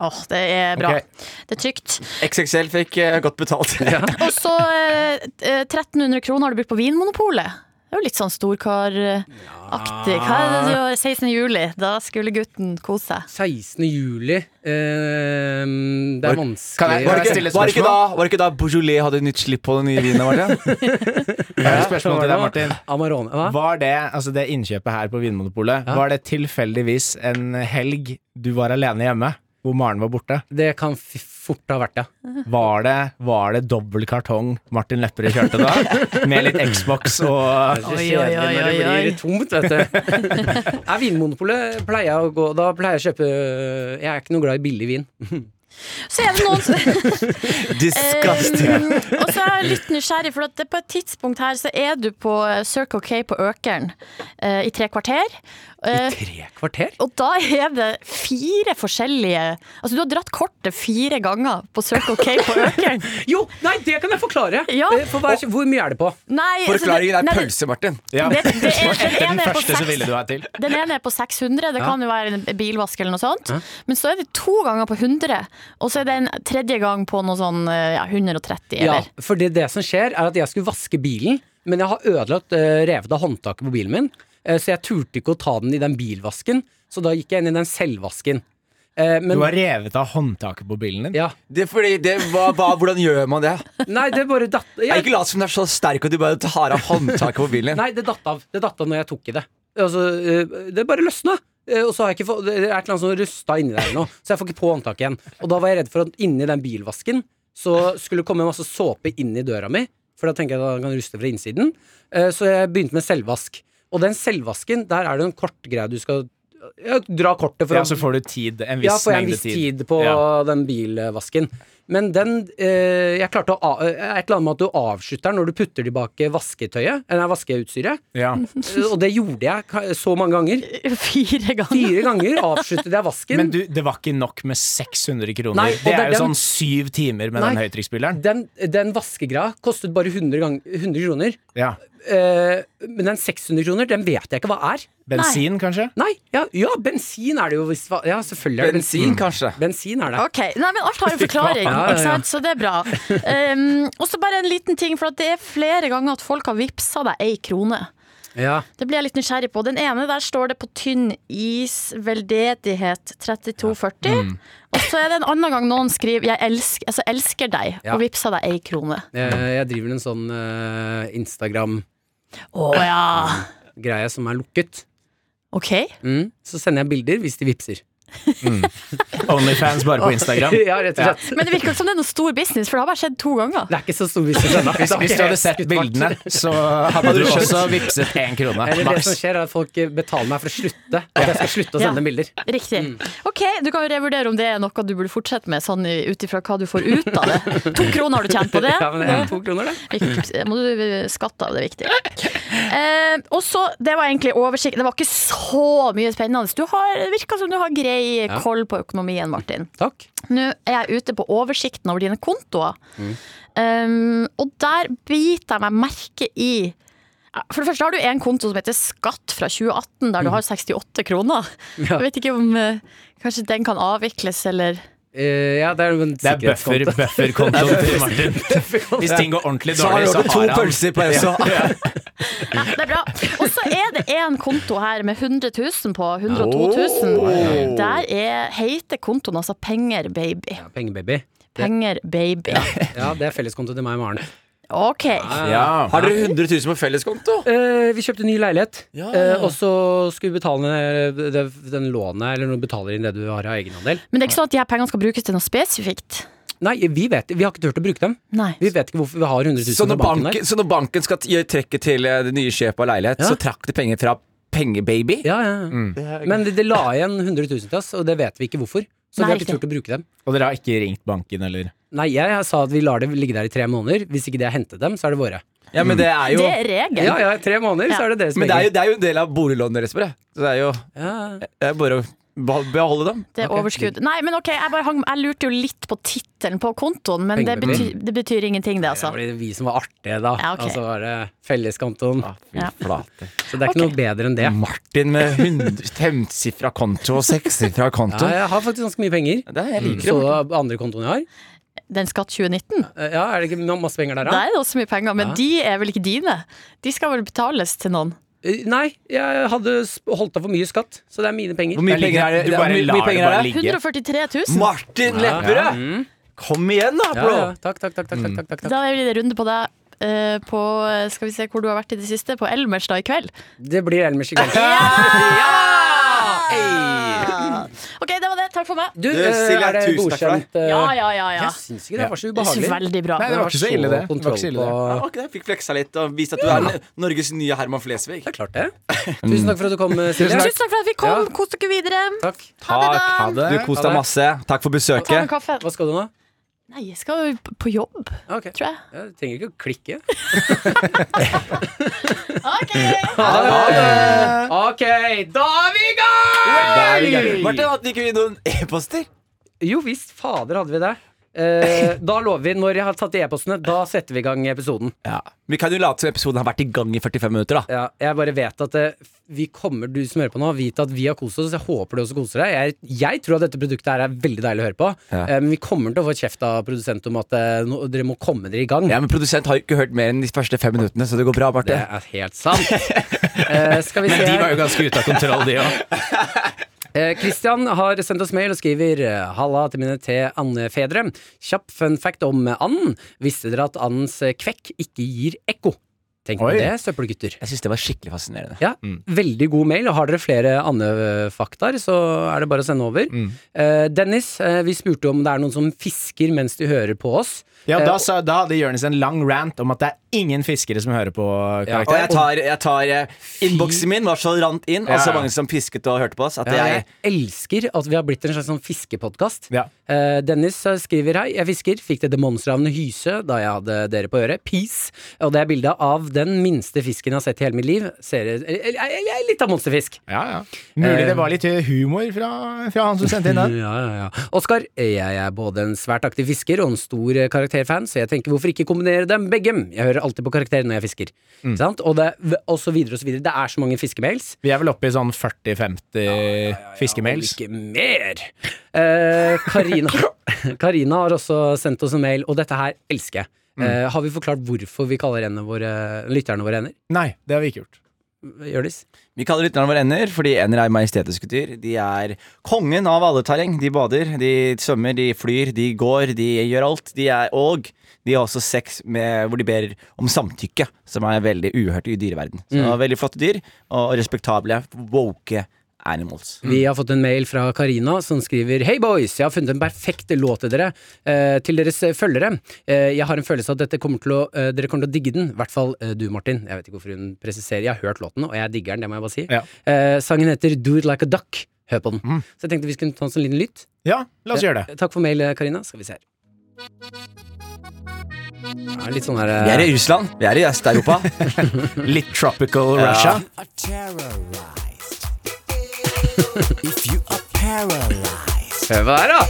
[SPEAKER 5] Åh, det er bra.
[SPEAKER 4] Ok.
[SPEAKER 5] Det er trygt.
[SPEAKER 3] XXL fikk eh, godt betalt.
[SPEAKER 5] Og så eh, eh, 1300 kroner har du brukt på Vinmonopolet. Det er jo litt sånn storkaraktig. Hva er det du gjør 16. juli? Da skulle gutten kose seg.
[SPEAKER 2] 16. juli eh, Det er
[SPEAKER 4] Var-
[SPEAKER 2] vanskelig
[SPEAKER 4] kan jeg-
[SPEAKER 3] Var det,
[SPEAKER 4] jeg stille
[SPEAKER 3] ikke,
[SPEAKER 4] et
[SPEAKER 3] var, det ikke da,
[SPEAKER 4] spørsmål?
[SPEAKER 3] var det ikke da Beaujolais hadde nytt slipp på den nye vinen? Martin?
[SPEAKER 4] Jeg har et spørsmål til deg, Martin.
[SPEAKER 2] Amarone. Hva?
[SPEAKER 4] Var det, altså det innkjøpet her på Vinmonopolet,
[SPEAKER 2] Ja.
[SPEAKER 4] var det tilfeldigvis en helg du var alene hjemme, hvor Maren var borte?
[SPEAKER 2] Det kan f fort ha vært det.
[SPEAKER 4] Var det, var det dobbel kartong Martin Lepperød kjørte da? Med litt Xbox og
[SPEAKER 2] Det er
[SPEAKER 5] Oi,
[SPEAKER 2] så
[SPEAKER 5] oi,
[SPEAKER 2] kjedelig når
[SPEAKER 5] oi, oi,
[SPEAKER 2] det
[SPEAKER 5] oi.
[SPEAKER 2] blir tomt, vet du. Nei, Vinmonopolet pleier jeg å gå Da pleier jeg å kjøpe eh, Jeg er ikke noe glad i billig vin.
[SPEAKER 5] Så er det noen som
[SPEAKER 3] Disgusting.
[SPEAKER 5] Eh, og så er jeg litt nysgjerrig, for at det på et tidspunkt her så er du på eh, Circle K på Økeren eh, i tre kvarter. Eh,
[SPEAKER 2] Tre kvarter?
[SPEAKER 5] og da er det fire forskjellige Altså, du har dratt kortet fire ganger på Circle K på Økeren.
[SPEAKER 2] Jo, nei, det kan jeg forklare!
[SPEAKER 5] Ja.
[SPEAKER 2] Eh, For hva, hvor mye er det på?
[SPEAKER 5] Nei, altså,
[SPEAKER 3] Forklaringen
[SPEAKER 5] det-
[SPEAKER 3] er
[SPEAKER 5] nei, det-
[SPEAKER 3] pølse, Martin.
[SPEAKER 4] ja.
[SPEAKER 5] Det, det
[SPEAKER 2] sånn
[SPEAKER 4] Den
[SPEAKER 5] er, den, ene er på
[SPEAKER 4] første så
[SPEAKER 5] seks,
[SPEAKER 4] ville du ha til.
[SPEAKER 5] den ene er på 600, det
[SPEAKER 2] Ja.
[SPEAKER 5] kan jo være en bilvask eller noe sånt.
[SPEAKER 2] Ja.
[SPEAKER 5] Men så er det to ganger på 100, og så er det en tredje gang på noe sånn eh, ja, 130
[SPEAKER 2] Ja,
[SPEAKER 5] eller
[SPEAKER 2] for det, det som skjer er at jeg skulle vaske bilen, men jeg har ødelagt eh, revet av håndtaket på bilen min, eh, så jeg turte ikke å ta den i den bilvasken, så da gikk jeg inn i den selvvasken. Eh, men,
[SPEAKER 4] Du har revet av håndtaket på bilen din.
[SPEAKER 2] ja.
[SPEAKER 3] Det er fordi det, hva, hva, hvordan gjør man det?
[SPEAKER 2] Nei, det bare datt
[SPEAKER 3] Jeg er
[SPEAKER 2] jeg,
[SPEAKER 3] ikke lat som du er så sterk at du bare tar av håndtaket på bilen din.
[SPEAKER 2] Nei, det datt av. Det datt av når jeg tok i det. Altså, eh, det bare løsna. Eh, Og så har jeg ikke fått, Det er et eller annet som rusta inni der nå, så jeg får ikke på håndtaket igjen. Og da var jeg redd for at inni den bilvasken så skulle det komme masse såpe inn i døra mi, for da tenker jeg at den kan ruste fra innsiden. Eh, Så jeg begynte med selvvask. Og den selvvasken, der er det en kortgreie du skal ja, dra kortet for
[SPEAKER 4] Ja,
[SPEAKER 2] å
[SPEAKER 4] så får du tid, en
[SPEAKER 2] ja,
[SPEAKER 4] viss
[SPEAKER 2] får jeg en
[SPEAKER 4] mengde
[SPEAKER 2] viss
[SPEAKER 4] tid.
[SPEAKER 2] tid på
[SPEAKER 4] Ja.
[SPEAKER 2] den bilvasken. Men den eh, Jeg klarte å a- eh, Et eller annet med at du avslutter den når du putter tilbake vasketøyet, eller vaskeutstyret.
[SPEAKER 4] Ja.
[SPEAKER 2] Eh, Og det gjorde jeg ka- så mange ganger.
[SPEAKER 5] fire ganger.
[SPEAKER 2] Fire ganger avsluttet jeg vasken.
[SPEAKER 4] Men du, det var ikke nok med 600 kroner.
[SPEAKER 2] Nei, og
[SPEAKER 4] det
[SPEAKER 2] det er
[SPEAKER 4] er jo
[SPEAKER 2] den-
[SPEAKER 4] sånn syv timer med
[SPEAKER 2] Nei.
[SPEAKER 4] den høytrykksspilleren.
[SPEAKER 2] den, den vaskegreia kostet bare 100, gang, 100 kroner.
[SPEAKER 4] Ja.
[SPEAKER 2] eh, men den 600 kroner, den vet jeg ikke hva er.
[SPEAKER 4] Bensin, kanskje?
[SPEAKER 2] Nei, ja, ja bensin er det jo hvis hva- Ja, selvfølgelig er Mm. det bensin.
[SPEAKER 3] Bensin, kanskje.
[SPEAKER 2] Bensin er det.
[SPEAKER 5] Ok, Nei, men alt har en forklaring,
[SPEAKER 2] Ja, ja, ja.
[SPEAKER 5] ikke sant? så det er bra. Um, og så bare en liten ting, for at det er flere ganger at folk har vippsa deg ei krone.
[SPEAKER 2] Ja.
[SPEAKER 5] Det blir jeg litt nysgjerrig på. Den ene der står det på tynn is, veldedighet 3240.
[SPEAKER 2] Mm.
[SPEAKER 5] Og så er det en annen gang noen skriver 'jeg elsker, altså, elsker deg'
[SPEAKER 2] Ja.
[SPEAKER 5] og vippsa deg ei krone.
[SPEAKER 2] Jeg, jeg driver en sånn eh, Instagram-greie
[SPEAKER 5] Å ja!
[SPEAKER 2] mm. som er lukket.
[SPEAKER 5] Ok.
[SPEAKER 2] Mm. Så sender jeg bilder hvis de vippser.
[SPEAKER 4] Onlyfans bare på Instagram.
[SPEAKER 2] ja, rett og slett.
[SPEAKER 5] Men det virker ikke som det er noe stor business, for det har bare skjedd to ganger.
[SPEAKER 2] Det er ikke så stor vits ennå.
[SPEAKER 4] Hvis, hvis du hadde sett bildene, så hadde du også vippset én krone.
[SPEAKER 2] Eller det
[SPEAKER 4] Maks.
[SPEAKER 2] som skjer, er at folk eh, betaler meg for å slutte. At jeg skal slutte å
[SPEAKER 5] Ja.
[SPEAKER 2] sende bilder.
[SPEAKER 5] Riktig.
[SPEAKER 2] Mm.
[SPEAKER 5] Ok, Du kan jo revurdere om det er noe du burde fortsette med, sånn i- ut ifra hva du får ut av det. To kroner har du tjent på det.
[SPEAKER 2] Ja, men det er to kroner, det.
[SPEAKER 5] Viktig- Må du skatte av det viktige. Eh, og så, Det var egentlig oversikt. Det var ikke så mye spennende. Du har, det virker som du har grei
[SPEAKER 2] Ja.
[SPEAKER 5] koll på økonomien, Martin.
[SPEAKER 2] Takk.
[SPEAKER 5] Nå er jeg ute på oversikten over dine kontoer. Um, og der biter jeg meg merke i For det første har du en konto som heter Skatt fra 2018, der du har 68 kroner. Jeg vet ikke om eh, Kanskje den kan avvikles, eller
[SPEAKER 2] Eh, ja, det er jo en
[SPEAKER 4] Det er buffer,
[SPEAKER 2] sikkerhetskonto.
[SPEAKER 4] bufferkontoen til Martin. Hvis ting går ordentlig
[SPEAKER 3] Så har
[SPEAKER 4] dårlig,
[SPEAKER 3] du
[SPEAKER 4] så
[SPEAKER 3] over to
[SPEAKER 4] har han
[SPEAKER 3] pølser på SO.
[SPEAKER 5] Nei, det er bra. Og så er det en konto her med 100 000 på. 102 000. Der er, heter kontoen altså Penger baby.
[SPEAKER 2] Ja, pengebaby.
[SPEAKER 5] Penger baby.
[SPEAKER 2] Ja, det er felleskonto til meg og Maren.
[SPEAKER 5] Ok.
[SPEAKER 4] Ja.
[SPEAKER 3] Har dere 100 000 på felleskonto?
[SPEAKER 2] Eh, vi kjøpte ny leilighet,
[SPEAKER 3] Ja.
[SPEAKER 2] eh, og så skulle vi betale ned det, den lånet, eller når du betaler inn det du har av egenandel.
[SPEAKER 5] Men det er ikke sånn at de her pengene skal brukes til noe spesifikt?
[SPEAKER 2] Nei, vi vet Vi har ikke turt å bruke dem.
[SPEAKER 5] Nei.
[SPEAKER 2] Vi vet ikke hvorfor vi har 100 000
[SPEAKER 3] Så når
[SPEAKER 2] på banken der.
[SPEAKER 3] banken, så når banken skal t- gjøre trekket til eh, det nye kjøpet av leilighet,
[SPEAKER 2] Ja.
[SPEAKER 3] så trakk de penger fra pengebaby?
[SPEAKER 2] Ja, ja. ja. Men det, det la igjen 100 000 til oss, og det vet vi ikke hvorfor. Så
[SPEAKER 5] Nei,
[SPEAKER 2] vi har ikke
[SPEAKER 5] riktig.
[SPEAKER 2] turt å bruke dem.
[SPEAKER 4] Og dere har ikke ringt banken, eller?
[SPEAKER 2] Nei, jeg, sa at vi lar det ligge der i tre måneder. Hvis ikke de har hentet dem, så er det våre.
[SPEAKER 3] Ja, men det er jo
[SPEAKER 5] Det er regelen.
[SPEAKER 2] Ja, ja, tre måneder, så er det deres
[SPEAKER 3] Men det er jo,
[SPEAKER 2] penger.
[SPEAKER 3] det er jo en del av boliglånet deres, bare. Så det er jo
[SPEAKER 2] Ja.
[SPEAKER 3] det er bare å behol- beholde dem.
[SPEAKER 5] Det er
[SPEAKER 2] Ok.
[SPEAKER 5] overskudd. Nei, men ok, jeg, bare hang, jeg lurte jo litt på tittelen på kontoen, men det
[SPEAKER 2] Pengebaby.
[SPEAKER 5] betyr, det betyr ingenting, det,
[SPEAKER 2] Det
[SPEAKER 5] altså.
[SPEAKER 2] var det vi som var artige, da.
[SPEAKER 5] Ja, ok.
[SPEAKER 2] Altså var det felleskontoen.
[SPEAKER 3] Fy
[SPEAKER 5] Ja.
[SPEAKER 3] flate.
[SPEAKER 2] Så det er ikke
[SPEAKER 5] Ok.
[SPEAKER 2] noe bedre enn det.
[SPEAKER 4] Mm.
[SPEAKER 3] Martin med hundre- femsifra konto og sekssifra konto.
[SPEAKER 2] Ja, jeg har faktisk ganske mye penger.
[SPEAKER 3] Det er, jeg liker
[SPEAKER 2] Så
[SPEAKER 3] det.
[SPEAKER 2] du andre kontoen jeg har?
[SPEAKER 5] Den skatt 2019.
[SPEAKER 2] Eh, Ja, er det ikke ma- masse penger der,
[SPEAKER 5] Der
[SPEAKER 2] da?
[SPEAKER 5] er det også mye penger, men
[SPEAKER 2] Ja.
[SPEAKER 5] de er vel ikke dine? De skal vel betales til noen?
[SPEAKER 2] Eh, Nei, jeg hadde sp- holdt av for mye skatt, så det er mine penger.
[SPEAKER 3] Hvor mye penger er det?
[SPEAKER 4] Du
[SPEAKER 3] det er-
[SPEAKER 4] bare
[SPEAKER 3] hvor mye
[SPEAKER 4] lar det
[SPEAKER 3] penger er
[SPEAKER 4] bare
[SPEAKER 3] det?
[SPEAKER 4] ligge.
[SPEAKER 5] 143 000!
[SPEAKER 3] Martin Lepperød! Kom igjen, da,
[SPEAKER 2] Ja,
[SPEAKER 3] bro!
[SPEAKER 2] ja. Takk, takk, takk. takk, takk, takk, takk.
[SPEAKER 5] Da blir det runde på deg eh, på eh, Skal vi se hvor du har vært i det siste? På Elmers da i kveld.
[SPEAKER 2] Det blir Elmers i gang.
[SPEAKER 5] OK, det var det. Takk for meg.
[SPEAKER 2] Du,
[SPEAKER 3] Du,
[SPEAKER 2] eh,
[SPEAKER 3] Silja,
[SPEAKER 2] er det
[SPEAKER 3] tusen takk for
[SPEAKER 2] godkjent? eh,
[SPEAKER 5] Ja, ja, ja. ja.
[SPEAKER 2] Jeg syns ikke det var så ubehagelig.
[SPEAKER 5] Veldig bra.
[SPEAKER 4] Nei, det var ikke så ille, det. Det var
[SPEAKER 2] kontroll
[SPEAKER 4] ikke så ille,
[SPEAKER 2] på
[SPEAKER 3] Ja, var ikke det? Fikk fleksa litt og vist at du er Norges nye Herman Flesvig.
[SPEAKER 2] Det er klart, det. Tusen takk for at du kom, eh, Silje.
[SPEAKER 5] Tusen takk for at vi kom.
[SPEAKER 2] Ja.
[SPEAKER 5] Kos dere videre.
[SPEAKER 2] Takk.
[SPEAKER 5] Ha det, da.
[SPEAKER 4] Ha det.
[SPEAKER 3] Du kos
[SPEAKER 2] Ha
[SPEAKER 3] deg
[SPEAKER 2] det.
[SPEAKER 3] masse. Takk for
[SPEAKER 5] Ta en
[SPEAKER 3] besøket.
[SPEAKER 5] kaffe.
[SPEAKER 2] Hva skal du nå?
[SPEAKER 5] Nei, jeg skal jo på jobb,
[SPEAKER 2] Ah, Ok.
[SPEAKER 5] tror jeg.
[SPEAKER 2] Jeg trenger ikke å klikke.
[SPEAKER 3] Ha det!
[SPEAKER 2] Ok, da er vi i gang!
[SPEAKER 3] Da er vi i gang. Martin, hadde ikke vi noen e-poster?
[SPEAKER 2] Jo visst, fader hadde vi det. Eh, da lover vi, når jeg har tatt i e-postene, da setter vi i gang episoden.
[SPEAKER 3] Ja. Vi kan jo late som episoden har vært i gang i 45 minutter, da.
[SPEAKER 2] Ja, jeg bare vet at eh, vi kommer, du som hører på nå, vite at vi har kost oss. Jeg håper du også koser deg. Jeg, jeg tror at dette produktet her er veldig deilig å høre på.
[SPEAKER 3] Ja.
[SPEAKER 2] Eh, men vi kommer til å få kjeft av produsent om at eh, nå, dere må komme dere i gang.
[SPEAKER 3] Ja, men Produsent har jo ikke hørt mer enn de første fem minuttene, så det går bra.
[SPEAKER 2] Det
[SPEAKER 3] Martin
[SPEAKER 2] er helt sant. Eh, skal vi se.
[SPEAKER 4] De var
[SPEAKER 2] her.
[SPEAKER 4] jo ganske ute av kontroll, de òg.
[SPEAKER 2] Eh, Christian har sendt oss mail og skriver eh, Halla til mine te andfedre. Kjapp fun fact om anden. Visste dere at andens eh, kvekk ikke gir ekko? Tenk på
[SPEAKER 4] Oi.
[SPEAKER 2] det, søppelgutter.
[SPEAKER 3] Jeg syns det var skikkelig fascinerende.
[SPEAKER 2] Ja, Veldig god mail. Har dere flere andefaktaer, så er det bare å sende over. Eh, Dennis, eh, vi spurte om det er noen som fisker mens de hører på oss.
[SPEAKER 4] Ja, da, sa, da hadde Jonis en lang rant om at det er ingen fiskere som hører på
[SPEAKER 2] Ja.
[SPEAKER 4] karakter.
[SPEAKER 3] Og jeg tar, jeg tar eh, Innboksen min var så rant inn, og så mange som pisket og hørte på oss. At
[SPEAKER 2] Jeg
[SPEAKER 3] jeg
[SPEAKER 2] elsker at vi har blitt en slags sånn fiskepodkast.
[SPEAKER 4] Ja.
[SPEAKER 2] Eh, Dennis eh, skriver hei, jeg fisker, fikk det demonstravne hyse da jeg hadde dere på øret. Peace. Og det er bilde av den minste fisken jeg har sett i hele mitt liv. Ser, eller, eller, eller litt av monsterfisk.
[SPEAKER 4] Ja, ja. Mulig det var litt humor fra, fra han som sendte inn den.
[SPEAKER 2] Ja, ja, ja. Oskar, jeg er både en svært aktiv fisker og en stor eh, karakterfan, så jeg tenker hvorfor ikke kombinere dem begge? Jeg hører alltid på karakterer når jeg fisker. Ikke sant? Og, det, og så videre og så videre. Det er så mange fiskemails.
[SPEAKER 4] Vi er vel oppe i sånn 40-50 fiskemails.
[SPEAKER 2] Ja, og ikke mer! Eh, Karina, Karina har også sendt oss en mail, og dette her elsker jeg. Eh, har vi forklart hvorfor vi kaller endene våre, lytterne våre ender?
[SPEAKER 4] Nei, det har vi ikke gjort.
[SPEAKER 2] Hjørdis?
[SPEAKER 3] Vi kaller lytterne våre ender, fordi ender er majestetiske dyr. De er kongen av alle terreng. De bader, de svømmer, de flyr, de går, de gjør alt. De er, og de har også sex med, hvor de ber om samtykke, som er veldig uhørt i dyreverden. Så
[SPEAKER 2] Mm.
[SPEAKER 3] Veldig flotte dyr, og respektable, woke animals.
[SPEAKER 2] Vi har fått en mail fra Karina som skriver Hei boys, jeg har funnet en perfekt låt til dere, eh, til deres eh, følgere. Eh, jeg har en følelse av at dette kommer til å, eh, dere kommer til å digge den, i hvert fall eh, du Martin. Jeg vet ikke hvorfor hun presiserer, jeg har hørt låten, og jeg digger den, det må jeg bare si.
[SPEAKER 4] Ja.
[SPEAKER 2] Eh, sangen heter Do It Like A Duck. Hør på den. Så jeg tenkte vi skulle ta oss en liten lytt.
[SPEAKER 4] Ja, la oss
[SPEAKER 2] Ja.
[SPEAKER 4] gjøre det.
[SPEAKER 2] Takk for mail, eh, Karina. Skal vi se her. Ja, litt sånn her eh,
[SPEAKER 3] Vi er i Russland. Vi er i Øst-Europa.
[SPEAKER 4] Litt tropical Russia.
[SPEAKER 6] are terrorized. if you are paralyzed,
[SPEAKER 2] Hør hva det er, da!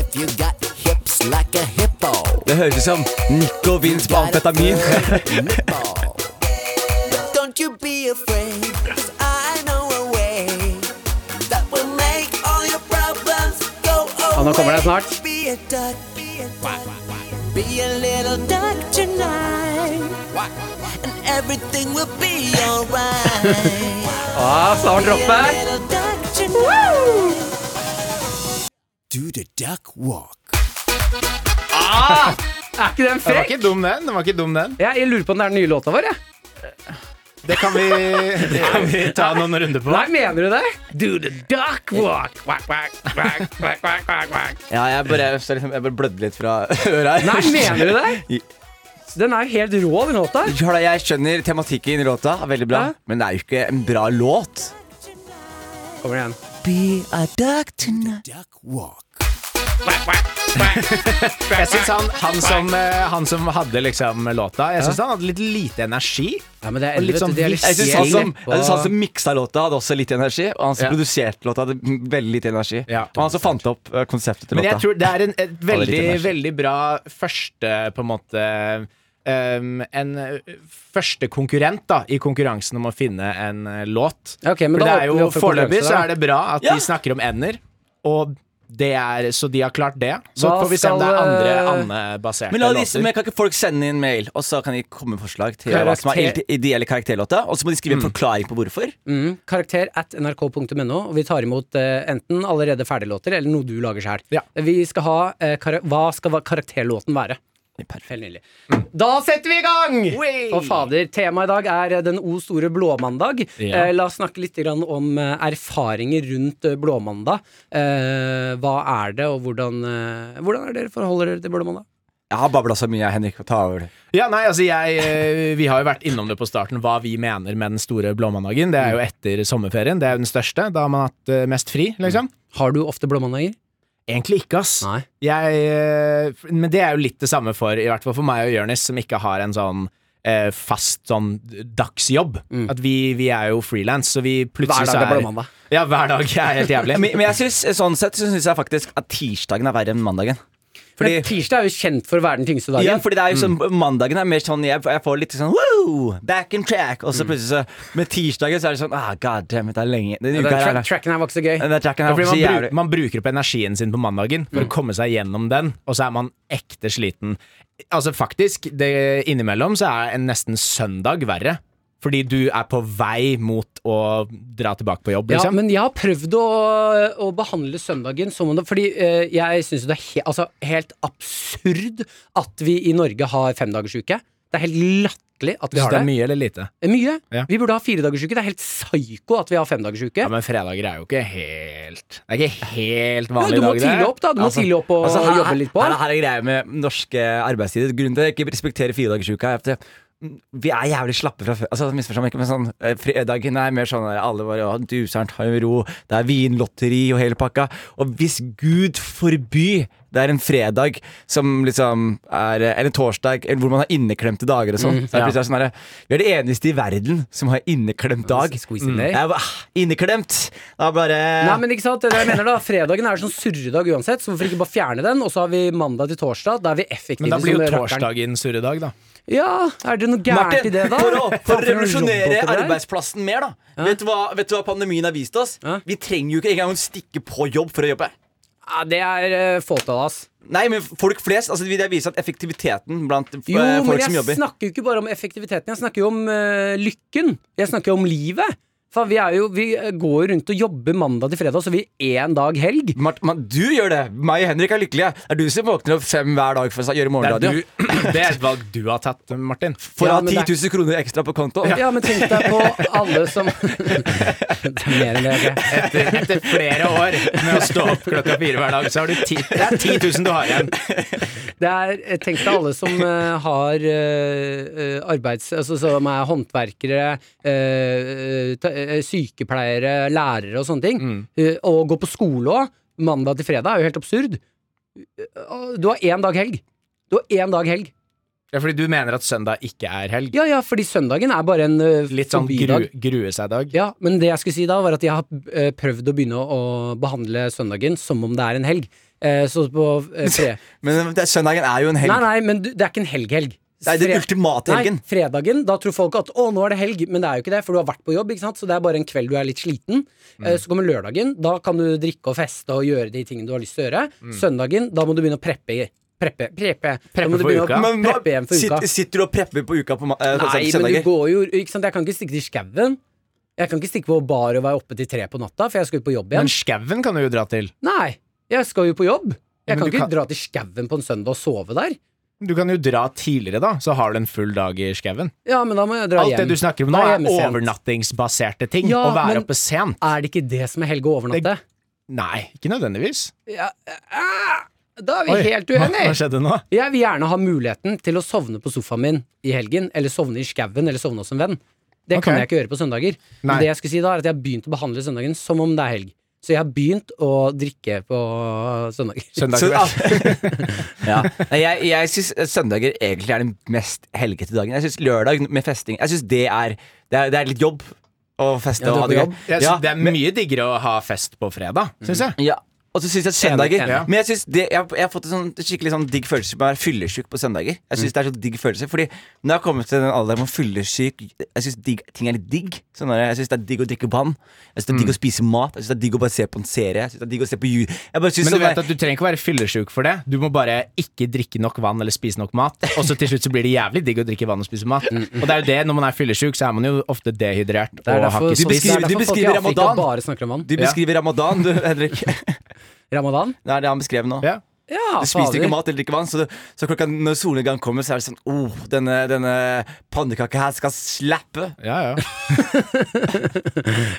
[SPEAKER 6] if you got hips like a hippo,
[SPEAKER 3] Det høres ut som Nico Vince på amfetamin.
[SPEAKER 6] nipple. Don't you be afraid, 'cause I know a way that will make all your problems go away.
[SPEAKER 2] nå kommer det snart.
[SPEAKER 6] Be a duck, be a duck, be a little duck tonight, and everything will be alright.
[SPEAKER 2] Ah, snart dropper!
[SPEAKER 6] Do the duck walk.
[SPEAKER 2] Er ikke den
[SPEAKER 4] Den var
[SPEAKER 2] frekk?
[SPEAKER 4] ikke dum, den. den, var ikke dum den.
[SPEAKER 2] Ja, jeg lurer på om det er den nye låta vår, jeg.
[SPEAKER 4] Det kan vi, det kan vi ta noen runder på.
[SPEAKER 2] Nei, mener du det? Do the duck walk. Quack, quack, quack, quack, quack, quack, quack.
[SPEAKER 3] Ja, jeg bare, jeg bare blødde litt fra øra her.
[SPEAKER 2] Nei, mener du det? Den er jo helt rå, den låta. her.
[SPEAKER 3] Hør da, Jeg skjønner tematikken i låta, er veldig bra,
[SPEAKER 2] Ja.
[SPEAKER 3] men det er jo ikke en bra låt.
[SPEAKER 2] Kommer igjen.
[SPEAKER 4] Jeg synes han, han, som, eh, han som hadde liksom låta, jeg syns han hadde litt lite energi.
[SPEAKER 2] Ja, men det er,
[SPEAKER 4] Og litt
[SPEAKER 2] vet du,
[SPEAKER 4] sånn
[SPEAKER 2] de er
[SPEAKER 4] viss-
[SPEAKER 3] Jeg synes
[SPEAKER 2] helt
[SPEAKER 3] han, som,
[SPEAKER 2] på-
[SPEAKER 3] jeg synes han som miksa låta, hadde også litt energi. Og han som
[SPEAKER 4] Ja.
[SPEAKER 3] produserte låta, hadde m- veldig lite energi.
[SPEAKER 4] Ja.
[SPEAKER 3] og han som fant opp eh, konseptet til
[SPEAKER 4] Men jeg
[SPEAKER 3] låta.
[SPEAKER 4] tror det er en, et veldig,
[SPEAKER 3] litt energi.
[SPEAKER 4] veldig bra første på en måte um, En eh, første konkurrent da i konkurransen om å finne en eh, låt.
[SPEAKER 2] Ja, ok, men
[SPEAKER 4] For
[SPEAKER 2] da
[SPEAKER 4] det er
[SPEAKER 2] åpner vi
[SPEAKER 4] jo
[SPEAKER 2] opp for
[SPEAKER 4] Foreløpig
[SPEAKER 2] konkurranse
[SPEAKER 4] så
[SPEAKER 2] der.
[SPEAKER 4] er det bra at
[SPEAKER 3] Ja.
[SPEAKER 4] de snakker om ender, og det er, så de har klart det. Så
[SPEAKER 2] Da
[SPEAKER 4] får vi se om det er
[SPEAKER 2] skal,
[SPEAKER 4] andre
[SPEAKER 2] eh,
[SPEAKER 4] Anne-baserte
[SPEAKER 3] Men la disse,
[SPEAKER 4] låter.
[SPEAKER 3] men kan ikke folk sende inn mail, og så kan de komme med forslag til hva som er
[SPEAKER 2] Karakter-
[SPEAKER 3] ide- ideelle karakterlåta? Og så må de skrive en forklaring på hvorfor.
[SPEAKER 2] mm, Karakter at nrk.no, og vi tar imot eh, enten allerede ferdiglåter eller noe du lager sjæl.
[SPEAKER 4] Ja.
[SPEAKER 2] Vi skal ha eh, kara Hva skal va- karakterlåten være? Helt nydelig. Da setter vi i gang! Og fader, temaet i dag er eh, den o store blåmandag.
[SPEAKER 4] Ja.
[SPEAKER 2] Eh, la oss snakke litt grann om eh, erfaringer rundt eh, blåmandag. Eh, hva er det, og hvordan, eh, hvordan er dere forholder dere til blåmandag?
[SPEAKER 3] Jeg har babla så mye, jeg, Henrik. Ta over.
[SPEAKER 4] Ja, nei, altså jeg, eh, Vi har jo vært innom det på starten, hva vi mener med den store blåmandagen. Det
[SPEAKER 2] Mm.
[SPEAKER 4] er jo etter sommerferien. Det er jo den største. Da har man hatt eh, mest fri, liksom.
[SPEAKER 2] Har du ofte blåmandager?
[SPEAKER 4] Egentlig ikke, ass.
[SPEAKER 2] Mm. Nei.
[SPEAKER 4] Jeg, eh, men det er jo litt det samme for I hvert fall for meg og Jonis, som ikke har en sånn eh, fast sånn dagsjobb.
[SPEAKER 2] Mm.
[SPEAKER 4] At vi, vi er jo frilans, så vi
[SPEAKER 2] Hver
[SPEAKER 4] plutselig
[SPEAKER 2] dag
[SPEAKER 4] så
[SPEAKER 2] er
[SPEAKER 4] er
[SPEAKER 2] blåmandag.
[SPEAKER 4] Ja, hver dag er helt jævlig.
[SPEAKER 3] Men, men jeg synes, sånn sett så syns jeg faktisk at tirsdagen er verre enn mandagen. Fordi,
[SPEAKER 2] Men tirsdag er jo kjent for å være den tyngste dagen.
[SPEAKER 3] ja, fordi det er jo sånn, mandagen er mer sånn jeg, jeg får litt sånn wow, back in track. Og så plutselig så Med tirsdagen så er det sånn ah, god damn it, det er lenge. Den
[SPEAKER 2] Den
[SPEAKER 3] uka her er
[SPEAKER 2] tra
[SPEAKER 3] lang.
[SPEAKER 2] tracken her var ikke så Mm. gøy.
[SPEAKER 3] Den der tracken
[SPEAKER 4] Ja,
[SPEAKER 3] her
[SPEAKER 4] fordi
[SPEAKER 3] var så
[SPEAKER 4] man,
[SPEAKER 3] jævlig.
[SPEAKER 4] bru- man bruker opp energien sin på mandagen for å komme seg gjennom den, og så er man ekte sliten. Altså faktisk, det, innimellom så er en nesten søndag verre. Fordi du er på vei mot å dra tilbake på jobb,
[SPEAKER 2] Ja,
[SPEAKER 4] liksom.
[SPEAKER 2] men jeg har prøvd å, å behandle søndagen som om det Fordi eh, jeg syns det er he, altså, helt absurd at vi i Norge har femdagersuke. Det er helt latterlig at vi
[SPEAKER 4] Syns
[SPEAKER 2] har
[SPEAKER 4] du det
[SPEAKER 2] det.
[SPEAKER 4] er mye eller lite?
[SPEAKER 2] Eh, Mye.
[SPEAKER 4] Ja.
[SPEAKER 2] Vi burde ha firedagersuke. Det er helt psyko at vi har femdagersuke.
[SPEAKER 4] Ja, men fredager er jo ikke helt Det er ikke helt
[SPEAKER 2] Ja,
[SPEAKER 4] vanlig
[SPEAKER 2] du må
[SPEAKER 4] dag, det.
[SPEAKER 2] tidlig opp, da. Du må
[SPEAKER 3] Altså-
[SPEAKER 2] tidlig opp og
[SPEAKER 3] Altså, her,
[SPEAKER 2] jobbe litt på.
[SPEAKER 3] Her, her er greia med norske arbeidstider. Grunnen til at jeg ikke respekterer firedagersuka, er at det- vi er jævlig slappe fra før. Altså, misforstå meg ikke, men sånn eh, Fredagen er mer sånn der alle bare «Å, duseren tar jo ro, det er vinlotteri og hele pakka. Og hvis Gud forby Det er en fredag som liksom er Eller en torsdag eller hvor man har inneklemte dager og
[SPEAKER 2] Mm,
[SPEAKER 3] sånn. Så er det plutselig sånn her, vi er det eneste i verden som har inneklemt dag.
[SPEAKER 2] Squeeze in there.
[SPEAKER 3] Jeg bare, ah, inneklemt! Da bare
[SPEAKER 2] Nei, men ikke sant, det er det jeg mener da Fredagen er en sånn surredag uansett, så hvorfor ikke bare fjerne den? Og så har vi mandag til torsdag, da er vi effektive.
[SPEAKER 4] Men da blir
[SPEAKER 2] som
[SPEAKER 4] jo
[SPEAKER 2] rakkeren.
[SPEAKER 4] torsdagen surredag, da.
[SPEAKER 2] Ja, er det noe gærent i
[SPEAKER 3] Martin,
[SPEAKER 2] det, da?
[SPEAKER 3] for å, for
[SPEAKER 2] Faen,
[SPEAKER 3] å
[SPEAKER 2] noe
[SPEAKER 3] revolusjonere
[SPEAKER 2] robot det der.
[SPEAKER 3] arbeidsplassen mer, da. Vet, du hva, vet du hva pandemien har vist oss?
[SPEAKER 2] Ja.
[SPEAKER 3] Vi trenger jo ikke engang å stikke på jobb for å jobbe.
[SPEAKER 2] Ja, det er eh, fåtallet, ass.
[SPEAKER 3] Nei, men folk flest altså, Det viser at effektiviteten blant eh,
[SPEAKER 2] Jo, men
[SPEAKER 3] folk som
[SPEAKER 2] jeg
[SPEAKER 3] jobber
[SPEAKER 2] snakker jo ikke bare om effektiviteten, jeg snakker jo om eh, lykken. Jeg snakker jo om livet. Faen, vi, er jo, vi eh, går jo rundt og jobber mandag til fredag, så vi har én dag helg.
[SPEAKER 3] Mart, man, du gjør det! Meg og Henrik er lykkelige. Det er du som våkner opp fem hver dag for å gjøre
[SPEAKER 4] Det er,
[SPEAKER 3] morgenradio.
[SPEAKER 4] du, det er et valg du har tatt, Martin.
[SPEAKER 3] For å
[SPEAKER 2] Ja,
[SPEAKER 3] ha
[SPEAKER 2] men
[SPEAKER 3] 10
[SPEAKER 2] det er-
[SPEAKER 3] 000 kroner ekstra på konto.
[SPEAKER 2] Ja, men tenk deg på alle som Det er mer enn det, ok.
[SPEAKER 4] Etter, etter flere år med å stå opp klokka fire hver dag, så har du ti, det er 10 000 du har igjen.
[SPEAKER 2] Det er, eh, tenk deg alle som eh, har eh, eh, arbeids... Altså som er håndverkere, eh, ta- eh, sykepleiere, lærere og sånne ting.
[SPEAKER 4] Mm.
[SPEAKER 2] Eh, og går på skole òg. Mandag til fredag er jo helt absurd. Eh, Du har én dag helg. Du har én dag helg.
[SPEAKER 4] Det er fordi du mener at søndag ikke er helg.
[SPEAKER 2] Ja, ja, fordi søndagen er bare en eh,
[SPEAKER 4] Litt sånn gru,
[SPEAKER 2] forbidag.
[SPEAKER 4] grue seg-dag.
[SPEAKER 2] Ja, men det jeg skulle si da, var at jeg har eh, prøvd å begynne å, å behandle søndagen som om det er en helg. Eh, så på eh, fre...
[SPEAKER 3] Men det, søndagen er jo en helg.
[SPEAKER 2] Nei, nei, men du- det er ikke en helg-helg.
[SPEAKER 3] Det er den
[SPEAKER 2] Fre-
[SPEAKER 3] ultimate helgen.
[SPEAKER 2] Nei, fredagen, da tror folk at å, nå er det helg, men det er jo ikke det, for du har vært på jobb, ikke sant, så det er bare en kveld du er litt sliten.
[SPEAKER 3] Mm.
[SPEAKER 2] Eh, Så kommer lørdagen, da kan du drikke og feste og gjøre de tingene du har lyst til å gjøre.
[SPEAKER 3] Mm.
[SPEAKER 2] Søndagen, da må du begynne å preppe. i- Preppe, preppe. Da må du
[SPEAKER 4] for
[SPEAKER 2] begynne å
[SPEAKER 4] uka.
[SPEAKER 3] Men hva-
[SPEAKER 2] Preppe igjen for uka.
[SPEAKER 3] sit- sitter du og prepper på uka på ma- eh,
[SPEAKER 2] Nei, men du
[SPEAKER 3] søndager?
[SPEAKER 2] går jo ikke sant? Jeg kan ikke stikke til skauen. Jeg kan ikke stikke på bar og være oppe til tre på natta, for jeg skal jo på jobb igjen.
[SPEAKER 4] Men skauen kan du jo dra til.
[SPEAKER 2] Nei, jeg skal jo på jobb. Jeg
[SPEAKER 4] men
[SPEAKER 2] kan
[SPEAKER 4] du
[SPEAKER 2] ikke
[SPEAKER 4] kan-
[SPEAKER 2] dra til skauen på en søndag og sove der.
[SPEAKER 4] Du kan jo dra tidligere, da, så har du en full dag i skauen.
[SPEAKER 2] Ja, men da må jeg dra
[SPEAKER 4] Alt det
[SPEAKER 2] hjem.
[SPEAKER 4] du snakker om nå,
[SPEAKER 2] Da
[SPEAKER 4] er
[SPEAKER 2] jeg hjemme sent.
[SPEAKER 4] overnattingsbaserte ting.
[SPEAKER 2] Ja,
[SPEAKER 4] å være
[SPEAKER 2] men-
[SPEAKER 4] oppe sent.
[SPEAKER 2] Er det ikke det som er helg å overnatte?
[SPEAKER 4] Nei, ikke nødvendigvis.
[SPEAKER 2] Ja, ah, da er vi
[SPEAKER 4] Oi,
[SPEAKER 2] helt
[SPEAKER 4] hva, hva
[SPEAKER 2] uenige!
[SPEAKER 4] skjedde nå?
[SPEAKER 2] Jeg vil gjerne ha muligheten til å sovne på sofaen min i helgen, eller sovne i skauen, eller sovne hos en venn. Det
[SPEAKER 4] Ok.
[SPEAKER 2] kan jeg ikke gjøre på søndager.
[SPEAKER 4] Nei.
[SPEAKER 2] Men det jeg skulle si da, er at jeg har begynt å behandle søndagen som om det er helg. Så jeg har begynt å drikke på søndager.
[SPEAKER 4] Søndag
[SPEAKER 3] Så-
[SPEAKER 4] kveld.
[SPEAKER 3] ja. Nei, Jeg, jeg syns søndager egentlig er den mest helgete dagen. Jeg syns lørdag med festing Jeg synes det, er, det, er, det er litt jobb å feste
[SPEAKER 2] Ja, du
[SPEAKER 3] og
[SPEAKER 2] er
[SPEAKER 3] ha det
[SPEAKER 2] på
[SPEAKER 3] gøy.
[SPEAKER 2] jobb.
[SPEAKER 4] Jeg
[SPEAKER 3] Ja,
[SPEAKER 4] synes det er mye diggere å ha fest på fredag, syns jeg.
[SPEAKER 3] ja. Og så syns jeg søndager
[SPEAKER 2] Enig, enig.
[SPEAKER 3] Men jeg synes det, jeg, jeg har fått en sånn, skikkelig sånn digg følelse med å være fyllesyk på søndager. Jeg
[SPEAKER 4] Mm.
[SPEAKER 3] synes det er så digg følelse Fordi når jeg har kommet til den alderen hvor fyllesyk Jeg syns ting er litt digg. Sånn er det. jeg syns det er digg å drikke vann. Jeg synes det er digg
[SPEAKER 4] Mm.
[SPEAKER 3] å spise mat. Jeg synes det er digg å bare se på en serie. Jeg synes det er digg å se på ju- Jeg bare
[SPEAKER 4] Men
[SPEAKER 3] synes
[SPEAKER 4] du
[SPEAKER 3] sånn
[SPEAKER 4] vet
[SPEAKER 3] der-
[SPEAKER 4] at du trenger ikke være fyllesyk for det. Du må bare ikke drikke nok vann eller spise nok mat. Og så til slutt så blir det jævlig digg å drikke vann og spise mat. Og det er jo det, når man er fyllesyk, så er man jo ofte dehydrert
[SPEAKER 2] Det er
[SPEAKER 4] og har
[SPEAKER 2] derfor,
[SPEAKER 4] ikke
[SPEAKER 2] sånn-
[SPEAKER 4] spist.
[SPEAKER 2] det er derfor folk
[SPEAKER 3] Du
[SPEAKER 2] i
[SPEAKER 3] beskriver
[SPEAKER 2] Afrika
[SPEAKER 3] ramadan.
[SPEAKER 2] bare snakker om vann.
[SPEAKER 3] Du beskriver ramadan, du, Henrik. Det
[SPEAKER 2] Ramadan?
[SPEAKER 3] er det han beskrev nå.
[SPEAKER 4] Ja.
[SPEAKER 2] Ja,
[SPEAKER 3] Du spiste
[SPEAKER 2] fader.
[SPEAKER 3] ikke mat eller ikke vann, så, det- så klokka når solnedgang kommer, så er det sånn oh, denne, denne pannekaka her skal slappe.
[SPEAKER 4] Ja, ja.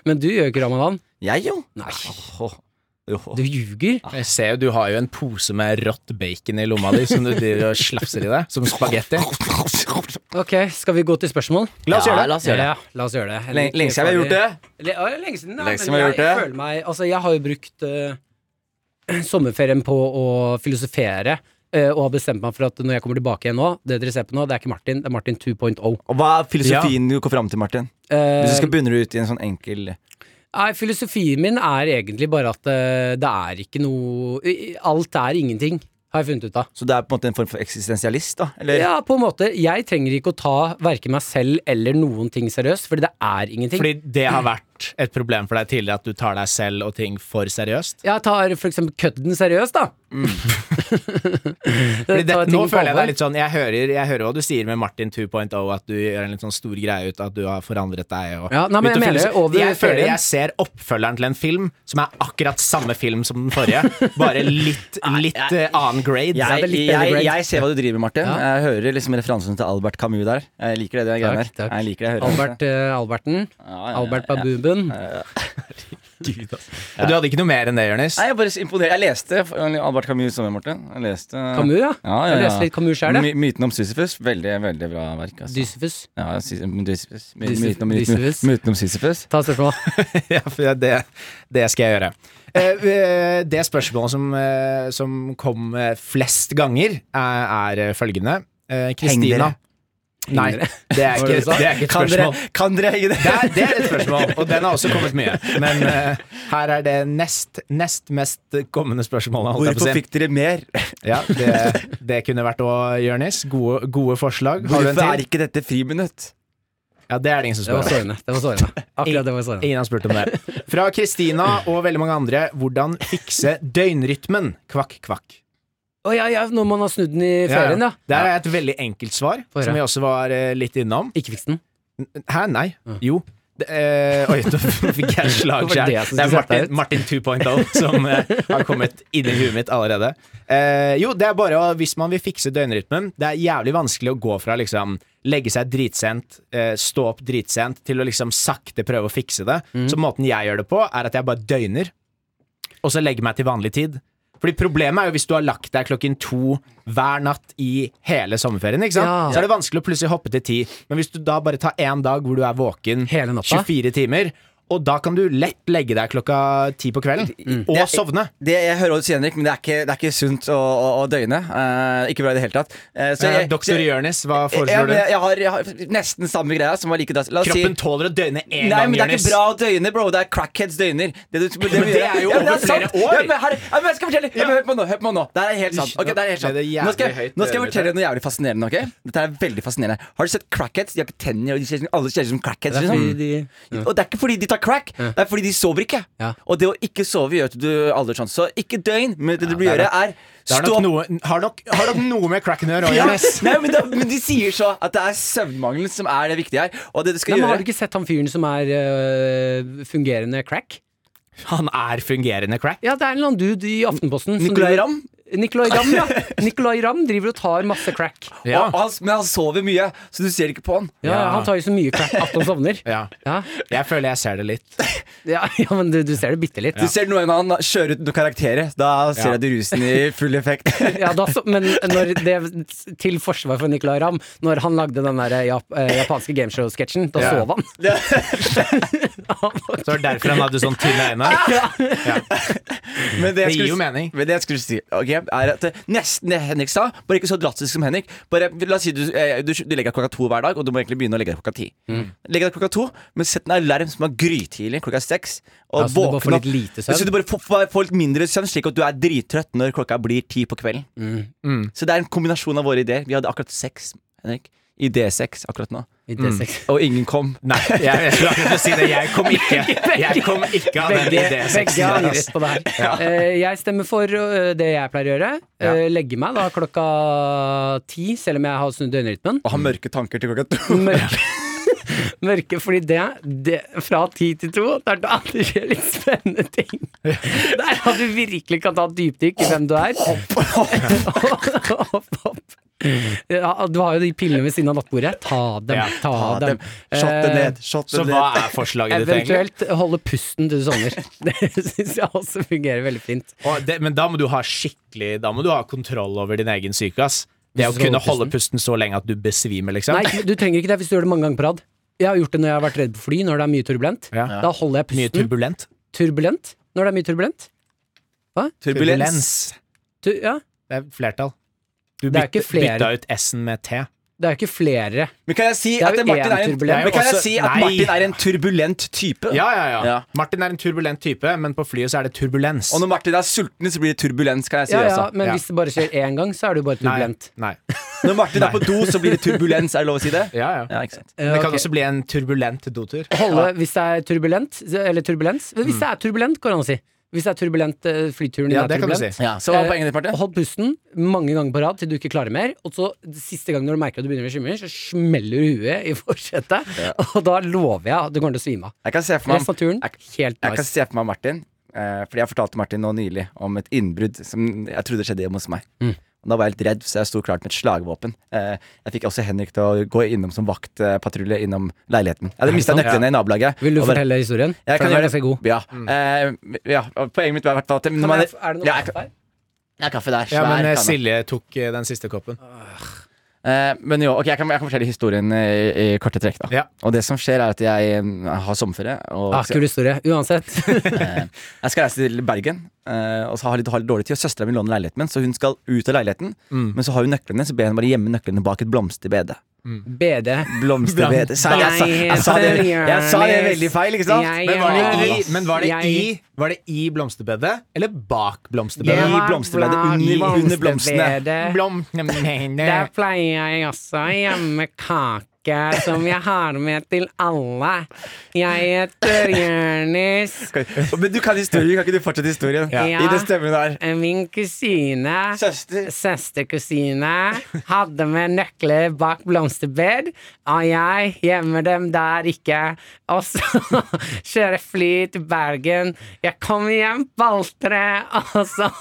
[SPEAKER 2] Men du gjør ikke ramadan.
[SPEAKER 3] Jeg, jo.
[SPEAKER 2] Nei.
[SPEAKER 3] Åh, jo.
[SPEAKER 2] Du ljuger.
[SPEAKER 4] Jeg ser jo du har jo en pose med rått bacon i lomma di som du driver og slafser i deg, som spagetti.
[SPEAKER 2] Ok, skal vi gå til spørsmål?
[SPEAKER 4] La oss gjøre det.
[SPEAKER 3] Ja, la oss gjøre det.
[SPEAKER 2] Ja, la oss gjøre det.
[SPEAKER 3] Lenge, lenge siden jeg har gjort det.
[SPEAKER 2] Le- ja, Lenge siden, ja,
[SPEAKER 3] Lenge siden
[SPEAKER 2] men jeg,
[SPEAKER 3] jeg har gjort det.
[SPEAKER 2] føler meg Altså, jeg har jo brukt eh, sommerferien på å filosofere. eh, og har bestemt meg for at når jeg kommer tilbake igjen nå Det dere ser på nå, det er ikke Martin, det er Martin oh. 2.0.
[SPEAKER 3] Og hva er filosofien du går fram til, Martin?
[SPEAKER 2] Eh,
[SPEAKER 3] Hvis du skal begynne det ut i en sånn enkel
[SPEAKER 2] Nei, filosofien min er egentlig bare at eh, det er ikke noe i- i- Alt er ingenting, har jeg funnet ut av.
[SPEAKER 3] Så det er på en måte en form for eksistensialist, da? Eller?
[SPEAKER 2] Ja, på en måte. Jeg trenger ikke å ta verken meg selv eller noen ting seriøst, fordi det er ingenting.
[SPEAKER 4] Fordi det har vært et problem for deg tidligere, at du tar deg selv og ting for seriøst.
[SPEAKER 2] Jeg tar for eksempel kødden seriøst, da.
[SPEAKER 4] Fordi det,
[SPEAKER 2] Tar ting
[SPEAKER 4] nå
[SPEAKER 2] på
[SPEAKER 4] føler jeg det
[SPEAKER 2] alvor.
[SPEAKER 4] er litt sånn jeg hører, jeg hører hva du sier med Martin 2.0, at du gjør en litt sånn stor greie ut av at du har forandret deg. Og,
[SPEAKER 2] Ja, nei, men
[SPEAKER 4] ut og
[SPEAKER 2] jeg mener
[SPEAKER 4] filosof-
[SPEAKER 2] over
[SPEAKER 4] jeg føler
[SPEAKER 2] ferien.
[SPEAKER 4] jeg ser oppfølgeren til en film som er akkurat samme film som den forrige, bare litt, litt eh, annen grade.
[SPEAKER 2] Ja, det er
[SPEAKER 3] Jeg,
[SPEAKER 2] litt
[SPEAKER 3] jeg,
[SPEAKER 2] bedre grade.
[SPEAKER 3] jeg ser hva du driver med, Martin.
[SPEAKER 2] Ja.
[SPEAKER 3] Jeg hører liksom referansen til Albert Camus der. Jeg liker det. det greiene
[SPEAKER 2] Takk,
[SPEAKER 3] der.
[SPEAKER 2] takk.
[SPEAKER 3] Jeg liker det, jeg hører det.
[SPEAKER 2] Albert eh, Alberten.
[SPEAKER 3] Ja, ja, ja,
[SPEAKER 2] Albert
[SPEAKER 3] ja.
[SPEAKER 2] Babuben.
[SPEAKER 4] Herregud, ass. Og Du hadde ikke noe mer enn det, Jonis?
[SPEAKER 3] Nei, jeg er bare så imponert. Jeg leste Albert Camus sommer, Morten. Jeg leste
[SPEAKER 2] Camus, ja.
[SPEAKER 3] Ja, ja,
[SPEAKER 2] Jeg
[SPEAKER 3] ja.
[SPEAKER 2] leste litt Camus selv, jeg.
[SPEAKER 3] My- Myten om Sisyfus. Veldig, veldig bra verk. Altså.
[SPEAKER 2] Dysifus.
[SPEAKER 3] Ja, Sys- Sisyfus. My-
[SPEAKER 2] Dysif-
[SPEAKER 3] Myten om- myten-
[SPEAKER 2] Dysifus.
[SPEAKER 3] myten om Sisyfus.
[SPEAKER 2] Ta spørsmål.
[SPEAKER 4] Ja, for det, det skal jeg gjøre. Eh, eh, det spørsmålet som, eh, som kom eh, flest ganger, er, er følgende. Eh, Kristina. Nei,
[SPEAKER 2] dere.
[SPEAKER 4] det er
[SPEAKER 2] Hva var det
[SPEAKER 4] ikke,
[SPEAKER 2] du sa?
[SPEAKER 4] det er ikke et
[SPEAKER 3] Kan dere,
[SPEAKER 4] spørsmål.
[SPEAKER 3] kan dere henge det?
[SPEAKER 4] Det er, det er et spørsmål, og den har også kommet mye. Men eh, her er det nest, nest mest kommende spørsmålet. holdt jeg på å
[SPEAKER 3] Hvorfor
[SPEAKER 4] si.
[SPEAKER 3] fikk dere mer?
[SPEAKER 4] Ja, det, det kunne vært òg, Jonis. Gode, gode forslag. Har du en
[SPEAKER 3] Hvorfor er
[SPEAKER 4] til?
[SPEAKER 3] ikke dette friminutt?
[SPEAKER 4] Ja, det er det ingen som
[SPEAKER 2] Det var
[SPEAKER 4] spør om.
[SPEAKER 2] sårende. Det var sårende. Akkurat det var sårende.
[SPEAKER 4] Ingen har spurt om det. Fra Kristina og veldig mange andre. Hvordan fikse døgnrytmen? Kvakk, kvakk.
[SPEAKER 2] Å ja, ja, når man har snudd den i ferien, ja.
[SPEAKER 4] Der er et veldig enkelt svar,
[SPEAKER 2] Få høre.
[SPEAKER 4] som vi også var eh, litt innom.
[SPEAKER 2] Ikke fiks den.
[SPEAKER 4] Hæ, nei? Jo. Det, eh, oi, nå fikk jeg slag
[SPEAKER 2] Det var
[SPEAKER 4] sjøl.
[SPEAKER 2] det som
[SPEAKER 4] Det er
[SPEAKER 2] skulle sette deg
[SPEAKER 4] Martin,
[SPEAKER 2] ut.
[SPEAKER 4] Martin 2.0 som eh, har kommet inn i huet mitt allerede. Eh, jo, det er bare å, hvis man vil fikse døgnrytmen Det er jævlig vanskelig å gå fra liksom legge seg dritsent, eh, stå opp dritsent, til å liksom sakte prøve å fikse det.
[SPEAKER 2] Mm.
[SPEAKER 4] Så måten jeg gjør det på, er at jeg bare døgner, og så legger meg til vanlig tid. Fordi Problemet er jo hvis du har lagt deg klokken to hver natt i hele sommerferien. ikke sant?
[SPEAKER 2] Ja.
[SPEAKER 4] Så er det vanskelig å plutselig hoppe til ti. Men hvis du da bare tar én dag hvor du er våken
[SPEAKER 2] Hele natta?
[SPEAKER 4] 24 timer, og da kan du lett legge deg klokka ti på kvelden og sovne.
[SPEAKER 3] Mm. Det, jeg hører hva du sier, Henrik, men det er ikke, det er ikke sunt å, å, å døgne. Eh, ikke bra i det hele tatt. Eh, så
[SPEAKER 4] Eh,
[SPEAKER 3] jeg-
[SPEAKER 4] Doktor Jonis, hva
[SPEAKER 3] Ja,
[SPEAKER 4] foreslår
[SPEAKER 3] men jeg,
[SPEAKER 4] du?
[SPEAKER 3] jeg, har, jeg har nesten samme greia som var like dass. La oss
[SPEAKER 4] Kroppen
[SPEAKER 3] si
[SPEAKER 4] tåler å døgne én
[SPEAKER 3] Nei,
[SPEAKER 4] gang,
[SPEAKER 3] men det er
[SPEAKER 4] Jonis.
[SPEAKER 3] ikke bra å døgne, bro. Det er crackheads døgner. Det, du, det,
[SPEAKER 4] men det er jo over flere år.
[SPEAKER 3] Ja, men, her, ja, men jeg skal fortelle ja, men Hør på nå. hør på nå Det her er helt sant. Ok, det er helt sant
[SPEAKER 4] Ble det jævlig
[SPEAKER 3] Nå skal, jeg-
[SPEAKER 4] høyt,
[SPEAKER 3] nå skal jeg
[SPEAKER 4] Øyvind?
[SPEAKER 3] fortelle deg noe jævlig fascinerende. ok? Dette er veldig fascinerende Har du sett crackheads? De har ikke tenner, og de ser, som- alle ser ut som crackheads.
[SPEAKER 2] Det er fordi
[SPEAKER 3] Liksom.
[SPEAKER 2] de
[SPEAKER 3] Og det er ikke fordi de tar crack, det er fordi de sover ikke.
[SPEAKER 2] Ja.
[SPEAKER 3] Og det å ikke sove gjør at du aldri sånn. Så ikke døgn, men det du bør gjøre, er
[SPEAKER 4] Det har
[SPEAKER 3] stå
[SPEAKER 4] nok
[SPEAKER 3] opp
[SPEAKER 4] noe, har nok, har nok noe med cracken å gjøre,
[SPEAKER 3] ja.
[SPEAKER 4] Jonis.
[SPEAKER 3] Nei, men, da, men de sier så at det er søvnmangelen som er det viktige her. Og det du skal
[SPEAKER 2] Nei, men Har
[SPEAKER 3] gjøre
[SPEAKER 2] du ikke sett han fyren som er øh, fungerende crack?
[SPEAKER 4] Han er fungerende crack.
[SPEAKER 2] Ja, det er en eller annen dude i Aftenposten. som
[SPEAKER 3] Nicolai
[SPEAKER 2] driver-
[SPEAKER 3] Ramm?
[SPEAKER 2] Nicolai Ramm, ja. Nicolai Ramm driver og tar masse crack.
[SPEAKER 4] Ja.
[SPEAKER 3] Og han, men han sover mye, så du ser ikke på han.
[SPEAKER 2] Ja,
[SPEAKER 4] Ja.
[SPEAKER 2] Han tar jo så mye crack at han sovner.
[SPEAKER 4] Ja.
[SPEAKER 2] Ja,
[SPEAKER 4] Jeg føler jeg ser det litt.
[SPEAKER 2] ja, ja men du, du ser det bitte litt.
[SPEAKER 3] Du ser noen av han kjører ut noen karakterer. Da ser
[SPEAKER 4] Ja.
[SPEAKER 3] jeg at rusen i full effekt.
[SPEAKER 2] Ja, da, så- men når det, til forsvar for Nicolai Ramm, når han lagde den der jap, eh, japanske gameshow-sketsjen, da
[SPEAKER 4] Ja.
[SPEAKER 2] sov han.
[SPEAKER 4] Så det var derfor han hadde sånn tynne øyne.
[SPEAKER 3] Men
[SPEAKER 4] Det
[SPEAKER 3] jeg skulle
[SPEAKER 4] gir jo
[SPEAKER 3] si-
[SPEAKER 4] mening.
[SPEAKER 3] Men det jeg skulle si, ok, er at eh, nesten det Henrik sa, bare ikke så drastisk som Henrik. Bare, la oss si du, eh, du, du legger deg klokka to hver dag, og du må egentlig begynne å legge deg klokka ti.
[SPEAKER 2] Mm.
[SPEAKER 3] Legge deg klokka to, men sett en alarm som er grytidlig klokka seks. Og
[SPEAKER 2] Ja, så du bare får
[SPEAKER 3] våkne opp.
[SPEAKER 2] litt lite søvn?
[SPEAKER 3] Så du bare får, får- får litt mindre søvn, slik at du er drittrøtt når klokka blir ti på kvelden.
[SPEAKER 2] Mm.
[SPEAKER 3] Så det er en kombinasjon av våre ideer. Vi hadde akkurat sex, Henrik. Idé-sex akkurat nå.
[SPEAKER 2] I
[SPEAKER 4] Mm.
[SPEAKER 2] D6.
[SPEAKER 3] Og ingen kom.
[SPEAKER 4] Nei, jeg, jeg skulle akkurat til å si det. Jeg kom ikke Jeg kom ikke av den
[SPEAKER 2] Begge begge
[SPEAKER 4] idésexen. der, ass.
[SPEAKER 2] angret på det her. Eh, Jeg stemmer for eh, det jeg pleier å gjøre. Eh, Legge meg da klokka ti, selv om jeg har snudd døgnrytmen.
[SPEAKER 3] Og ha mørke tanker til klokka to.
[SPEAKER 2] Mørke. Mørke, fordi det, det Fra ti til to, det er da det skjer litt spennende ting. Det er da du virkelig kan ta et dypdykk i hvem du er. Hopp, hopp. Ja, du har jo de pillene ved siden av nattbordet. Ta dem,
[SPEAKER 4] Ja,
[SPEAKER 2] ta,
[SPEAKER 3] Ta dem.
[SPEAKER 2] dem.
[SPEAKER 3] Shot det
[SPEAKER 2] Eh,
[SPEAKER 3] ned. Shot
[SPEAKER 4] Så
[SPEAKER 3] det
[SPEAKER 4] hva
[SPEAKER 3] ned.
[SPEAKER 4] er forslaget ditt, egentlig?
[SPEAKER 2] Eventuelt holde pusten til du sovner. Det syns jeg også fungerer veldig fint.
[SPEAKER 4] Og det, men da må du ha skikkelig Da må du ha kontroll over din egen syke, ass. Det å
[SPEAKER 2] Hvis du skal
[SPEAKER 4] kunne
[SPEAKER 2] holde
[SPEAKER 4] holde pusten så lenge at du besvimer, liksom.
[SPEAKER 2] Nei, du trenger ikke det hvis du gjør det mange ganger på rad. Jeg har gjort det når jeg har vært redd på fly, når det er mye turbulent.
[SPEAKER 4] Ja.
[SPEAKER 2] Da holder jeg
[SPEAKER 4] Mye
[SPEAKER 2] pusten.
[SPEAKER 4] turbulent.
[SPEAKER 2] Turbulent? Når det er mye turbulent?
[SPEAKER 3] Turbulens.
[SPEAKER 2] Tu ja.
[SPEAKER 4] Det er flertall. Du
[SPEAKER 2] Det er
[SPEAKER 4] bytte-
[SPEAKER 2] ikke flere.
[SPEAKER 4] bytta ut S-en med T.
[SPEAKER 2] Det er jo ikke flere.
[SPEAKER 3] Men kan jeg si
[SPEAKER 2] er
[SPEAKER 3] at
[SPEAKER 2] jo
[SPEAKER 3] Martin
[SPEAKER 2] én
[SPEAKER 3] er en,
[SPEAKER 2] turbulent.
[SPEAKER 3] men kan jeg
[SPEAKER 4] Også-
[SPEAKER 3] si at
[SPEAKER 4] Nei.
[SPEAKER 3] Martin er en turbulent type?
[SPEAKER 4] Ja, ja, ja,
[SPEAKER 3] Ja.
[SPEAKER 4] Martin er en turbulent type, men på flyet så er det turbulens.
[SPEAKER 3] Og når Martin er sulten, så blir det turbulens. Kan jeg altså. si
[SPEAKER 2] Ja, ja,
[SPEAKER 3] også
[SPEAKER 2] men
[SPEAKER 4] Ja.
[SPEAKER 2] hvis det bare skjer én gang, så er det jo bare
[SPEAKER 4] Nei,
[SPEAKER 2] turbulent.
[SPEAKER 4] Nei.
[SPEAKER 3] Når Martin er på do, så blir det turbulens. Er det lov å si det?
[SPEAKER 4] Ja, ja.
[SPEAKER 3] Ja, ikke sant
[SPEAKER 2] Eh,
[SPEAKER 4] Det kan
[SPEAKER 2] ok.
[SPEAKER 4] også bli en turbulent dotur.
[SPEAKER 2] Holde hvis det er turbulent, eller turbulens. Hvis det er turbulent, går det an å si. Hvis det er turbulent, eh, flyturen
[SPEAKER 4] Ja,
[SPEAKER 2] er
[SPEAKER 4] det kan du
[SPEAKER 2] turbulent.
[SPEAKER 4] si.
[SPEAKER 3] ja, Så
[SPEAKER 2] Eh,
[SPEAKER 3] hva er poenget ditt, Martin?
[SPEAKER 2] Hold pusten mange ganger på rad til du ikke klarer mer. Og så siste gang når du merker at du begynner å svime, så smeller du huet i forsetet. Og da lover jeg at du kommer til å svime av.
[SPEAKER 3] Jeg kan se for meg
[SPEAKER 2] Resten av turen,
[SPEAKER 3] jeg,
[SPEAKER 2] helt
[SPEAKER 3] jeg kan
[SPEAKER 2] nice.
[SPEAKER 3] se for
[SPEAKER 2] Mm.
[SPEAKER 3] meg Martin eh, Fordi jeg fortalte Martin nå nylig om et innbrudd som jeg trodde skjedde hjemme hos meg. Da var jeg litt redd, så jeg sto klart med et slagvåpen. Eh, jeg fikk også Henrik til å gå innom som vaktpatrulje innom leiligheten. Jeg hadde mista
[SPEAKER 2] sant?
[SPEAKER 3] nøklene i nabolaget.
[SPEAKER 2] Vil du
[SPEAKER 3] og bare-
[SPEAKER 2] fortelle historien?
[SPEAKER 3] Jeg
[SPEAKER 2] For
[SPEAKER 3] kan
[SPEAKER 2] den er
[SPEAKER 3] gjøre
[SPEAKER 2] ganske god. Mm.
[SPEAKER 3] Ja. Eh, ja. Poenget mitt var i hvert fall at når man- Ja, jeg-
[SPEAKER 2] feil?
[SPEAKER 3] Det er kaffe der.
[SPEAKER 4] Ja,
[SPEAKER 3] Svær
[SPEAKER 4] men eh,
[SPEAKER 3] kanne.
[SPEAKER 4] Silje tok eh, den siste koppen.
[SPEAKER 3] Eh, men jo, ok, jeg kan, jeg kan fortelle historien i, i korte trekk. da
[SPEAKER 4] Ja.
[SPEAKER 3] Og det som skjer, er at jeg mm, har sommerferie. Og Eh,
[SPEAKER 2] Ah, kul historie. Uansett.
[SPEAKER 3] Jeg skal reise til Bergen eh, og så har jeg litt, har litt dårlig tid. Og Søstera mi låner leiligheten min, så hun skal ut av leiligheten.
[SPEAKER 2] Mm.
[SPEAKER 3] Men så har hun nøklene, så ber jeg henne bare gjemme nøklene bak et blomsterbede.
[SPEAKER 2] BD.
[SPEAKER 3] Blomsterbede Sa- jeg, sa, jeg, sa det, jeg sa det veldig feil, ikke sant?
[SPEAKER 2] Jeg
[SPEAKER 3] Men var det i,
[SPEAKER 2] er-
[SPEAKER 4] Men var det i,
[SPEAKER 2] Jeg-
[SPEAKER 4] var det i blomsterbedet, eller bak
[SPEAKER 3] Det
[SPEAKER 4] blomsterbedet?
[SPEAKER 3] var- blomsterbedet, under- under blomstene.
[SPEAKER 2] Der
[SPEAKER 4] Blomsterbedet.
[SPEAKER 2] pleier jeg også å gjemme kake, som jeg har med til alle. Jeg heter Jonis.
[SPEAKER 3] Men du kan historien, kan ikke du fortsette historien?
[SPEAKER 2] Ja.
[SPEAKER 3] I det stemmen der.
[SPEAKER 2] Min kusine
[SPEAKER 3] Søster.
[SPEAKER 2] Søsterkusine hadde med nøkler bak blomsterbed, og jeg gjemmer dem der ikke. Og så kjører jeg fly til Bergen. Jeg kommer hjem baltere, og så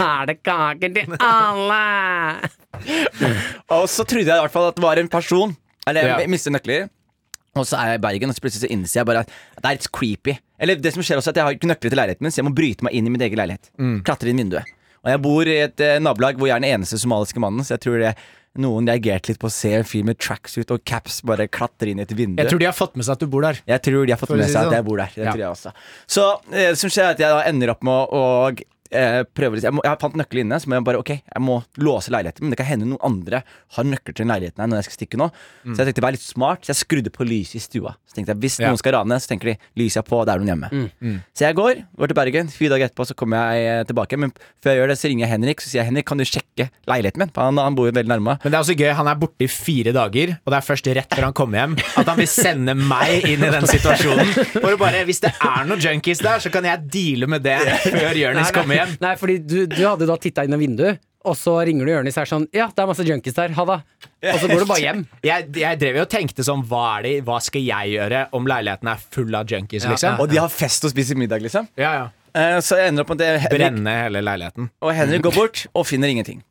[SPEAKER 2] er det kaker til alle!
[SPEAKER 3] Og så trodde jeg i hvert fall at det var en person. Eller
[SPEAKER 4] Ja.
[SPEAKER 3] jeg mister nøkler. Og så er jeg i Bergen, og så plutselig så innser jeg bare at det er litt creepy. Eller det som skjer også er at jeg har ikke nøkler til leiligheten min, så jeg må bryte meg inn i min egen leilighet.
[SPEAKER 4] Mm.
[SPEAKER 3] Klatre inn vinduet. Og jeg bor i et eh, nabolag hvor jeg er den eneste somaliske mannen, så jeg tror det noen reagerte litt på å se en fyr med tracksuit og caps bare klatre inn i et vindu.
[SPEAKER 4] Jeg tror de har fått med seg at du bor der.
[SPEAKER 3] Jeg tror de har fått
[SPEAKER 4] For å
[SPEAKER 3] med
[SPEAKER 4] si
[SPEAKER 3] seg
[SPEAKER 4] det
[SPEAKER 3] at
[SPEAKER 4] sånn.
[SPEAKER 3] jeg bor der. Det
[SPEAKER 4] Ja.
[SPEAKER 3] tror jeg også. Så eh, det som skjer, er at jeg da ender opp med å og, eh, prøve litt. Jeg, må, jeg har fant nøkkel inne, så må jeg bare ok, jeg må låse leiligheten. Men det kan hende noen andre har nøkkel til den leiligheten her når jeg skal stikke nå. Så jeg tenkte vær litt smart, så jeg skrudde på lyset i stua. Så tenkte jeg hvis
[SPEAKER 4] Mm. Ja. Mm.
[SPEAKER 3] noen skal rane, så tenker de lyset er på, det er noen hjemme. Så jeg går, går til Bergen. Fire dager etterpå så kommer jeg eh, tilbake. Men før jeg gjør det, så ringer jeg Henrik, så sier jeg Henrik, kan du sjekke leiligheten min? For Han, han bor jo veldig nærme.
[SPEAKER 4] Men det er også gøy, han er borte i fire dager, og det er først rett før han kommer hjem at han vil sende meg inn i den situasjonen. For å bare, Hvis det er noen junkies der, så kan jeg deale med det før Jonis kommer hjem.
[SPEAKER 2] Nei, fordi du, du hadde da titta inn av vinduet, og så ringer du Jonis her sånn Ja, det er masse junkies der, ha det. Og så går du bare hjem.
[SPEAKER 4] Jeg, jeg drev jo og tenkte sånn Hva er det, hva skal jeg gjøre om leiligheten er full av junkies, liksom?
[SPEAKER 3] Og de har fest og spiser middag, liksom.
[SPEAKER 4] Ja, ja.
[SPEAKER 3] Eh, Så jeg ender opp med at det- Henrik
[SPEAKER 4] Brenne hele leiligheten.
[SPEAKER 3] Og Henrik
[SPEAKER 2] Mm.
[SPEAKER 3] går bort og finner ingenting.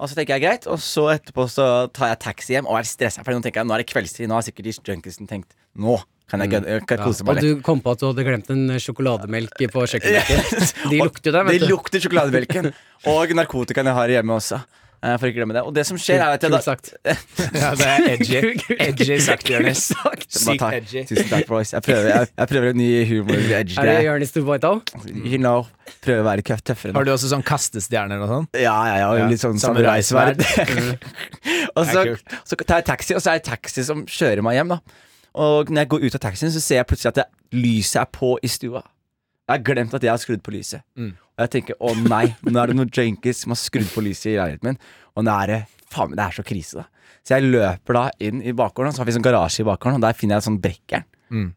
[SPEAKER 3] Og så tenker jeg greit, og så etterpå så tar jeg taxi hjem og er stressa. For nå tenker jeg, nå er det kveldstid, nå har sikkert de junkiesen tenkt Nå kan jeg, gønne- kan jeg kose
[SPEAKER 2] Mm. Og
[SPEAKER 3] meg litt.
[SPEAKER 2] du kom på at du hadde glemt en sjokolademelk på kjøkkenbenken. De
[SPEAKER 3] Og
[SPEAKER 2] lukter det, vet
[SPEAKER 3] de
[SPEAKER 2] du.
[SPEAKER 3] lukter sjokolademelken. Og narkotikaen jeg har hjemme også. eh, For ikke å glemme det. Og det som skjer, er at jeg
[SPEAKER 2] Kult
[SPEAKER 3] da
[SPEAKER 2] sagt.
[SPEAKER 4] Ja, det er edgy.
[SPEAKER 2] Kult-
[SPEAKER 4] Edgy sagt, Jonis.
[SPEAKER 3] Bare
[SPEAKER 4] Sykt
[SPEAKER 3] takk.
[SPEAKER 4] edgy.
[SPEAKER 3] Tusen takk, boys. Jeg prøver, jeg, jeg prøver en ny
[SPEAKER 2] Er det
[SPEAKER 3] humor-edge-greie.
[SPEAKER 2] Jonis Tuvoitao?
[SPEAKER 3] You know, prøver å være køff- tøffere. nå.
[SPEAKER 4] Har du også sånn kastestjerner og sånn?
[SPEAKER 3] Ja, ja, ja,
[SPEAKER 4] Ja,
[SPEAKER 3] litt sånn samuraisverd.
[SPEAKER 4] samuraisverd.
[SPEAKER 3] og så,
[SPEAKER 4] Det er kult.
[SPEAKER 3] så tar jeg taxi, og så er det taxi som kjører meg hjem, da. Og når jeg går ut av taxien, så ser jeg plutselig at det, lyset er på i stua. Jeg har glemt at jeg har skrudd på lyset.
[SPEAKER 4] Mm.
[SPEAKER 3] Og jeg tenker å nei, nå er det noen junkies som har skrudd på lyset i leiligheten min. Og nå er det faen meg, det er så krise, da. Så jeg løper da inn i bakgården, og så har vi sånn garasje i bakgården, og der finner jeg et sånt brekkjern.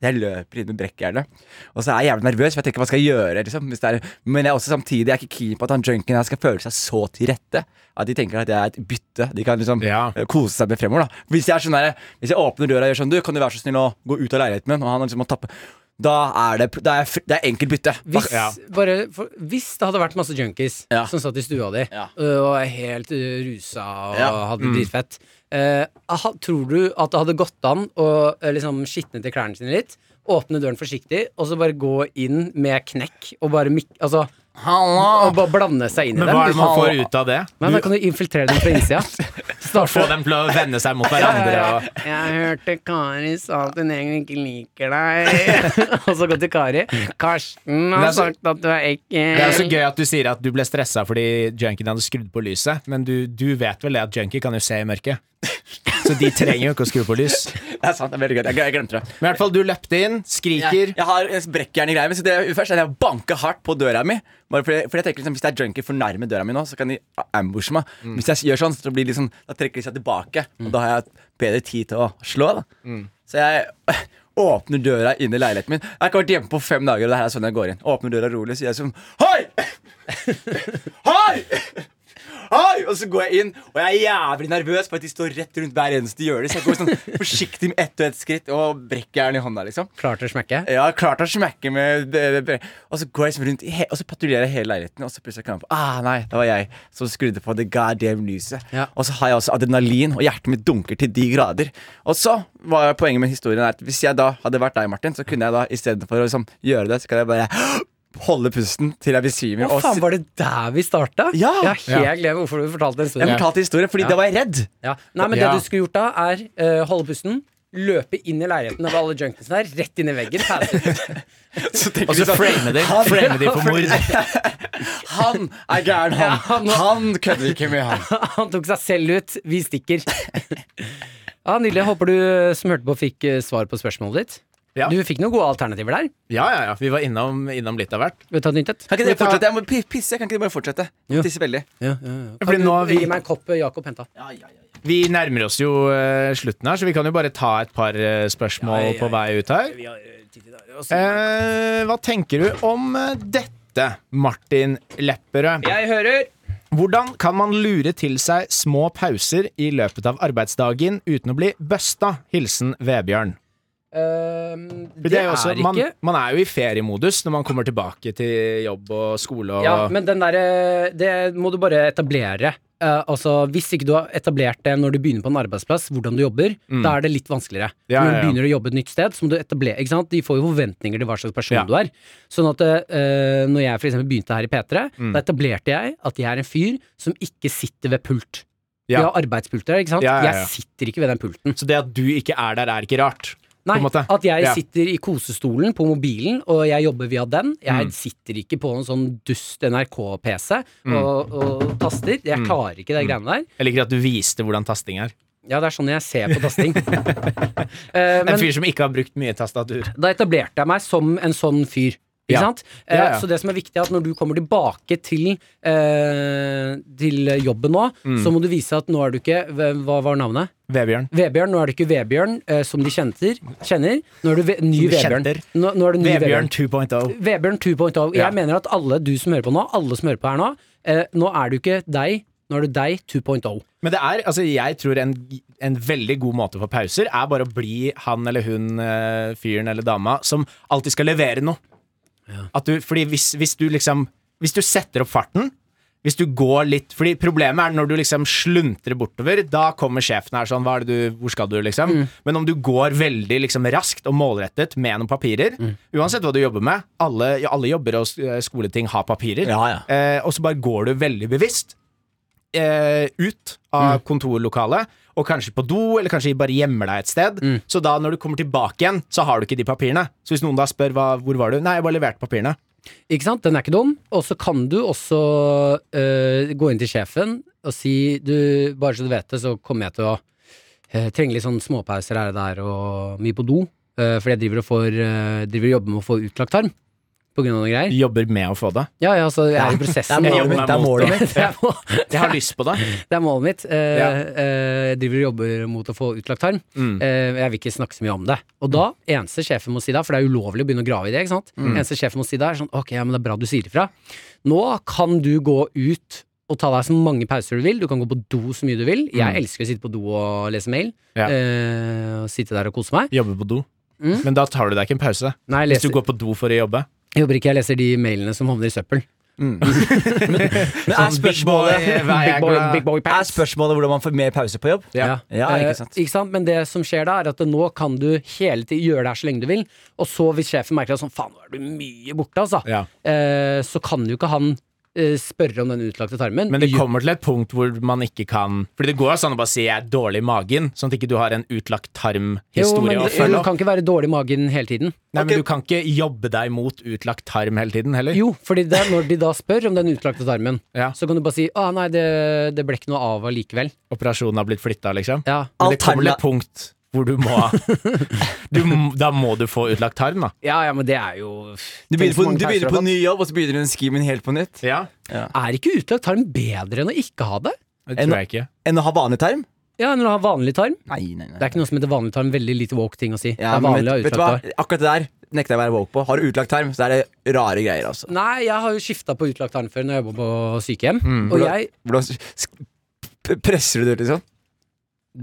[SPEAKER 3] Jeg løper inn med brekkjernet, og så er jeg jævlig nervøs, for jeg tenker hva skal jeg gjøre, liksom. Hvis det er, men jeg er også samtidig jeg er ikke keen på at han junkien her skal føle seg så til rette at de tenker at jeg er et bytte. De kan liksom
[SPEAKER 4] Ja.
[SPEAKER 3] eh, kose seg med fremover. da Hvis jeg er sånn der, hvis jeg åpner døra og gjør sånn Du, kan du være så snill å gå ut av leiligheten min? Og han liksom må tappe Da er det, det, er, fr- det er enkelt bytte.
[SPEAKER 2] Hvis,
[SPEAKER 4] Ja.
[SPEAKER 2] bare, for, hvis det hadde vært masse junkies
[SPEAKER 3] Ja.
[SPEAKER 2] som satt i stua di
[SPEAKER 3] Ja.
[SPEAKER 2] ø, og er helt ø, rusa og
[SPEAKER 3] Ja.
[SPEAKER 4] Mm.
[SPEAKER 2] hadde dritfett, eh, ha- tror du at det hadde gått an å eh, liksom skitne til klærne sine litt, åpne døren forsiktig, og så bare gå inn med knekk og bare mik... Altså, og bare blande seg inn i
[SPEAKER 4] Ah. Men
[SPEAKER 2] dem?
[SPEAKER 4] hva er det man får ut av det?
[SPEAKER 2] Nei, da kan du infiltrere dem fra innsida. Starte
[SPEAKER 4] Få dem til å vende seg mot hverandre og
[SPEAKER 2] Jeg hørte Kari sa at hun egentlig ikke liker deg. og så gå til Kari. Karsten
[SPEAKER 4] Mm. Det
[SPEAKER 2] har
[SPEAKER 4] er så-
[SPEAKER 2] sagt at du er
[SPEAKER 4] Det er jo så
[SPEAKER 2] ekkel.
[SPEAKER 4] gøy at du sier at du ble stressa fordi junkien hadde skrudd på lyset, men du, du vet vel det at junkie kan jo se i mørket. Så de trenger jo ikke å skru på lys.
[SPEAKER 3] Det er sant, det er veldig gøy. Jeg, jeg glemte det.
[SPEAKER 4] Men i hvert fall, du løpte inn, skriker.
[SPEAKER 3] Jeg, jeg har en brekkjern i greia mi, så det jeg gjør først er at jeg banker hardt på døra mi. Bare fordi, fordi jeg tenker liksom, Hvis det er junkie for nærme døra mi nå, så kan de ambushe meg. Hvis jeg gjør sånn, så blir de sånn, da trekker de seg tilbake, og da har jeg bedre tid til å slå. Da. Så jeg åpner døra inn i leiligheten min. Jeg har ikke vært hjemme på fem dager, og det her er sånn jeg går inn. Åpner døra rolig, så gjør jeg sånn Hei! Hei! Hei! Og så går jeg inn, og jeg er jævlig nervøs, for at de står rett rundt hver eneste hjørne. Så jeg går sånn forsiktig med ett og ett skritt og brekker jern i hånda, liksom.
[SPEAKER 2] Klarte å smekke?
[SPEAKER 3] Ja, klart å smekke med Og så går jeg liksom rundt i he Og så patruljerer jeg hele leiligheten, og så plutselig kommer jeg på Ah, nei, det var jeg som skrudde på det goddamn lyset.
[SPEAKER 2] Ja.
[SPEAKER 3] Og så har jeg også adrenalin, og hjertet mitt dunker til de grader. Og så var poenget med historien er at hvis jeg da hadde vært deg, Martin, så kunne jeg da istedenfor å liksom gjøre det, så kan jeg bare holde pusten til jeg besvimer.
[SPEAKER 2] Å
[SPEAKER 3] og
[SPEAKER 2] faen,
[SPEAKER 3] s-
[SPEAKER 2] var det der vi starta?
[SPEAKER 3] Ja.
[SPEAKER 2] Jeg har helt glemt hvorfor du fortalte den
[SPEAKER 3] jeg
[SPEAKER 2] historien.
[SPEAKER 3] fortalte historien fordi
[SPEAKER 2] Ja.
[SPEAKER 3] da var jeg redd.
[SPEAKER 2] Ja. Nei, men
[SPEAKER 4] Ja.
[SPEAKER 2] det du skulle gjort da, er eh, holde pusten, løpe inn i leiligheten av alle junkiesene der, rett inn i veggen. ferdig.
[SPEAKER 3] Så tenker
[SPEAKER 7] Og så
[SPEAKER 3] de sånn,
[SPEAKER 7] frame de
[SPEAKER 3] Han,
[SPEAKER 7] Frame de for mord.
[SPEAKER 3] han er gæren, han.
[SPEAKER 2] han-
[SPEAKER 3] han kødder ikke med han.
[SPEAKER 2] Han tok seg selv ut. Vi stikker. Ja, Nydelig. Håper du eh, som hørte på, fikk eh, svar på spørsmålet ditt.
[SPEAKER 4] Ja.
[SPEAKER 2] Du fikk noen gode alternativer der.
[SPEAKER 4] Ja, ja, ja. Vi var innom, innom litt av hvert.
[SPEAKER 2] Vil du ta et nytt et?
[SPEAKER 3] Kan ikke dere fortsette? Jeg må pi- pisse. Kan ikke dere bare fortsette?
[SPEAKER 2] Jo.
[SPEAKER 3] Tisse veldig.
[SPEAKER 2] Ja, ja, ja.
[SPEAKER 4] Fordi
[SPEAKER 2] Kan du
[SPEAKER 4] nå har vi-
[SPEAKER 2] Gi meg en kopp eh, Jakob henta.
[SPEAKER 4] Vi nærmer oss jo eh, slutten her, så vi kan jo bare ta et par eh, spørsmål
[SPEAKER 2] Ja, ja, ja.
[SPEAKER 4] på vei ut her. Eh, hva tenker du om eh, dette, Martin Lepperød?
[SPEAKER 2] Jeg hører!
[SPEAKER 4] Hvordan kan man lure til seg små pauser i løpet av arbeidsdagen uten å bli busta? Hilsen Vebjørn.
[SPEAKER 2] Ehm, det,
[SPEAKER 4] Det er jo også,
[SPEAKER 2] er ikke
[SPEAKER 4] man, man er jo i feriemodus når man kommer tilbake til jobb og skole og
[SPEAKER 2] Ja, men den derre Det må du bare etablere. Eh, altså, Hvis ikke du har etablert det når du begynner på en arbeidsplass, hvordan du jobber, da er det litt vanskeligere.
[SPEAKER 4] Mm. Ja,
[SPEAKER 2] når du
[SPEAKER 4] ja, ja.
[SPEAKER 2] begynner å jobbe et nytt sted, så må du etablere ikke sant? De får jo forventninger til hva slags person
[SPEAKER 4] Ja.
[SPEAKER 2] du er. Sånn at eh, når jeg for eksempel begynte her i P3,
[SPEAKER 4] Mm.
[SPEAKER 2] da etablerte jeg at jeg er en fyr som ikke sitter ved pult. Vi
[SPEAKER 4] Ja.
[SPEAKER 2] har arbeidspulter her, ikke sant?
[SPEAKER 4] Ja, ja, ja.
[SPEAKER 2] Jeg sitter ikke ved den pulten.
[SPEAKER 4] Så det at du ikke er der, er ikke rart.
[SPEAKER 2] Nei,
[SPEAKER 4] på en måte.
[SPEAKER 2] at jeg
[SPEAKER 4] Ja.
[SPEAKER 2] sitter i kosestolen på mobilen, og jeg jobber via den. Jeg
[SPEAKER 4] Mm.
[SPEAKER 2] sitter ikke på en sånn dust NRK-PC og, og taster.
[SPEAKER 4] Mm.
[SPEAKER 2] Jeg klarer ikke de greiene der.
[SPEAKER 4] Jeg liker at du viste hvordan tasting er.
[SPEAKER 2] Ja, det er sånn jeg ser på tasting. Eh,
[SPEAKER 4] En
[SPEAKER 2] men
[SPEAKER 4] fyr som ikke har brukt mye tastatur.
[SPEAKER 2] da etablerte jeg meg som en sånn fyr. Ikke
[SPEAKER 4] Ja.
[SPEAKER 2] sant? Eh,
[SPEAKER 4] Ja, ja.
[SPEAKER 2] Så det som er viktig, er at når du kommer tilbake til, eh, til jobben nå,
[SPEAKER 4] Mm.
[SPEAKER 2] så må du vise at nå er du ikke Hva var navnet?
[SPEAKER 4] Vebjørn.
[SPEAKER 2] Vebjørn, nå er det ikke Vebjørn eh, som de kjenter, kjenner. Nå er du ve ny
[SPEAKER 4] Som de
[SPEAKER 2] Vebjørn.
[SPEAKER 4] kjenter.
[SPEAKER 2] Nå, nå er du ny
[SPEAKER 4] Vebjørn oh. 2.0.
[SPEAKER 2] Vebjørn 2.0. Jeg
[SPEAKER 4] Ja.
[SPEAKER 2] mener at alle du som hører på nå, alle som hører på her nå, eh, nå er du ikke deg, nå er du deg 2.0.
[SPEAKER 4] Men det er, altså jeg tror en, en veldig god måte for pauser er bare å bli han eller hun, eh, fyren eller dama, som alltid skal levere noe. At du, fordi hvis, hvis du liksom Hvis du setter opp farten hvis du går litt, fordi Problemet er når du liksom sluntrer bortover. Da kommer sjefen her sånn hva er det du, 'Hvor skal du?' liksom.
[SPEAKER 3] Mm.
[SPEAKER 4] Men om du går veldig liksom raskt og målrettet med noen papirer
[SPEAKER 3] Mm.
[SPEAKER 4] Uansett hva du jobber med, alle, ja, alle jobber og eh, skoleting har papirer.
[SPEAKER 3] Ja, ja.
[SPEAKER 4] Eh, og så bare går du veldig bevisst eh, ut av
[SPEAKER 2] Mm.
[SPEAKER 4] kontorlokalet, og kanskje på do, eller kanskje bare gjemmer deg et sted.
[SPEAKER 2] Mm.
[SPEAKER 4] Så da når du kommer tilbake igjen, så har du ikke de papirene. Så hvis noen da spør hva, 'hvor var du', nei, jeg bare leverte papirene.
[SPEAKER 2] Ikke sant? Den er ikke dum. Og så kan du også eh, gå inn til sjefen og si du, bare så du vet det, så kommer jeg til å eh, trenge litt sånn småpauser her og der og mye på do. eh, fordi jeg driver og, får, eh, driver og jobber med å få utlagt tarm på grunn av noen greier.
[SPEAKER 4] Jobber med å få det.
[SPEAKER 2] Ja, ja, altså jeg er i prosessen.
[SPEAKER 4] målet mitt, det er målet mitt.
[SPEAKER 2] Det er målet.
[SPEAKER 4] Jeg har lyst på det.
[SPEAKER 2] Det er målet mitt. Eh,
[SPEAKER 4] Ja.
[SPEAKER 2] eh, jeg driver og jobber mot å få utlagt tarm.
[SPEAKER 4] Mm.
[SPEAKER 2] Eh, jeg vil ikke snakke så mye om det. Og da, eneste sjefen må si da, for det er ulovlig å begynne å grave i det, ikke sant?
[SPEAKER 4] Mm.
[SPEAKER 2] Eneste sjefen må si da, er sånn, ok, ja, men det er bra du sier ifra. Nå kan du gå ut og ta deg så mange pauser du vil. Du kan gå på do så mye du vil. Jeg elsker å sitte på do og lese mail.
[SPEAKER 4] Mm. Ja.
[SPEAKER 2] Eh, og sitte der og kose meg.
[SPEAKER 4] Jobber på do.
[SPEAKER 2] Mm.
[SPEAKER 4] Men da tar du deg ikke en pause.
[SPEAKER 2] Nei, jeg
[SPEAKER 4] Hvis du
[SPEAKER 2] leser,
[SPEAKER 4] går på do for å jobbe.
[SPEAKER 2] jeg jobber ikke, jeg leser de mailene som havner i søppel.
[SPEAKER 3] Men er spørsmålet,
[SPEAKER 4] Hva er jeg
[SPEAKER 2] Big boy,
[SPEAKER 4] glad-
[SPEAKER 2] big boy
[SPEAKER 3] er
[SPEAKER 2] pants.
[SPEAKER 3] spørsmålet hvordan man får mer pause på jobb?
[SPEAKER 2] Ja.
[SPEAKER 3] Ja,
[SPEAKER 2] Eh,
[SPEAKER 3] ikke sant.
[SPEAKER 2] Men det som skjer da, er at nå kan du hele tiden gjøre det her så lenge du vil, og så hvis sjefen merker at sånn, faen, nå er du mye borte, altså,
[SPEAKER 4] Ja.
[SPEAKER 2] eh, så kan jo ikke han eh, spørre om den utlagte tarmen.
[SPEAKER 4] Men det
[SPEAKER 2] Jo-
[SPEAKER 4] kommer til et punkt hvor man ikke kan Fordi det går jo sånn å bare si 'jeg er dårlig i magen', sånn at ikke du har en utlagt
[SPEAKER 2] jo, men
[SPEAKER 4] tarmhistorie å
[SPEAKER 2] det-
[SPEAKER 4] følge
[SPEAKER 2] du
[SPEAKER 4] opp.
[SPEAKER 2] kan ikke være dårlig i magen hele tiden.
[SPEAKER 4] Nei, men du kan ikke jobbe deg mot utlagt tarm hele tiden heller.
[SPEAKER 2] Jo, fordi det, når de da spør om den utlagte tarmen,
[SPEAKER 4] Ja.
[SPEAKER 2] så kan du bare si å nei, det, det ble ikke noe av allikevel.
[SPEAKER 4] Operasjonen har blitt flytta, liksom.
[SPEAKER 2] Ja.
[SPEAKER 4] Men det kommer til
[SPEAKER 3] Alterna-
[SPEAKER 4] et punkt hvor du må du, m- Da må du få utlagt tarm, da.
[SPEAKER 2] ja, ja, men det er jo
[SPEAKER 3] Du
[SPEAKER 2] Tenk
[SPEAKER 3] begynner, på,
[SPEAKER 2] så mange
[SPEAKER 3] du begynner
[SPEAKER 2] pauser
[SPEAKER 3] på
[SPEAKER 2] du har
[SPEAKER 3] ny jobb, og så begynner du den skimen helt på nytt.
[SPEAKER 4] Ja.
[SPEAKER 2] fått. Er ikke utlagt tarm bedre enn å ikke ha det?
[SPEAKER 4] Det tror jeg ikke.
[SPEAKER 3] Enn å ha vanlig tarm?
[SPEAKER 2] Ja, enn å ha vanlig tarm?
[SPEAKER 3] Nei, nei, nei.
[SPEAKER 2] Det er ikke noe som heter vanlig tarm. Veldig lite woke ting å si. det er
[SPEAKER 3] Ja, men
[SPEAKER 2] vanlig å ha
[SPEAKER 3] vet, vet du
[SPEAKER 2] utlagt
[SPEAKER 3] hva?
[SPEAKER 2] tarm.
[SPEAKER 3] Akkurat det der nekter jeg å være woke på. Har du utlagt tarm, så er det rare greier, altså.
[SPEAKER 2] Nei, jeg har jo skifta på utlagt tarm før når jeg jobba på sykehjem. Og
[SPEAKER 3] Hvordan-
[SPEAKER 2] jeg,
[SPEAKER 3] Hvordan sk- p- presser du det ut, liksom?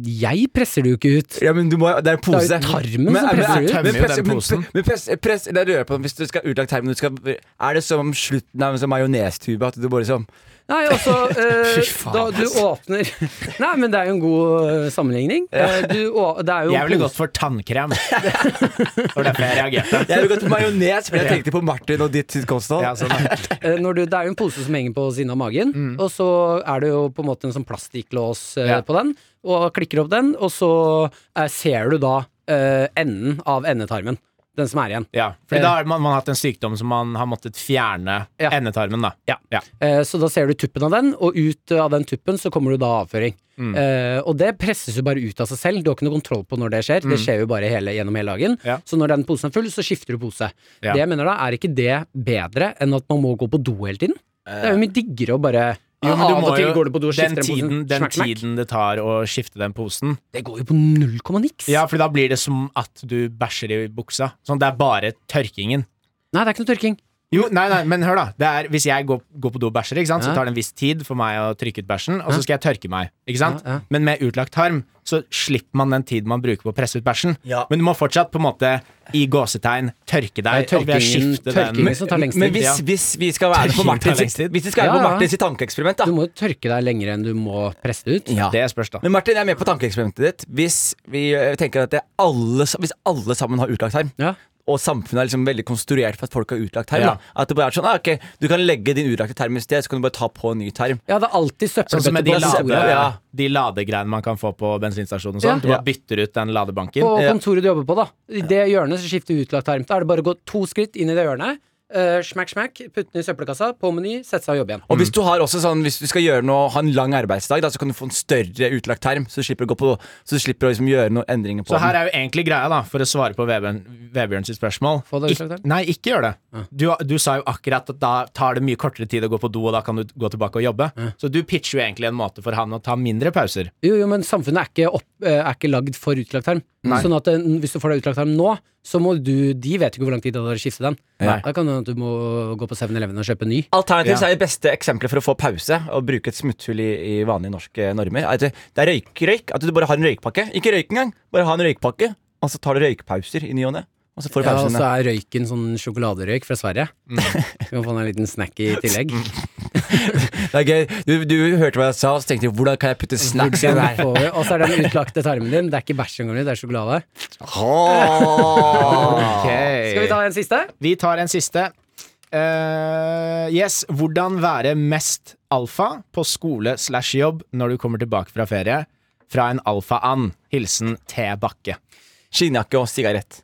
[SPEAKER 2] jeg presser det jo ikke ut.
[SPEAKER 3] Ja, men du må, det er en pose.
[SPEAKER 2] Det er jo tarmen som presser
[SPEAKER 3] men,
[SPEAKER 2] ut.
[SPEAKER 4] tarmen Tømmer
[SPEAKER 3] men,
[SPEAKER 4] jo
[SPEAKER 3] press-
[SPEAKER 4] den
[SPEAKER 3] men-
[SPEAKER 4] posen.
[SPEAKER 3] Men press, press, det er det du gjør på hvis du skal ha utlagt tarmen. Du skal, er det som slutten av en sånn majonestube? At du bare sånn
[SPEAKER 2] Nei, også eh,
[SPEAKER 4] Fy faen,
[SPEAKER 2] da du åpner Nei, men det er jo en god eh, sammenligning. Eh, du, å, det er jo
[SPEAKER 4] Jeg ville
[SPEAKER 2] en
[SPEAKER 4] gått for tannkrem. Det var derfor jeg reagerte.
[SPEAKER 3] Jeg ville gått for majones, for jeg tenkte på Martin og ditt kosthold.
[SPEAKER 4] Ja, sånn.
[SPEAKER 2] Eh, når du, det er jo en pose som henger på siden av magen, og så er det jo på en måte en sånn plastikklås eh,
[SPEAKER 4] Ja.
[SPEAKER 2] på den, og klikker opp den, og så eh, ser du da eh, enden av endetarmen. Den som er igjen.
[SPEAKER 4] Ja, fordi da har man, man har hatt en sykdom som man har måttet fjerne
[SPEAKER 2] Ja.
[SPEAKER 4] endetarmen, da.
[SPEAKER 2] Ja. Eh, så da ser du tuppen av den, og ut eh, av den tuppen så kommer du da avføring.
[SPEAKER 4] Mm.
[SPEAKER 2] Eh, og det presses jo bare ut av seg selv, du har ikke noe kontroll på når det skjer. Det skjer jo bare hele, gjennom hele dagen.
[SPEAKER 4] Mm. Ja.
[SPEAKER 2] Så når den posen er full, så skifter du pose.
[SPEAKER 4] Ja.
[SPEAKER 2] Det jeg mener da, er ikke det bedre enn at man må gå på do hele tiden? Det er jo mye diggere å bare
[SPEAKER 4] Eh. Jo, men du
[SPEAKER 2] Av
[SPEAKER 4] må
[SPEAKER 2] og til
[SPEAKER 4] jo-
[SPEAKER 2] går du på do og
[SPEAKER 4] den
[SPEAKER 2] skifter den posen.
[SPEAKER 4] tiden, den
[SPEAKER 2] Smack, smack.
[SPEAKER 4] tiden det tar å skifte den posen
[SPEAKER 2] Det går jo på null komma niks.
[SPEAKER 4] Ja, for da blir det som at du bæsjer i buksa. Sånn, det er bare tørkingen.
[SPEAKER 2] Nei, det er ikke noe tørking.
[SPEAKER 4] Jo, nei, nei, men hør da. Det er, hvis jeg går, går på do og bæsjer, ikke sant?
[SPEAKER 2] Ja.
[SPEAKER 4] så tar det en viss tid for meg å trykke ut bæsjen, og så skal jeg tørke meg. Ikke sant?
[SPEAKER 2] Ja, ja.
[SPEAKER 4] Men med utlagt tarm så slipper man den tiden man bruker på å presse ut bæsjen.
[SPEAKER 3] Ja.
[SPEAKER 4] Men du må fortsatt på en måte i gåsetegn tørke deg.
[SPEAKER 2] Ja,
[SPEAKER 4] ved å
[SPEAKER 2] tørkingen-
[SPEAKER 4] skifte
[SPEAKER 2] tørkingen
[SPEAKER 4] den.
[SPEAKER 2] som liksom, tar lengst
[SPEAKER 3] Men
[SPEAKER 2] tid.
[SPEAKER 3] hvis,
[SPEAKER 4] Ja.
[SPEAKER 3] hvis vi skal være på
[SPEAKER 4] Tørking tar
[SPEAKER 3] Martin
[SPEAKER 4] lengst
[SPEAKER 3] sitt,
[SPEAKER 4] tid.
[SPEAKER 3] hvis vi skal være
[SPEAKER 2] Ja,
[SPEAKER 3] på
[SPEAKER 2] ja.
[SPEAKER 3] Martin sitt tankeeksperiment,
[SPEAKER 2] Du
[SPEAKER 3] da.
[SPEAKER 2] må jo tørke deg lenger enn du må presse det ut.
[SPEAKER 3] Ja.
[SPEAKER 4] Det spørs, da.
[SPEAKER 3] Men Martin, jeg er med på tankeeksperimentet ditt. Hvis vi eh, tenker at det er alle, sa- hvis alle sammen har utlagt tarm,
[SPEAKER 2] Ja.
[SPEAKER 3] og samfunnet er liksom veldig konstruert for at folk har utlagt tarm,
[SPEAKER 4] Ja.
[SPEAKER 3] da. at det bare er sånn ah, ok, du kan legge din utlagte tarm i sted, så kan du bare ta på en ny tarm.
[SPEAKER 2] Ja, det er alltid
[SPEAKER 4] Sånn som
[SPEAKER 2] søppelbøtte
[SPEAKER 4] med de,
[SPEAKER 2] på
[SPEAKER 4] lade,
[SPEAKER 2] kontoret.
[SPEAKER 3] ja.
[SPEAKER 4] de ladegreiene man kan få på bensinstasjonen og sånn.
[SPEAKER 2] Ja.
[SPEAKER 4] Du bare bytter ut den ladebanken.
[SPEAKER 2] På
[SPEAKER 3] Ja.
[SPEAKER 2] kontoret du jobber på, da. I det hjørnet så skifter utlagt tarm. Da er det bare å gå to skritt inn i det hjørnet. eh, smack, smack, putte den i søppelkassa, på meny, sette seg og jobbe igjen.
[SPEAKER 4] Mm.
[SPEAKER 3] Og hvis du har også sånn, hvis du skal gjøre noe, ha en lang arbeidsdag, da, så kan du få en større utlagt tarm. Så du slipper å, gå på, så du slipper å liksom gjøre noen endringer på
[SPEAKER 4] Så her er
[SPEAKER 3] den.
[SPEAKER 4] jo egentlig greia, da, for å svare på Vebjørn, Vebjørn sitt spørsmål
[SPEAKER 2] Få det utlagt
[SPEAKER 4] Ik-
[SPEAKER 2] der.
[SPEAKER 4] Nei, ikke gjør det. Du, du sa jo akkurat at da tar det mye kortere tid å gå på do, og da kan du gå tilbake og jobbe. Så du pitcher jo egentlig en måte for han å ta mindre pauser.
[SPEAKER 2] Jo, jo, men samfunnet er ikke, opp, eh, er ikke lagd for utlagt tarm. Sånn at eh, hvis du får deg utlagt tarm nå, så må du De vet jo ikke hvor lang tid det tar å skifte den.
[SPEAKER 4] Nei.
[SPEAKER 2] Da kan det hende at du må gå på 7-Eleven og kjøpe ny.
[SPEAKER 3] Alternativt
[SPEAKER 4] Ja.
[SPEAKER 3] så er det beste eksempelet for å få pause og bruke et smutthull i, i vanlige norske normer. At det det er røykrøyk. At du bare har en røykpakke. Ikke røyk engang, bare ha en røykpakke. Og så tar du røykpauser i ny og ne. Og så får du
[SPEAKER 2] Ja, Mm. og
[SPEAKER 3] pausene.
[SPEAKER 2] så er røyken sånn sjokoladerøyk fra Sverige. Du kan få en liten snack i tillegg.
[SPEAKER 3] Det er gøy. Du, du hørte hva jeg sa, og så tenkte jeg hvordan kan jeg putte snacks i det
[SPEAKER 2] Hvordan
[SPEAKER 3] her?
[SPEAKER 2] får vi- Og så er den utlagte tarmen din. Det er ikke bæsj engang, det er sjokolade. Ah. Skal vi ta en siste?
[SPEAKER 4] Vi tar en siste. Eh, yes, hvordan være mest alfa på skole slash jobb når du kommer tilbake fra ferie? Fra en alfa-and. Hilsen T. Bakke.
[SPEAKER 3] Skinnjakke og sigarett.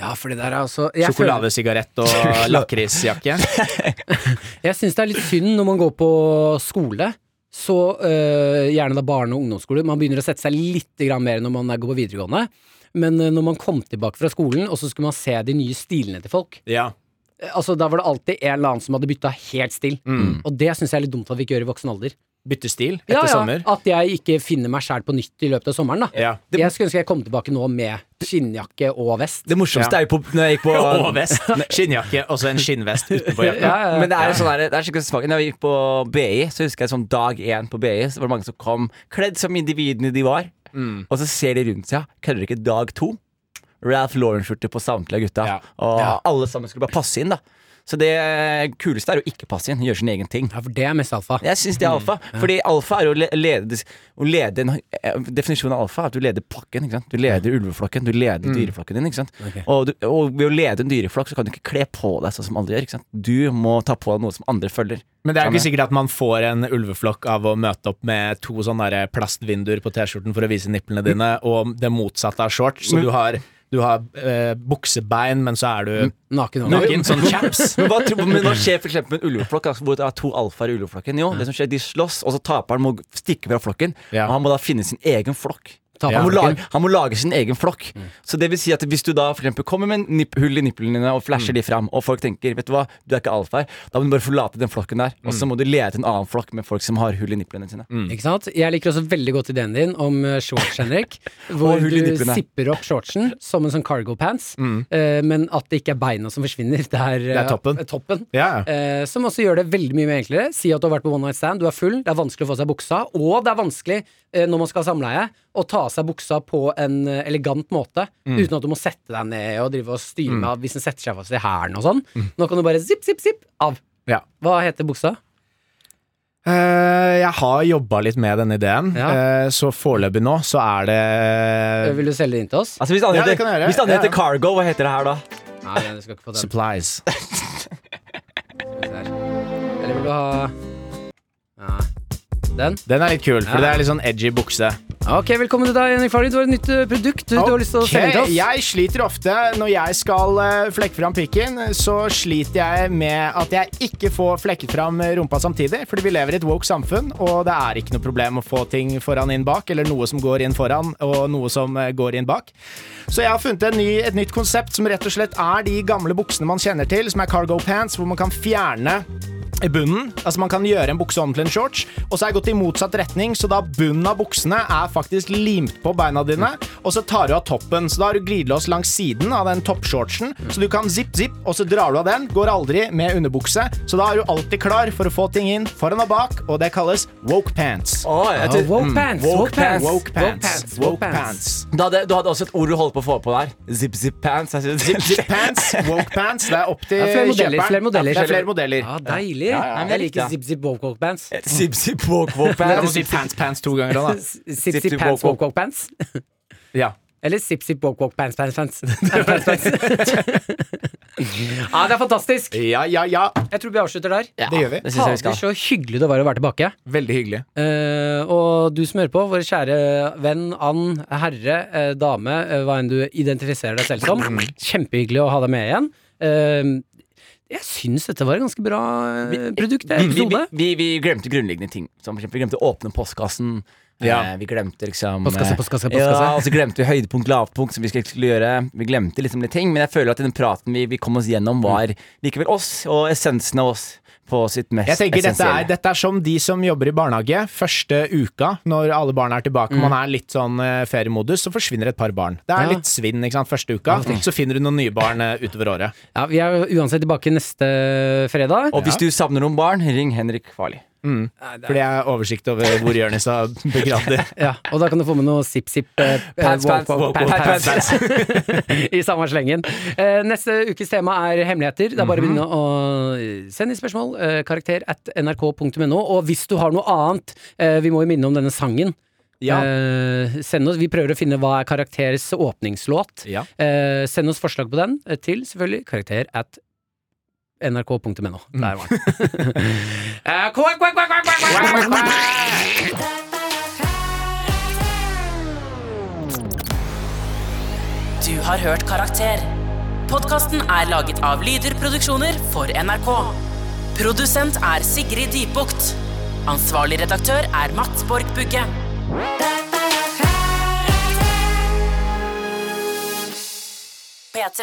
[SPEAKER 2] Ja, for det der er altså Jeg, føler-
[SPEAKER 4] Sjokoladesigarett og lakrisjakke.
[SPEAKER 2] jeg syns det er litt synd når man går på skole. Så øh, gjerne da barne- og ungdomsskole. Man begynner å sette seg litt grann mer når man er- går på videregående. Men øh, når man kom tilbake fra skolen, og så skulle man se de nye stilene til folk
[SPEAKER 4] Ja.
[SPEAKER 2] Eh, Altså, Da var det alltid en eller annen som hadde bytta helt stil. Og det syns jeg er litt dumt at vi ikke gjør i voksen alder.
[SPEAKER 4] Bytte stil Mm. etter
[SPEAKER 2] Ja, ja,
[SPEAKER 4] sommer.
[SPEAKER 2] at jeg ikke finner meg sjæl på nytt i løpet av sommeren. da
[SPEAKER 4] Ja.
[SPEAKER 2] Jeg skulle ønske jeg kom tilbake nå med skinnjakke og vest.
[SPEAKER 3] Det morsomste
[SPEAKER 4] Ja.
[SPEAKER 3] er jo på, når jeg gikk på
[SPEAKER 4] Og vest. Skinnjakke og så en skinnvest utenpå jakka.
[SPEAKER 3] Men det er jo sånn der, det er skikkelig svagt. Når jeg gikk på BI, så husker jeg sånn dag én på BI, så var det mange som kom kledd som individene de var.
[SPEAKER 4] Mm.
[SPEAKER 3] Og så ser de rundt seg, kødder ikke dag to. Ralph Lauren-skjorte på samtlige av gutta.
[SPEAKER 4] Ja.
[SPEAKER 3] Og alle sammen skulle bare passe inn, da. Så det kuleste er å ikke passe inn, gjøre sin egen ting.
[SPEAKER 2] Ja, for det er mest alfa.
[SPEAKER 3] Jeg syns det er alfa. Fordi alfa er jo å le- lede, å lede en, eh, Definisjonen av alfa er at du leder pakken. Ikke sant? Du leder ulveflokken, du leder dyreflokken din. Ikke sant? Og, du, og ved å lede en dyreflokk så kan du ikke kle på deg sånn som andre gjør. Ikke sant? Du må ta på deg noe som andre følger.
[SPEAKER 4] Men det er jo ikke
[SPEAKER 3] Sånn,
[SPEAKER 4] sikkert at man får en ulveflokk av å møte opp med to sånne der plastvinduer på T-skjorten for å vise nipplene dine, og det motsatte av shorts. Så du har, du har eh, buksebein, men så er du
[SPEAKER 2] Naken og
[SPEAKER 4] naken. Sånn chaps.
[SPEAKER 3] Men hva, tror- men hva skjer for eksempel med en ulveflokk? Altså, hvor det er to alfaer i ulveflokken? Jo, det som skjer, de slåss, og så taperen må stikke fra flokken.
[SPEAKER 4] Ja.
[SPEAKER 3] Og han må da finne sin egen flokk.
[SPEAKER 2] Ta på
[SPEAKER 3] Han, må
[SPEAKER 2] flokken.
[SPEAKER 3] lage, han må lage sin egen flokk. Så det vil si at hvis du da for eksempel kommer med en nipp, hull i nipplene dine og flasher de fram, og folk tenker vet du hva, du er ikke alfa her, da må du bare forlate den flokken der. Og så må du lete en annen flokk med folk som har hull i nipplene sine.
[SPEAKER 2] Ikke sant? Jeg liker også veldig godt ideen din om eh, shorts, Henrik. Hvor
[SPEAKER 3] hull i
[SPEAKER 2] du
[SPEAKER 3] nippene.
[SPEAKER 2] zipper opp shortsen som en sånn cargo pants, eh, men at det ikke er beina som forsvinner. Det er, eh,
[SPEAKER 4] Det er toppen. Ja.
[SPEAKER 2] Eh, som også gjør det veldig mye mer enklere. Si at du har vært på one night stand, du er full, det er vanskelig å få av seg buksa, og det er vanskelig eh, når man skal ha samleie, å ta av seg buksa på en eh, elegant måte, uten at du må sette deg ned og drive og styre med av hvis den setter seg fast i hælen og sånn. Nå kan du bare zipp, zipp, zipp, av.
[SPEAKER 4] Ja.
[SPEAKER 2] Hva heter buksa?
[SPEAKER 4] Eh, jeg har jobba litt med denne ideen,
[SPEAKER 2] Ja.
[SPEAKER 4] eh, så foreløpig nå så er det
[SPEAKER 2] Vil du selge det inn til oss?
[SPEAKER 3] Altså Hvis det andre
[SPEAKER 4] Ja, det
[SPEAKER 3] heter,
[SPEAKER 4] kan jeg gjøre.
[SPEAKER 3] hvis det andre
[SPEAKER 4] Ja, ja.
[SPEAKER 3] heter Cargo, hva heter det her da?
[SPEAKER 2] Nei, nei, du skal ikke få den.
[SPEAKER 4] supplies.
[SPEAKER 2] Eller vil du ha Nei. Den?
[SPEAKER 4] Den er litt kul, for
[SPEAKER 2] Ja.
[SPEAKER 4] det er litt sånn edgy bukse.
[SPEAKER 2] Ok, velkommen til deg, Henrik Farley. Du har et nytt eh, produkt du, du har lyst til å
[SPEAKER 4] Ok,
[SPEAKER 2] selge til oss.
[SPEAKER 4] Jeg sliter ofte når jeg skal eh, flekke fram pikken, så sliter jeg med at jeg ikke får flekket fram rumpa samtidig, fordi vi lever i et woke samfunn, og det er ikke noe problem å få ting foran inn bak, eller noe som går inn foran, og noe som eh, går inn bak. Så jeg har funnet en ny, et nytt konsept som rett og slett er de gamle buksene man kjenner til, som er cargo pants, hvor man kan fjerne i bunnen. Altså Man kan gjøre en bukse om til en shorts, og så har jeg gått i motsatt retning, så da bunnen av buksene er faktisk limt på beina dine, og så tar du av toppen. Så da har du glidelås langs siden av den toppshortsen, så du kan zipp, zipp, og så drar du av den. Går aldri med underbukse, så da er du alltid klar for å få ting inn foran og bak, og det kalles woke pants.
[SPEAKER 3] Å, jeg
[SPEAKER 2] Ja,
[SPEAKER 3] tror-
[SPEAKER 2] Ah,
[SPEAKER 3] Mm.
[SPEAKER 2] woke pants, woke pants,
[SPEAKER 4] Woke pants. Woke pants.
[SPEAKER 3] du, hadde, du hadde også et ord du holdt på å få på der. Zip zip pants. Jeg synes, zip,
[SPEAKER 4] Zip pants, woke pants. Det er opp til
[SPEAKER 2] Det er flere modeller, flere modeller.
[SPEAKER 4] kjøperen. Ja, det er flere modeller.
[SPEAKER 2] Ja, deilig.
[SPEAKER 3] ja,
[SPEAKER 2] Nei, men jeg
[SPEAKER 3] jeg likte
[SPEAKER 2] liker
[SPEAKER 3] det.
[SPEAKER 2] Zip Zip Woke Woke Bands.
[SPEAKER 3] Zip zip woke woke
[SPEAKER 4] Jeg må
[SPEAKER 3] pants.
[SPEAKER 4] si pants, pants to ganger da. da.
[SPEAKER 2] Zip
[SPEAKER 3] Zip
[SPEAKER 2] Zip Pants
[SPEAKER 3] Woke Woke.
[SPEAKER 2] Woke Woke Bands.
[SPEAKER 4] Ja.
[SPEAKER 2] Eller Zip Zip Woke Woke Pants Pants Pants. Pants, pants. Ja, det er fantastisk.
[SPEAKER 4] Ja, ja, ja.
[SPEAKER 2] Jeg tror vi avslutter der.
[SPEAKER 4] Det gjør vi.
[SPEAKER 3] Det synes jeg
[SPEAKER 2] Fader,
[SPEAKER 3] vi skal.
[SPEAKER 2] så hyggelig det var å være tilbake.
[SPEAKER 4] Veldig hyggelig.
[SPEAKER 2] Eh, og du som hører på, vår kjære venn, and, herre, eh, dame, eh, hva enn du identifiserer deg selv som. Kjempehyggelig å ha deg med igjen. Eh, jeg syns dette var et ganske bra eh, produkt.
[SPEAKER 3] Vi, vi,
[SPEAKER 2] Episode.
[SPEAKER 3] vi, vi glemte grunnleggende ting. Som for eksempel, vi glemte å åpne postkassen.
[SPEAKER 4] Ja.
[SPEAKER 3] Eh, vi glemte liksom
[SPEAKER 2] Postkasse,
[SPEAKER 3] eh,
[SPEAKER 2] postkasse, postkasse.
[SPEAKER 3] Ja, og så glemte vi høydepunkt, lavpunkt, som vi skulle- skulle gjøre. Vi glemte liksom litt ting, men jeg føler at den praten vi, vi kom oss gjennom,
[SPEAKER 4] Mm.
[SPEAKER 3] var likevel oss, og essensen av oss på sitt mest
[SPEAKER 4] Jeg tenker dette er,
[SPEAKER 3] essensielle.
[SPEAKER 4] dette er som de som jobber i barnehage. Første uka, når alle barna er tilbake, og man er litt sånn eh, feriemodus, så forsvinner et par barn. Det er
[SPEAKER 2] Mm. Ja.
[SPEAKER 4] litt svinn ikke sant, første uka, så finner du noen nye barn eh, utover året.
[SPEAKER 2] Ja, vi er uansett tilbake neste fredag.
[SPEAKER 3] Og hvis
[SPEAKER 4] Ja.
[SPEAKER 3] du savner noen barn, ring Henrik Farli.
[SPEAKER 4] Fordi jeg har oversikt over hvor Jonis har begravd det.
[SPEAKER 2] Ja, og da kan du få med noe sipp-sipp eh,
[SPEAKER 3] Pants,
[SPEAKER 2] eh, walk,
[SPEAKER 3] pants,
[SPEAKER 2] walk,
[SPEAKER 3] walk,
[SPEAKER 2] pants,
[SPEAKER 3] walk,
[SPEAKER 2] pants, i samme slengen. Eh, neste ukes tema er hemmeligheter. Det er bare å begynne å sende inn spørsmål. eh, karakter at nrk.no. Og hvis du har noe annet, eh, vi må jo minne om denne sangen. Eh, send oss, vi prøver å finne hva er karakteres åpningslåt.
[SPEAKER 4] Ja.
[SPEAKER 2] Eh, send oss forslag på den eh, til selvfølgelig karakter at nrk.no. Der var den. Eh, quack, quack, quack, quack, quack, quack, quack, quack.
[SPEAKER 7] Du har hørt Karakter. Podkasten er laget av Lyder Produksjoner for NRK. Produsent er Sigrid Dybukt. Ansvarlig redaktør er Mats Borg Bugge. P3.